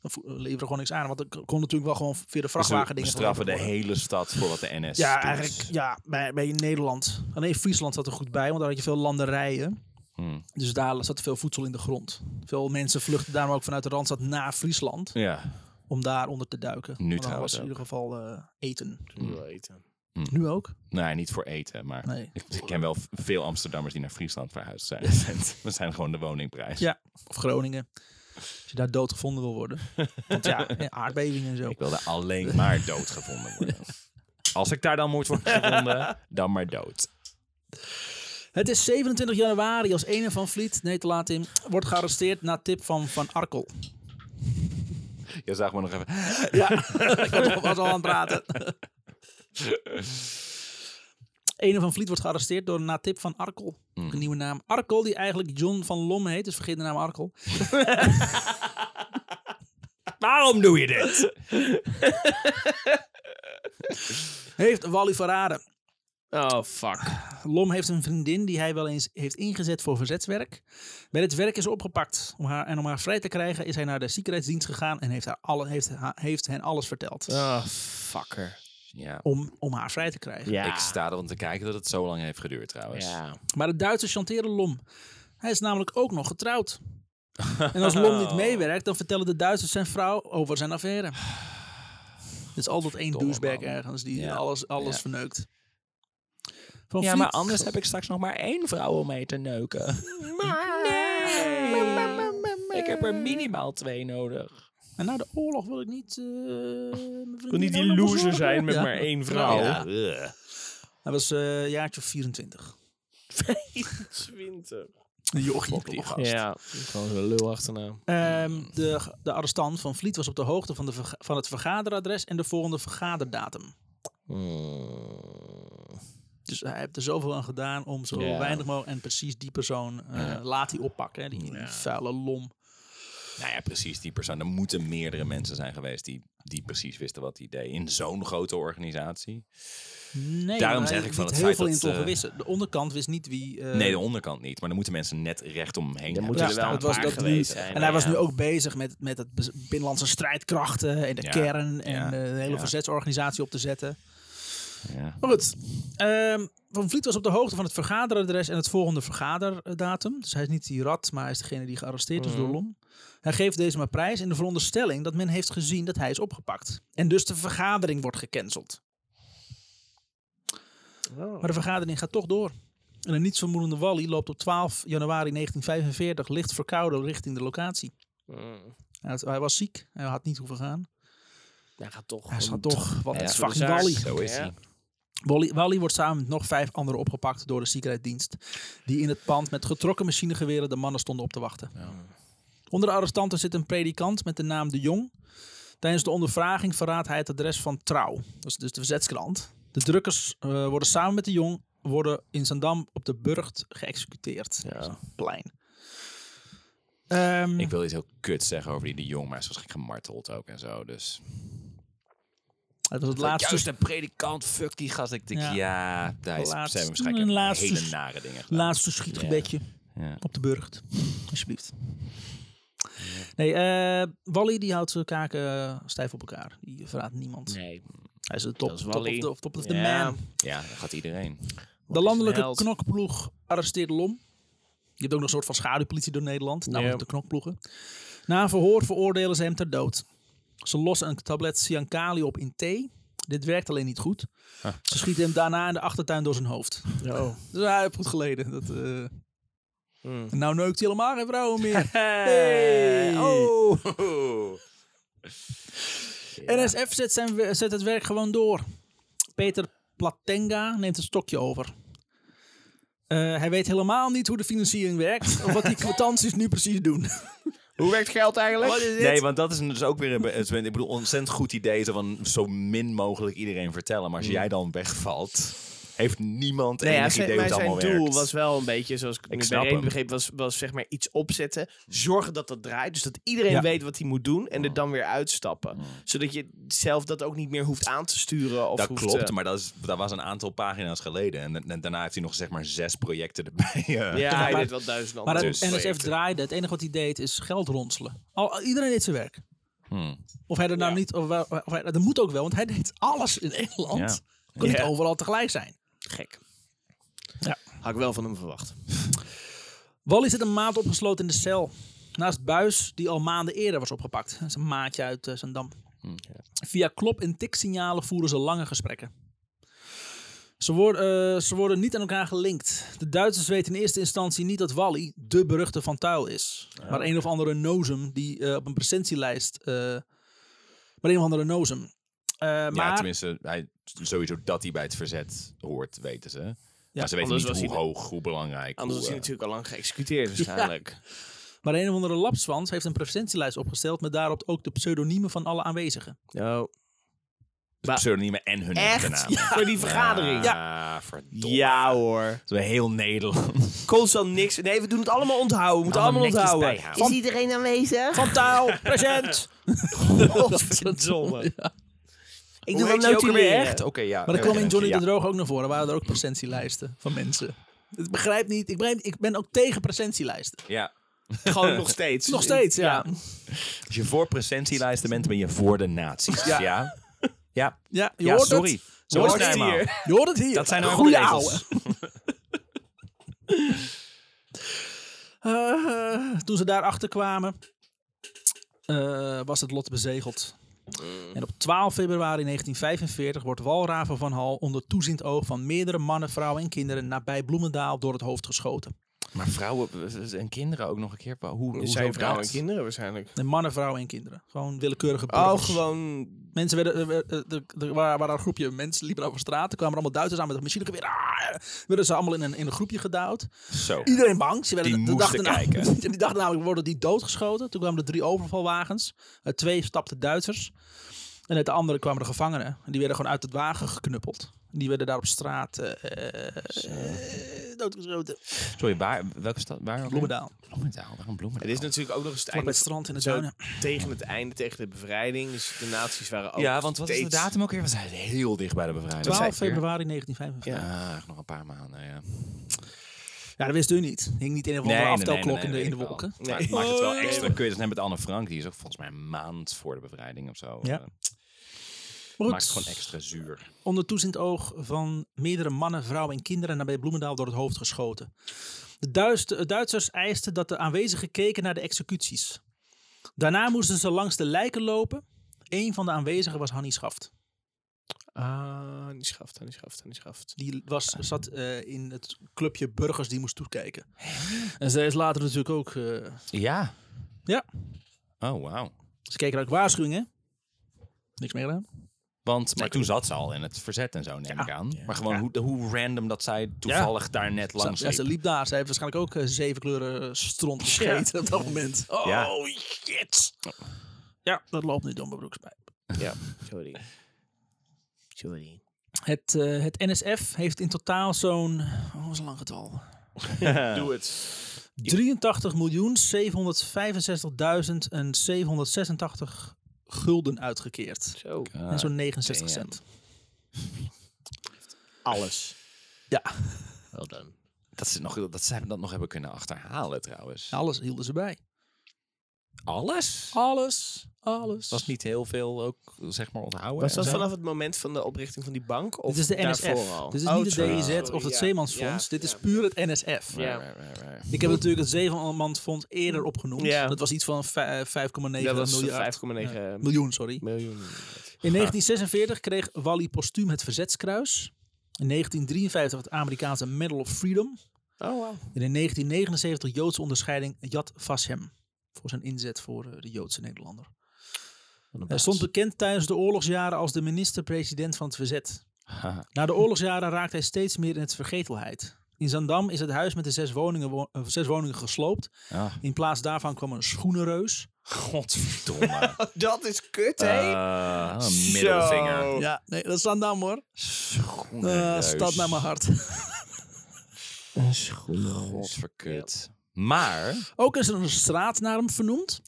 [SPEAKER 1] dan vo- eh, leveren gewoon niks aan. Want er kon natuurlijk wel gewoon via de
[SPEAKER 2] Dus we
[SPEAKER 1] vrachtwagen dingen
[SPEAKER 2] straffen de
[SPEAKER 1] geleverd worden.
[SPEAKER 2] hele stad voor wat de NS
[SPEAKER 1] Ja,
[SPEAKER 2] doet.
[SPEAKER 1] eigenlijk ja, bij, bij Nederland. Alleen Friesland zat er goed bij, want daar had je veel landerijen.
[SPEAKER 2] Hmm.
[SPEAKER 1] Dus daar zat veel voedsel in de grond. Veel mensen vluchten daarom ook vanuit de Randstad naar Friesland.
[SPEAKER 2] Ja.
[SPEAKER 1] Om daar onder te duiken.
[SPEAKER 2] Nu
[SPEAKER 1] Want dan
[SPEAKER 2] trouwens
[SPEAKER 1] was in ieder geval eh, eten.
[SPEAKER 6] Wil eten.
[SPEAKER 1] Nu ook?
[SPEAKER 2] Nee, Nou niet voor eten, maar
[SPEAKER 1] Nee.
[SPEAKER 2] ik, ik ken wel v- veel Amsterdammers die naar Friesland verhuisd zijn. recent. Dat zijn gewoon de woningprijs.
[SPEAKER 1] Ja. Of Groningen. Als je daar doodgevonden wil worden. Want ja, eh, aardbevingen en zo.
[SPEAKER 2] Ik wilde alleen maar dood gevonden worden. Als ik daar dan moet worden gevonden, dan maar dood.
[SPEAKER 1] Het is 27 januari als ene van Vliet, nee te laat in, wordt gearresteerd na tip van Van Arkel.
[SPEAKER 2] Je zag me nog even.
[SPEAKER 1] Ik was al- was al aan het praten. Ene van Vliet wordt gearresteerd door na tip van Arkel.
[SPEAKER 2] Mm.
[SPEAKER 1] Ook Een nieuwe naam. Arkel, die eigenlijk John van Lom heet, dus vergeet de naam Arkel.
[SPEAKER 2] Waarom doe je dit?
[SPEAKER 1] Heeft Wally verraden.
[SPEAKER 6] Oh, fuck.
[SPEAKER 1] Lom heeft een vriendin die hij wel eens heeft ingezet voor verzetswerk. Bij dit werk is ze opgepakt. Om haar, en om haar vrij te krijgen is hij naar de ziekenheidsdienst gegaan en heeft, haar alle, heeft, ha- heeft hen alles verteld.
[SPEAKER 6] Oh, fucker.
[SPEAKER 2] Ja.
[SPEAKER 1] Om, om haar vrij te krijgen.
[SPEAKER 6] Ja.
[SPEAKER 2] Ik sta er om te kijken dat het zo lang heeft geduurd trouwens.
[SPEAKER 6] Ja.
[SPEAKER 1] Maar de Duitsers chanteren Lom. Hij is namelijk ook nog getrouwd. En als Lom niet meewerkt, dan vertellen de Duitsers zijn vrouw over zijn affaire. Er is altijd één
[SPEAKER 2] Verdomme,
[SPEAKER 1] douchebag
[SPEAKER 2] man.
[SPEAKER 1] ergens die
[SPEAKER 2] Ja.
[SPEAKER 1] alles, alles
[SPEAKER 2] Ja.
[SPEAKER 1] verneukt. Van
[SPEAKER 2] Ja,
[SPEAKER 1] Vliet-
[SPEAKER 2] maar anders heb ik straks nog maar één vrouw om mee te neuken. Nee. Ik heb er minimaal twee nodig.
[SPEAKER 1] En na de oorlog wil ik niet... eh, mijn
[SPEAKER 3] Wil
[SPEAKER 1] vriendin
[SPEAKER 3] niet die
[SPEAKER 1] ook nog
[SPEAKER 3] loser
[SPEAKER 1] verzorgen.
[SPEAKER 3] zijn met
[SPEAKER 1] Ja.
[SPEAKER 3] maar één vrouw.
[SPEAKER 2] Ja.
[SPEAKER 1] Hij was eh, een jaartje of 24.
[SPEAKER 6] 20.
[SPEAKER 1] Een jochie.
[SPEAKER 2] Fok die gast.
[SPEAKER 6] Ja. Gewoon zo'n lul achterna.
[SPEAKER 1] Ehm, de, de arrestant van Vliet was op de hoogte van, de verga- van het vergaderadres en de volgende vergaderdatum.
[SPEAKER 3] Oh.
[SPEAKER 1] Dus hij heeft er zoveel aan gedaan om zo
[SPEAKER 6] Ja.
[SPEAKER 1] weinig mogelijk... En precies die persoon eh, laat hij oppakken. hè, Die, die vuile lom.
[SPEAKER 2] Nou ja, precies die persoon. Er moeten meerdere mensen zijn geweest die, die precies wisten wat hij deed. In zo'n grote organisatie.
[SPEAKER 1] Nee,
[SPEAKER 2] Daarom
[SPEAKER 1] maar
[SPEAKER 2] zeg
[SPEAKER 1] hij
[SPEAKER 2] ik van
[SPEAKER 1] liet
[SPEAKER 2] het
[SPEAKER 1] heel
[SPEAKER 2] feit
[SPEAKER 1] veel in
[SPEAKER 2] dat,
[SPEAKER 1] het
[SPEAKER 2] eh,
[SPEAKER 1] ongewissen. De onderkant wist niet wie... eh,
[SPEAKER 2] Nee, de onderkant niet. Maar er moeten mensen net recht omheen hebben
[SPEAKER 6] moeten er wel
[SPEAKER 2] gestaan.
[SPEAKER 6] een
[SPEAKER 1] het was
[SPEAKER 6] paar
[SPEAKER 1] dat
[SPEAKER 6] geweest
[SPEAKER 1] nu-
[SPEAKER 6] zijn,
[SPEAKER 1] en hij was
[SPEAKER 6] ja.
[SPEAKER 1] nu ook bezig met, met het bez- binnenlandse strijdkrachten en de
[SPEAKER 2] Ja.
[SPEAKER 1] kern en
[SPEAKER 2] Ja.
[SPEAKER 1] eh, de hele
[SPEAKER 2] Ja.
[SPEAKER 1] verzetsorganisatie op te zetten.
[SPEAKER 2] Ja.
[SPEAKER 1] Maar goed, ehm, Van Vliet was op de hoogte van het vergaderadres en het volgende vergaderdatum. Dus hij is niet die rat, maar hij is degene die gearresteerd is door
[SPEAKER 6] Mhm.
[SPEAKER 1] Lom. Hij geeft deze maar prijs in de veronderstelling dat men heeft gezien dat hij is opgepakt. En dus de vergadering wordt gecanceld. Maar de vergadering gaat toch door. En een nietsvermoedende Wally loopt op 12 januari 1945 licht verkouden richting de locatie.
[SPEAKER 6] Mm.
[SPEAKER 1] Hij had- Hij was ziek, hij had niet hoeven gaan.
[SPEAKER 6] Hij gaat toch.
[SPEAKER 1] Hij zat toch, want het is
[SPEAKER 6] voor de
[SPEAKER 1] fucking
[SPEAKER 6] zaak.
[SPEAKER 1] Wally.
[SPEAKER 2] Zo is
[SPEAKER 6] Ja.
[SPEAKER 2] hij.
[SPEAKER 1] Wally, Wally wordt samen met nog vijf anderen opgepakt door de ziekenheidsdienst. Die in het pand met getrokken machinegeweren de mannen stonden op te wachten. Onder de arrestanten zit een predikant met de naam De Jong. Tijdens de ondervraging verraadt hij het adres van Trouw. Dat is dus de verzetskrant. De drukkers eh, worden samen met De Jong worden in Zandam op de Burgt geëxecuteerd.
[SPEAKER 6] Ja.
[SPEAKER 1] Dat is een plein. Ehm,
[SPEAKER 2] Ik wil iets heel kut zeggen over die de jong, maar hij is waarschijnlijk gemarteld ook en zo. Dus
[SPEAKER 1] het was het
[SPEAKER 2] Laatste.
[SPEAKER 1] laatste
[SPEAKER 2] Juist een predikant, fuck die gast. Ik denk,
[SPEAKER 1] Ja.
[SPEAKER 2] ja, daar is,
[SPEAKER 1] Laatst-
[SPEAKER 2] zijn we waarschijnlijk
[SPEAKER 1] laatst-
[SPEAKER 2] hele nare dingen gedaan.
[SPEAKER 1] Laatste schietgebedje
[SPEAKER 2] Ja.
[SPEAKER 1] op de burcht. Alsjeblieft. Nee, eh, Wally die houdt zijn kaken eh, stijf op elkaar. Die verraadt niemand.
[SPEAKER 6] Nee.
[SPEAKER 1] Hij is de top,
[SPEAKER 6] Dat is
[SPEAKER 1] top
[SPEAKER 6] Wally.
[SPEAKER 1] of the, of top of the
[SPEAKER 6] Ja.
[SPEAKER 1] man.
[SPEAKER 2] Ja, dat gaat iedereen.
[SPEAKER 1] De landelijke
[SPEAKER 6] held.
[SPEAKER 1] knokploeg arresteert Lom. Je hebt ook nog een soort van schaduwpolitie door Nederland, namelijk de knokploegen. Na een verhoor veroordelen ze hem ter dood. Ze lossen een tablet Ciancali op in thee. Dit werkt alleen niet goed.
[SPEAKER 6] Ah.
[SPEAKER 1] Ze schieten hem daarna in de achtertuin door zijn hoofd.
[SPEAKER 6] Oh.
[SPEAKER 1] Dus hij heeft goed geleden. Dat, eh,
[SPEAKER 2] Hmm.
[SPEAKER 6] Mm.
[SPEAKER 1] En nou neukt hij helemaal geen vrouwen meer. Hey. Oh. NSF zet, zijn, we- zet het werk gewoon door. Peter Platenga neemt het stokje over. Eh, hij weet helemaal niet hoe de financiering werkt. of wat die kwitanties nu precies doen.
[SPEAKER 3] Hoe werkt geld eigenlijk?
[SPEAKER 2] Nee, want dat is dus ook weer een, be- een- ik bedoel, ontzettend goed idee zo van zo min mogelijk iedereen vertellen. Maar als jij dan wegvalt, heeft niemand
[SPEAKER 3] Mm. Nee, ja,
[SPEAKER 2] enig
[SPEAKER 3] zijn,
[SPEAKER 2] idee hoe
[SPEAKER 3] maar
[SPEAKER 2] het
[SPEAKER 3] zijn
[SPEAKER 2] allemaal
[SPEAKER 3] doel
[SPEAKER 2] werkt.
[SPEAKER 3] was wel een beetje, zoals ik, ik
[SPEAKER 2] snap
[SPEAKER 3] bij Reen
[SPEAKER 2] hem.
[SPEAKER 3] begreep, was, was zeg maar iets opzetten. Zorgen dat dat draait. Dus dat iedereen
[SPEAKER 1] Ja.
[SPEAKER 3] weet wat hij moet doen en
[SPEAKER 2] Mm.
[SPEAKER 3] er dan weer uitstappen. Zodat je zelf dat ook niet meer hoeft aan te sturen. Of
[SPEAKER 2] dat
[SPEAKER 3] hoeft,
[SPEAKER 2] klopt,
[SPEAKER 3] eh,
[SPEAKER 2] maar dat, is, dat was een aantal pagina's geleden. En, da- en daarna heeft hij nog zeg maar zes projecten erbij. eh.
[SPEAKER 3] ja, hij
[SPEAKER 1] maar-
[SPEAKER 3] deed wel duizend
[SPEAKER 1] Maar
[SPEAKER 3] andere
[SPEAKER 1] het
[SPEAKER 2] Dus-
[SPEAKER 1] NSF draaide. Het enige wat hij deed is geld ronselen. Al, iedereen deed zijn werk.
[SPEAKER 2] Hmm.
[SPEAKER 1] Of hij er nou niet. Of, wel- of hij, dat moet ook wel, want hij deed alles in Nederland.
[SPEAKER 2] Ja.
[SPEAKER 1] Kon niet
[SPEAKER 3] Ja.
[SPEAKER 1] overal tegelijk zijn.
[SPEAKER 3] Gek.
[SPEAKER 1] Ja.
[SPEAKER 3] Had ik wel van hem verwacht.
[SPEAKER 1] Wally zit een maand opgesloten in de cel. Naast Buis, die al maanden eerder was opgepakt. Dat is een maatje uit eh, Zandam. Via klop- en tiksignalen voeren ze lange gesprekken. Ze worden, eh, ze worden niet aan elkaar gelinkt. De Duitsers weten in eerste instantie niet dat Wally de beruchte Van Tuil is. Maar een of andere nozem die eh, op een presentielijst... eh, maar een of andere nozem. Eh,
[SPEAKER 2] Ja,
[SPEAKER 1] maar
[SPEAKER 2] tenminste, hij, sowieso dat hij bij het verzet hoort, weten ze. maar ze weten
[SPEAKER 3] anders
[SPEAKER 2] niet
[SPEAKER 3] was
[SPEAKER 2] hoe
[SPEAKER 3] hij-
[SPEAKER 2] hoog, hoe belangrijk.
[SPEAKER 3] Anders is
[SPEAKER 2] hoe,
[SPEAKER 3] hij
[SPEAKER 2] eh,
[SPEAKER 3] natuurlijk al lang geëxecuteerd waarschijnlijk.
[SPEAKER 1] Maar een of andere lapswans heeft een presentielijst opgesteld met daarop ook de pseudoniemen van alle aanwezigen.
[SPEAKER 3] Nou,
[SPEAKER 2] pseudoniemen en hun echte naam.
[SPEAKER 3] Voor die vergadering.
[SPEAKER 2] Ja, verdomme.
[SPEAKER 3] Ja, hoor.
[SPEAKER 2] Dat is heel Nederland.
[SPEAKER 3] Constant niks. Nee, we doen het allemaal onthouden. We moeten allemaal,
[SPEAKER 2] netjes
[SPEAKER 3] onthouden.
[SPEAKER 2] bijhouden.
[SPEAKER 3] Is iedereen aanwezig? Van taal, present. Godverdomme. Ik
[SPEAKER 2] Weet je
[SPEAKER 3] doe wel
[SPEAKER 2] ook alweer
[SPEAKER 3] notuleren.
[SPEAKER 2] echt? Oké, ja.
[SPEAKER 1] Maar dat
[SPEAKER 2] oké,
[SPEAKER 1] kwam in
[SPEAKER 2] dank
[SPEAKER 1] Johnny
[SPEAKER 2] je.
[SPEAKER 1] de Droog ook naar voren. Waren er ook presentielijsten van mensen. Ik begrijp niet. Ik, begrijp, ik ben ook tegen presentielijsten.
[SPEAKER 2] Ja. ja.
[SPEAKER 3] Gewoon nog steeds.
[SPEAKER 1] Nog steeds, ja.
[SPEAKER 2] Als je voor presentielijsten bent, ben je voor de nazi's. Ja. Ja, ja.
[SPEAKER 1] Ja, je hoort
[SPEAKER 2] sorry.
[SPEAKER 1] het.
[SPEAKER 2] Zo
[SPEAKER 1] hoort
[SPEAKER 2] is het
[SPEAKER 1] het
[SPEAKER 2] nou eenmaal.
[SPEAKER 1] Je hoort het hier.
[SPEAKER 2] Dat zijn nou
[SPEAKER 1] goede
[SPEAKER 2] eenmaal de
[SPEAKER 1] ouwe.
[SPEAKER 2] regels.
[SPEAKER 1] Eh, toen ze daarachter kwamen, eh, was het lot bezegeld.
[SPEAKER 3] Mm.
[SPEAKER 1] En op 12 februari 1945 wordt Walraven van Hal onder toeziend oog van meerdere mannen, vrouwen en kinderen nabij Bloemendaal door het hoofd geschoten.
[SPEAKER 2] Maar vrouwen en kinderen ook nog een keer. Hoe, hoe
[SPEAKER 3] Zijn vrouwen en kinderen waarschijnlijk.
[SPEAKER 1] En mannen, vrouwen en kinderen. Gewoon willekeurige burgers.
[SPEAKER 3] Oh, gewoon...
[SPEAKER 1] Mensen werden, eh, werd- eh, de- de- waar, waar een groepje mensen liepen over straat. Er kwamen allemaal Duitsers aan met een machinegeweer. Ah, werden ze allemaal in een, in een groepje geduwd.
[SPEAKER 2] Zo.
[SPEAKER 1] Iedereen bang. Ze werden
[SPEAKER 2] Die
[SPEAKER 1] de dag
[SPEAKER 2] moesten
[SPEAKER 1] daarna-
[SPEAKER 2] kijken.
[SPEAKER 1] en die dag namelijk worden die doodgeschoten. Toen kwamen de drie overvalwagens. Uit twee stapten Duitsers. En uit de andere kwamen de gevangenen. En die werden gewoon uit het wagen geknuppeld. Die werden daar op straat eh, eh, eh, doodgeschoten.
[SPEAKER 2] Sorry, waar, welke stad? Waar?
[SPEAKER 1] Bloemendaal.
[SPEAKER 2] Bloemendaal, waarom Bloemendaal?
[SPEAKER 3] Het is natuurlijk ook nog eens het
[SPEAKER 1] Vlak bij het
[SPEAKER 3] einde
[SPEAKER 1] strand in de
[SPEAKER 3] zo
[SPEAKER 1] duinen.
[SPEAKER 3] tegen het einde, tegen de bevrijding. Dus de nazi's waren ook
[SPEAKER 2] ja, want wat is de
[SPEAKER 3] steeds-
[SPEAKER 2] datum ook weer? We zijn heel dicht bij de bevrijding.
[SPEAKER 1] 12 februari 1945. Ja.
[SPEAKER 2] Ja, nog een paar maanden. Ja.
[SPEAKER 1] dat wist u niet. Hing niet in een of andere aftelklok in de- in de wolken.
[SPEAKER 2] Nee, maar het maakt het wel extra kut. Dat net met Anne Frank, die is ook volgens mij een maand voor de bevrijding of zo.
[SPEAKER 1] Ja.
[SPEAKER 2] Eh,
[SPEAKER 1] Maar
[SPEAKER 2] maakt het
[SPEAKER 1] goed.
[SPEAKER 2] gewoon extra zuur.
[SPEAKER 1] onder toeziend oog van meerdere mannen, vrouwen en kinderen nabij Bloemendaal door het hoofd geschoten. De Duits- de Duitsers eisten dat de aanwezigen keken naar de executies. Daarna moesten ze langs de lijken lopen. Eén van de aanwezigen was Hannie Schaft.
[SPEAKER 3] Ah, die schaft, die schaft, die schaft.
[SPEAKER 1] Die was, zat eh, in het clubje burgers die moest toekijken. En zij is later natuurlijk ook... eh,
[SPEAKER 2] Ja.
[SPEAKER 1] Ja.
[SPEAKER 2] Oh, wauw.
[SPEAKER 1] ze keken naar waarschuwingen. Niks meer gedaan.
[SPEAKER 2] Want maar toen zat ze al in het verzet en zo, neem ik aan. Maar gewoon hoe, hoe random dat zij toevallig daar net langs
[SPEAKER 1] Ze, ja, ze
[SPEAKER 2] liep.
[SPEAKER 1] liep daar. Ze heeft waarschijnlijk ook eh, zeven kleuren eh, stront gegeten op dat moment. Oh,
[SPEAKER 2] Ja.
[SPEAKER 1] shit. Ja, dat loopt niet door mijn broekspijp.
[SPEAKER 3] Ja, sorry. Sorry.
[SPEAKER 1] Het, eh, het NSF heeft in totaal zo'n. Wat was een lang getal?
[SPEAKER 2] Eh.
[SPEAKER 3] Doe het.
[SPEAKER 1] 83 miljoen 765.786 gulden uitgekeerd.
[SPEAKER 3] Zo.
[SPEAKER 1] en zo'n 69
[SPEAKER 2] damn.
[SPEAKER 1] cent.
[SPEAKER 3] Alles.
[SPEAKER 1] Ja.
[SPEAKER 3] Wel dan.
[SPEAKER 2] Dat ze, nog, dat ze dat nog hebben kunnen achterhalen trouwens.
[SPEAKER 1] Alles hielden ze bij.
[SPEAKER 2] Alles?
[SPEAKER 1] Alles. Alles.
[SPEAKER 2] Was niet heel veel ook, zeg maar, onthouden.
[SPEAKER 3] Was
[SPEAKER 2] en
[SPEAKER 3] dat
[SPEAKER 2] zo?
[SPEAKER 3] vanaf het moment van de oprichting van die bank? Of
[SPEAKER 1] Dit is de
[SPEAKER 3] daarvoor
[SPEAKER 1] NSF.
[SPEAKER 3] al?
[SPEAKER 1] Dit is
[SPEAKER 3] Oh,
[SPEAKER 1] niet de
[SPEAKER 3] sorry.
[SPEAKER 1] DIZ of
[SPEAKER 3] Sorry,
[SPEAKER 1] het
[SPEAKER 3] ja.
[SPEAKER 1] Zeemansfonds.
[SPEAKER 3] Ja,
[SPEAKER 1] Dit is
[SPEAKER 3] ja.
[SPEAKER 1] puur het NSF.
[SPEAKER 3] Ja.
[SPEAKER 2] Right, right, right, right.
[SPEAKER 1] Ik heb natuurlijk het Zeemansfonds eerder opgenoemd.
[SPEAKER 3] Ja.
[SPEAKER 1] Dat was iets van vij- 5,9
[SPEAKER 3] Dat was
[SPEAKER 1] miljard.
[SPEAKER 3] 5,9
[SPEAKER 1] Miljoen, sorry.
[SPEAKER 3] miljoen.
[SPEAKER 1] In 1946 kreeg Wally postuum het Verzetskruis. In 1953 het Amerikaanse Medal of Freedom.
[SPEAKER 3] Oh, wow.
[SPEAKER 1] En in 1979 Joodse onderscheiding Yad Vashem. Voor zijn inzet voor eh, de Joodse Nederlander. Hij stond bekend tijdens de oorlogsjaren als de minister-president van het verzet.
[SPEAKER 2] Haha.
[SPEAKER 1] Na de oorlogsjaren raakte hij steeds meer in het vergetelheid. In Zandam is het huis met de zes woningen, wo- eh, zes woningen gesloopt.
[SPEAKER 2] Ah.
[SPEAKER 1] In plaats daarvan kwam een schoenenreus.
[SPEAKER 2] Godverdomme.
[SPEAKER 3] Dat is kut, hè?
[SPEAKER 2] Eh, een middelvinger.
[SPEAKER 3] Zo.
[SPEAKER 1] Ja, nee, dat is Zandam hoor. Eh
[SPEAKER 2] Schoenenreus.
[SPEAKER 1] stad naar mijn hart.
[SPEAKER 2] Godverkut. Maar, oké.
[SPEAKER 1] Ook is er een straat naar hem vernoemd.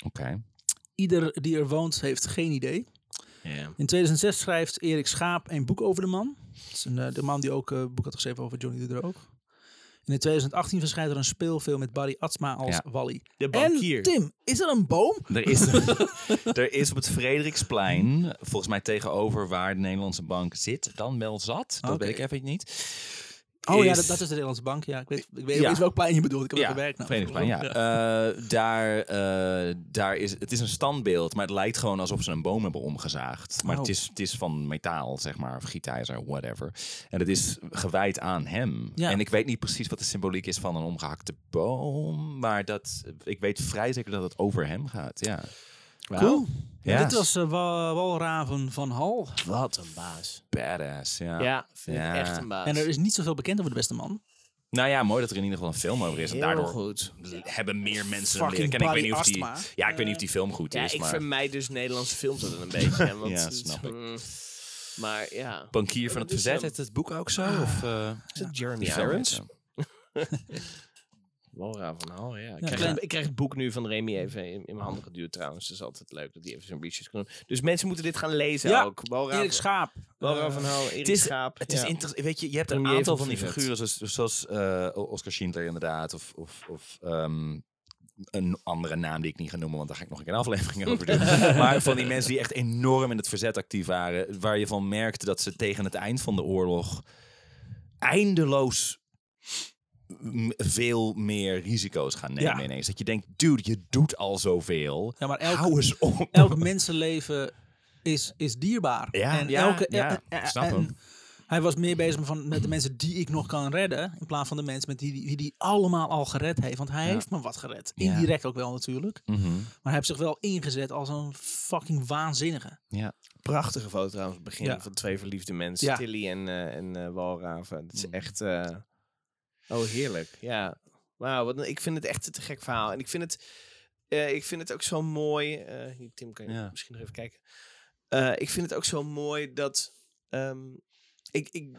[SPEAKER 1] Ieder die er woont heeft geen idee. In 2006 schrijft Erik Schaap een boek over de man. Dat is een, eh, de man die ook eh, een boek had geschreven over Johnny de Droog. En in 2018 verschijnt er een speelfilm met Barry Atsma als
[SPEAKER 2] Ja.
[SPEAKER 1] Wally.
[SPEAKER 3] De
[SPEAKER 1] En Tim, is er een boom?
[SPEAKER 2] Er is, er is op het Frederiksplein, volgens mij tegenover waar de Nederlandse bank zit, dan wel zat. Dat
[SPEAKER 1] Oké.
[SPEAKER 2] weet ik even niet.
[SPEAKER 1] Oh ja,
[SPEAKER 2] is-
[SPEAKER 1] dat, dat is de Nederlandse bank. Ja, ik weet, ik weet
[SPEAKER 2] Ja.
[SPEAKER 1] is welk plein je bedoelt. Ik heb er
[SPEAKER 2] Ja,
[SPEAKER 1] gewerkt. nou.
[SPEAKER 2] Verenigingsplein, ja. Eh, daar, eh, daar is, het is een standbeeld, maar het lijkt gewoon alsof ze een boom hebben omgezaagd. Maar
[SPEAKER 1] Oh.
[SPEAKER 2] het, is, het is van metaal, zeg maar, of gietijzer, whatever. En het is gewijd aan hem.
[SPEAKER 1] Ja.
[SPEAKER 2] En ik weet niet precies wat de symboliek is van een omgehakte boom, maar dat, ik weet vrij zeker dat het over hem gaat, ja.
[SPEAKER 1] Cool.
[SPEAKER 2] Ja.
[SPEAKER 1] Dit was eh, Wa- Walraven van Hal.
[SPEAKER 3] Wat een baas.
[SPEAKER 2] Badass, ja.
[SPEAKER 3] Ja, vind
[SPEAKER 2] Ja.
[SPEAKER 3] ik echt een baas.
[SPEAKER 1] En er is niet zoveel bekend over de beste man.
[SPEAKER 2] Nou ja, mooi dat er in ieder geval een film over is. En
[SPEAKER 3] Heel
[SPEAKER 2] daardoor
[SPEAKER 3] goed.
[SPEAKER 2] hebben meer mensen hem leren
[SPEAKER 1] Fucking
[SPEAKER 2] kennen. Ik weet niet of
[SPEAKER 1] Barry
[SPEAKER 2] die,
[SPEAKER 1] Astma.
[SPEAKER 2] ja, ik weet niet of die film goed
[SPEAKER 3] Ja,
[SPEAKER 2] is,
[SPEAKER 3] ik
[SPEAKER 2] maar...
[SPEAKER 3] vermijd dus Nederlandse films altijd een beetje. hè, Want
[SPEAKER 2] Ja,
[SPEAKER 3] het-
[SPEAKER 2] snap ik.
[SPEAKER 3] mm, maar ja.
[SPEAKER 2] Bankier van het
[SPEAKER 3] is
[SPEAKER 2] Verzet,
[SPEAKER 3] hem.
[SPEAKER 2] heet Dus, eh, het boek ook zo? Of, eh,
[SPEAKER 3] Is het Jeremy
[SPEAKER 2] die film
[SPEAKER 3] Irons?
[SPEAKER 2] heet zo?
[SPEAKER 3] Laura van Hal, ja. Ik,
[SPEAKER 1] Ja,
[SPEAKER 3] krijg,
[SPEAKER 1] klein-
[SPEAKER 3] ik krijg het boek nu van Remy even in, in mijn handen geduwd trouwens. Dat is altijd leuk dat die even zo'n research kan doen. Dus mensen moeten dit gaan lezen
[SPEAKER 1] Ja,
[SPEAKER 3] ook. Laura,
[SPEAKER 1] Erik Schaap.
[SPEAKER 3] Laura van Hal, Erik
[SPEAKER 2] Het is,
[SPEAKER 3] Schaap.
[SPEAKER 2] het is
[SPEAKER 3] ja.
[SPEAKER 2] inter- weet je, je hebt een
[SPEAKER 3] Premier
[SPEAKER 2] aantal
[SPEAKER 3] van
[SPEAKER 2] van die
[SPEAKER 3] Verzet.
[SPEAKER 2] figuren, zoals, zoals eh, O- Oscar Schindler inderdaad, of, of, of ehm, een andere naam die ik niet ga noemen, want daar ga ik nog een keer een aflevering over doen. maar van die mensen die echt enorm in het verzet actief waren, waar je van merkte dat ze tegen het eind van de oorlog eindeloos m- veel meer risico's gaan nemen
[SPEAKER 1] Ja.
[SPEAKER 2] ineens. Dat je denkt, dude, je doet al zoveel.
[SPEAKER 1] Ja, maar elk-
[SPEAKER 2] Hou eens op.
[SPEAKER 1] Elk mensenleven is, is dierbaar.
[SPEAKER 2] Ja,
[SPEAKER 1] en
[SPEAKER 2] ja,
[SPEAKER 1] elke,
[SPEAKER 2] ja,
[SPEAKER 1] eh, eh,
[SPEAKER 2] ik snap
[SPEAKER 1] en
[SPEAKER 2] hem.
[SPEAKER 1] Hij was meer bezig van, met de mensen die ik nog kan redden. In plaats van de mensen met die, die, die allemaal al gered heeft. Want hij heeft me wat gered.
[SPEAKER 2] Ja.
[SPEAKER 1] Indirect ook wel natuurlijk.
[SPEAKER 2] Mhm.
[SPEAKER 1] Maar hij heeft zich wel ingezet als een fucking waanzinnige.
[SPEAKER 2] Ja.
[SPEAKER 3] prachtige foto trouwens. Het begin
[SPEAKER 1] Ja.
[SPEAKER 3] van twee verliefde mensen.
[SPEAKER 1] Ja. Mm.
[SPEAKER 3] Tilly en, eh en eh, Walraven. Dat is echt... eh, oh, heerlijk. Ja. Wauw, wat een- ik vind het echt een te gek verhaal. En ik vind het, eh, ik vind het ook zo mooi... eh, hier, Tim, kan je
[SPEAKER 2] Ja.
[SPEAKER 3] misschien nog even kijken. Eh, ik vind het ook zo mooi dat... ehm, ik, ik,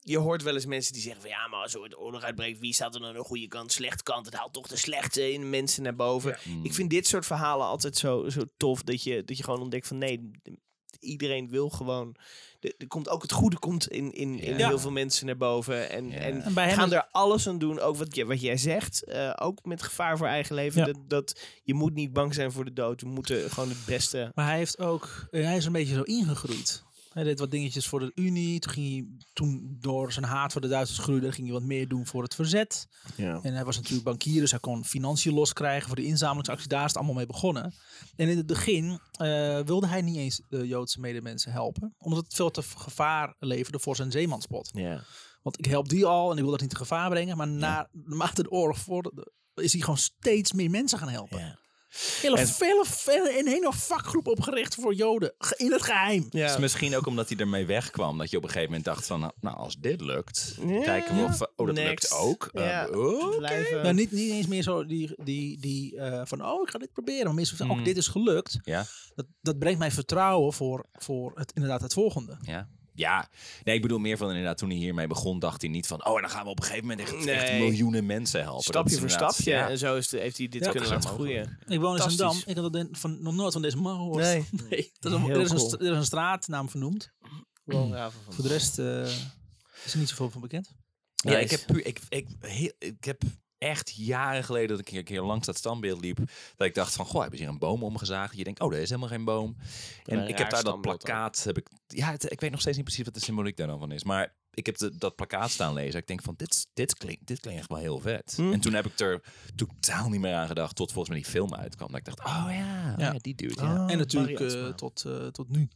[SPEAKER 3] je hoort wel eens mensen die zeggen van... Ja, maar als er ooit oorlog uitbreekt, wie staat er dan aan de goede kant, slechte kant? Het haalt toch de slechte in mensen naar boven.
[SPEAKER 2] Hmm.
[SPEAKER 3] Ik vind dit soort verhalen altijd zo, zo tof. Dat je, dat je gewoon ontdekt van nee, de- iedereen wil gewoon. de- Er komt ook het goede komt in, in, in
[SPEAKER 2] Ja.
[SPEAKER 3] heel veel mensen naar boven. En,
[SPEAKER 2] Ja.
[SPEAKER 3] en,
[SPEAKER 1] En bij hem
[SPEAKER 3] gaan
[SPEAKER 1] is-
[SPEAKER 3] er alles aan doen. Ook wat, je- wat jij zegt. eh, ook met gevaar voor eigen leven.
[SPEAKER 1] Ja.
[SPEAKER 3] Dat, dat je moet niet bang zijn voor de dood. We moeten gewoon het beste.
[SPEAKER 1] Maar hij heeft ook, eh, hij is een beetje zo ingegroeid. Hij deed wat dingetjes voor de Unie. Toen, ging hij, toen door zijn haat voor de Duitsers groeide, ging hij wat meer doen voor het verzet.
[SPEAKER 3] Ja.
[SPEAKER 1] En hij was natuurlijk bankier, dus hij kon financiën loskrijgen voor de inzamelingsactie. Daar is het allemaal mee begonnen. En in het begin eh, wilde hij niet eens de Joodse medemensen helpen. Omdat het veel te v- gevaar leverde voor zijn zeemanspot.
[SPEAKER 3] Ja.
[SPEAKER 1] Want ik help die al en ik wil dat niet in gevaar brengen. Maar na, naarmate de oorlog vorderde, is hij gewoon steeds meer mensen gaan helpen.
[SPEAKER 2] Ja.
[SPEAKER 1] Hele, vele, vele, een hele vakgroep opgericht voor Joden. Ge- In het geheim.
[SPEAKER 2] Het
[SPEAKER 3] Ja.
[SPEAKER 2] is Dus misschien ook omdat hij ermee wegkwam. Dat je op een gegeven moment dacht van... Nou, als dit lukt,
[SPEAKER 3] Ja.
[SPEAKER 2] kijken we of... Oh, dat
[SPEAKER 3] Next.
[SPEAKER 2] lukt ook. Eh,
[SPEAKER 3] Ja.
[SPEAKER 2] oké.
[SPEAKER 3] Blijven.
[SPEAKER 1] Nou, niet, niet eens meer zo die, die, die eh, van, oh, ik ga dit proberen. Maar mensen van, oh,
[SPEAKER 2] Mm.
[SPEAKER 1] dit is gelukt.
[SPEAKER 2] Ja,
[SPEAKER 1] Dat, dat brengt mij vertrouwen voor, voor het, inderdaad het volgende.
[SPEAKER 2] ja. Ja, nee, ik bedoel meer van inderdaad toen hij hiermee begon, dacht hij niet van, oh, en dan gaan we op een gegeven moment echt, echt
[SPEAKER 3] Nee.
[SPEAKER 2] miljoenen mensen helpen. Dat
[SPEAKER 3] Stapje
[SPEAKER 2] is
[SPEAKER 3] voor
[SPEAKER 2] inderdaad-
[SPEAKER 3] stapje.
[SPEAKER 2] ja.
[SPEAKER 3] En zo is de- heeft hij dit
[SPEAKER 1] Ja,
[SPEAKER 3] kunnen
[SPEAKER 2] zo
[SPEAKER 3] laten
[SPEAKER 2] mogelijk.
[SPEAKER 3] groeien.
[SPEAKER 1] Ik woon in
[SPEAKER 3] Fantastisch.
[SPEAKER 1] Zandam. Ik had dat de- van, nog nooit van deze man gehoord.
[SPEAKER 3] Nee.
[SPEAKER 1] Dat is een,
[SPEAKER 3] Heel
[SPEAKER 1] er, is een,
[SPEAKER 3] cool.
[SPEAKER 1] st- er is een straatnaam vernoemd.
[SPEAKER 3] Walraven van
[SPEAKER 1] Voor de rest eh, is er niet zoveel van bekend.
[SPEAKER 2] Ja, ik
[SPEAKER 3] Nice.
[SPEAKER 2] heb puur, ik, ik, heel- ik heb echt jaren geleden dat ik een keer langs dat standbeeld liep, dat ik dacht van, goh, hebben ze hier een boom omgezaagd? Je denkt, oh, er is helemaal geen boom. En
[SPEAKER 3] een
[SPEAKER 2] ik
[SPEAKER 3] raar
[SPEAKER 2] heb daar dat
[SPEAKER 3] standbeeld
[SPEAKER 2] plakkaat, heb ik, ja, het- ik weet nog steeds niet precies wat de symboliek daar dan van is, maar ik heb de- dat plakkaat staan lezen. Ik denk van, dit, is- dit, klinkt, dit klinkt echt wel heel vet. En toen heb ik er totaal niet meer aan gedacht, tot volgens mij die film uitkwam. Dat ik dacht, oh ja, oh
[SPEAKER 1] Ja.
[SPEAKER 2] ja. die dude, ja.
[SPEAKER 1] en natuurlijk
[SPEAKER 3] Barry
[SPEAKER 1] eh,
[SPEAKER 3] Atsma.
[SPEAKER 1] tot, eh, tot nu.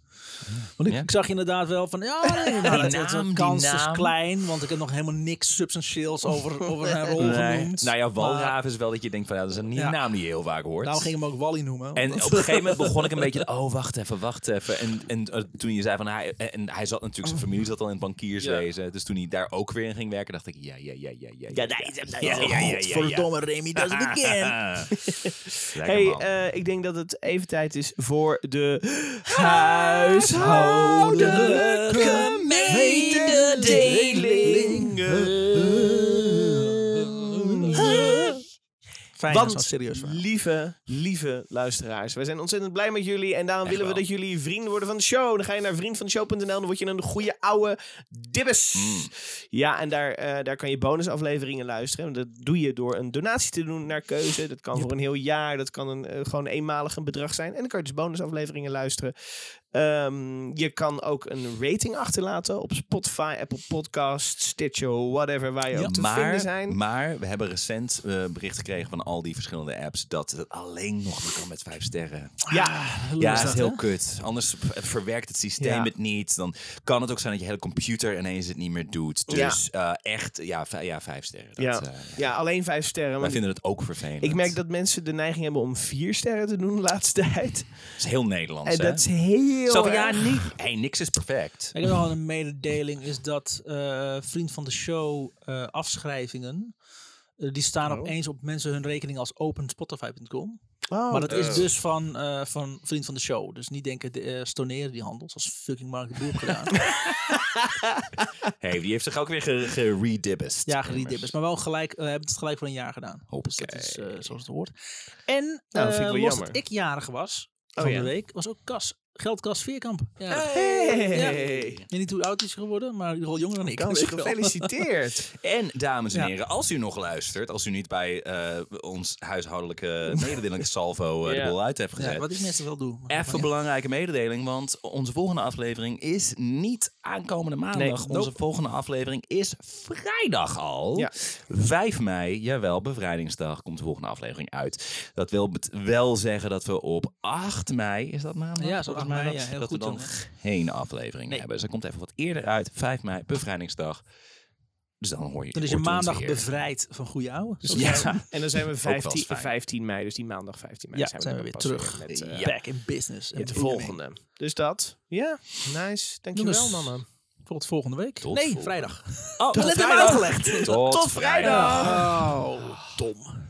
[SPEAKER 1] Want ik,
[SPEAKER 2] Ja.
[SPEAKER 1] ik zag inderdaad wel van, ja, nee, nou, het- het- de
[SPEAKER 2] naam, die
[SPEAKER 1] kans is
[SPEAKER 2] naam.
[SPEAKER 1] klein. Want ik heb nog helemaal niks substantieels over, over een rol genoemd.
[SPEAKER 2] Nou ja,
[SPEAKER 1] Maar
[SPEAKER 2] Walraaf is wel dat je denkt van, ja, dat is een
[SPEAKER 1] Ja. Nou,
[SPEAKER 2] naam die je heel vaak hoort.
[SPEAKER 1] Daarom ging ik hem ook Wally noemen.
[SPEAKER 2] En op een
[SPEAKER 1] omdat-
[SPEAKER 2] gegeven moment begon ik een beetje, oh wacht even, wacht even. En, en eh, toen je zei van hij, en hij zat natuurlijk, zijn familie zat al in het bankierswezen. Dus toen hij daar ook weer in ging werken, dacht ik, ja, ja, ja, ja, ja.
[SPEAKER 3] Ja, daar is hem, daar is
[SPEAKER 2] ja,
[SPEAKER 3] hem.
[SPEAKER 2] ja, ja,
[SPEAKER 1] Godverdomme Remy, dat is bekend.
[SPEAKER 2] Lekker
[SPEAKER 3] Hey,
[SPEAKER 2] man.
[SPEAKER 3] eh, ik denk dat het even tijd is voor de huishoudelijke mededelingen.
[SPEAKER 1] Fijn
[SPEAKER 3] Want
[SPEAKER 1] als dat serieus verhaal.
[SPEAKER 3] lieve, lieve luisteraars, wij zijn ontzettend blij met jullie. En daarom willen we
[SPEAKER 2] wel.
[SPEAKER 3] dat jullie vrienden worden van de show. Dan ga je naar vriendvandeshow.nl, dan word je een goede oude dibbes.
[SPEAKER 1] Mm.
[SPEAKER 3] Ja, en daar, eh, daar kan je bonusafleveringen luisteren. Dat doe je door een donatie te doen naar keuze. Dat kan voor een heel jaar, dat kan een, eh, gewoon eenmalig een bedrag zijn. En dan kan je dus bonusafleveringen luisteren. Ehm, je kan ook een rating achterlaten op Spotify, Apple Podcasts, Stitcher, whatever, waar je ook eh, te vinden
[SPEAKER 2] maar,
[SPEAKER 3] zijn.
[SPEAKER 2] maar we hebben recent eh, bericht gekregen van al die verschillende apps dat het alleen nog maar kan met vijf sterren.
[SPEAKER 3] ja,
[SPEAKER 2] ja,
[SPEAKER 1] is
[SPEAKER 2] dat is
[SPEAKER 1] dat,
[SPEAKER 2] heel
[SPEAKER 1] hè?
[SPEAKER 2] kut. Anders v- verwerkt het systeem
[SPEAKER 1] Ja.
[SPEAKER 2] het niet. Dan kan het ook zijn dat je hele computer ineens het niet meer doet. Dus eh, echt, ja, vij- ja, vijf sterren. Dat,
[SPEAKER 3] ja.
[SPEAKER 2] eh,
[SPEAKER 3] ja, alleen vijf sterren.
[SPEAKER 2] Wij
[SPEAKER 3] want-
[SPEAKER 2] vinden het ook vervelend.
[SPEAKER 3] Ik merk dat mensen de neiging hebben om vier sterren te doen de laatste tijd.
[SPEAKER 2] Het is heel Nederlands,
[SPEAKER 3] En
[SPEAKER 2] hè?
[SPEAKER 3] Eh, dat is heel
[SPEAKER 2] Zo van, ja,
[SPEAKER 3] erg.
[SPEAKER 2] niet. hey, niks is perfect.
[SPEAKER 1] Ik heb nog wel een mededeling, is dat eh, vriend van de show eh, afschrijvingen, eh, die
[SPEAKER 2] Oh.
[SPEAKER 1] staan opeens op mensen hun rekening als openSpotify.com.
[SPEAKER 3] Oh,
[SPEAKER 1] maar dat is dus van, eh, van vriend van de show. Dus niet denken, de, eh, stoneren die handels, als fucking Mark de Boer gedaan.
[SPEAKER 2] hey, die heeft zich ook weer ge- geredebbest.
[SPEAKER 1] ja, gedibbers. Maar wel gelijk, eh, hebben het gelijk voor een jaar gedaan.
[SPEAKER 2] Hoppakee.
[SPEAKER 1] Dus dat is eh, zoals het hoort. En
[SPEAKER 3] Nou, dat
[SPEAKER 1] eh,
[SPEAKER 3] vind ik wel
[SPEAKER 1] los dat
[SPEAKER 3] jammer.
[SPEAKER 1] ik jarig was,
[SPEAKER 3] Oh,
[SPEAKER 1] van
[SPEAKER 3] ja.
[SPEAKER 1] de week, was ook Kas, Geldkas Veerkamp. Ja,
[SPEAKER 3] Hey.
[SPEAKER 1] Ik weet niet hoe oud hij is geworden, maar in ieder geval jonger dan ik.
[SPEAKER 3] Kans,
[SPEAKER 1] Misschien wel.
[SPEAKER 3] gefeliciteerd.
[SPEAKER 2] En dames en
[SPEAKER 1] Ja.
[SPEAKER 2] heren, als u nog luistert, als u niet bij eh, ons huishoudelijke mededeling Salvo eh,
[SPEAKER 3] Ja.
[SPEAKER 2] de boel uit hebt gezet.
[SPEAKER 1] Ja, wat ik meestal wel doe. Maar-
[SPEAKER 2] Even belangrijke mededeling, want onze volgende aflevering is niet aankomende maandag.
[SPEAKER 3] Nee,
[SPEAKER 2] onze
[SPEAKER 3] nope.
[SPEAKER 2] volgende aflevering is vrijdag al.
[SPEAKER 3] Ja.
[SPEAKER 2] 5 mei, jawel, bevrijdingsdag, komt de volgende aflevering uit. Dat wil bet- wel zeggen dat we op 8 mei, is dat maandag?
[SPEAKER 1] Ja, volgens mij,
[SPEAKER 2] Maandag?
[SPEAKER 1] ja, heel
[SPEAKER 2] dat
[SPEAKER 1] goed,
[SPEAKER 2] we dan
[SPEAKER 1] jongen.
[SPEAKER 2] geen aflevering
[SPEAKER 1] Nee.
[SPEAKER 2] hebben. Dus dat komt even wat eerder uit. 5 mei, bevrijdingsdag. Dus dan hoor je
[SPEAKER 1] Dan is je
[SPEAKER 2] hoort ons
[SPEAKER 1] maandag
[SPEAKER 2] weer.
[SPEAKER 1] bevrijd van goede ouwe. Zo
[SPEAKER 2] Ja.
[SPEAKER 3] En dan zijn we
[SPEAKER 2] wel eens
[SPEAKER 3] 15,
[SPEAKER 2] fijn.
[SPEAKER 3] 15 mei, dus die maandag 15 mei
[SPEAKER 1] Ja,
[SPEAKER 3] zijn we,
[SPEAKER 1] zijn we
[SPEAKER 3] dan
[SPEAKER 1] weer
[SPEAKER 3] pas
[SPEAKER 1] terug.
[SPEAKER 3] met, eh,
[SPEAKER 2] Ja.
[SPEAKER 1] Back in business. En
[SPEAKER 3] met de volgende. Dus dat. Ja, nice. Dankjewel,
[SPEAKER 1] Jongens.
[SPEAKER 3] mannen.
[SPEAKER 1] Tot volgende week.
[SPEAKER 2] Tot
[SPEAKER 1] nee,
[SPEAKER 2] volgende-
[SPEAKER 1] vrijdag.
[SPEAKER 2] Oh,
[SPEAKER 3] Net hebben we uitgelegd.
[SPEAKER 2] Tot,
[SPEAKER 3] Tot vrijdag.
[SPEAKER 1] Oh, dom.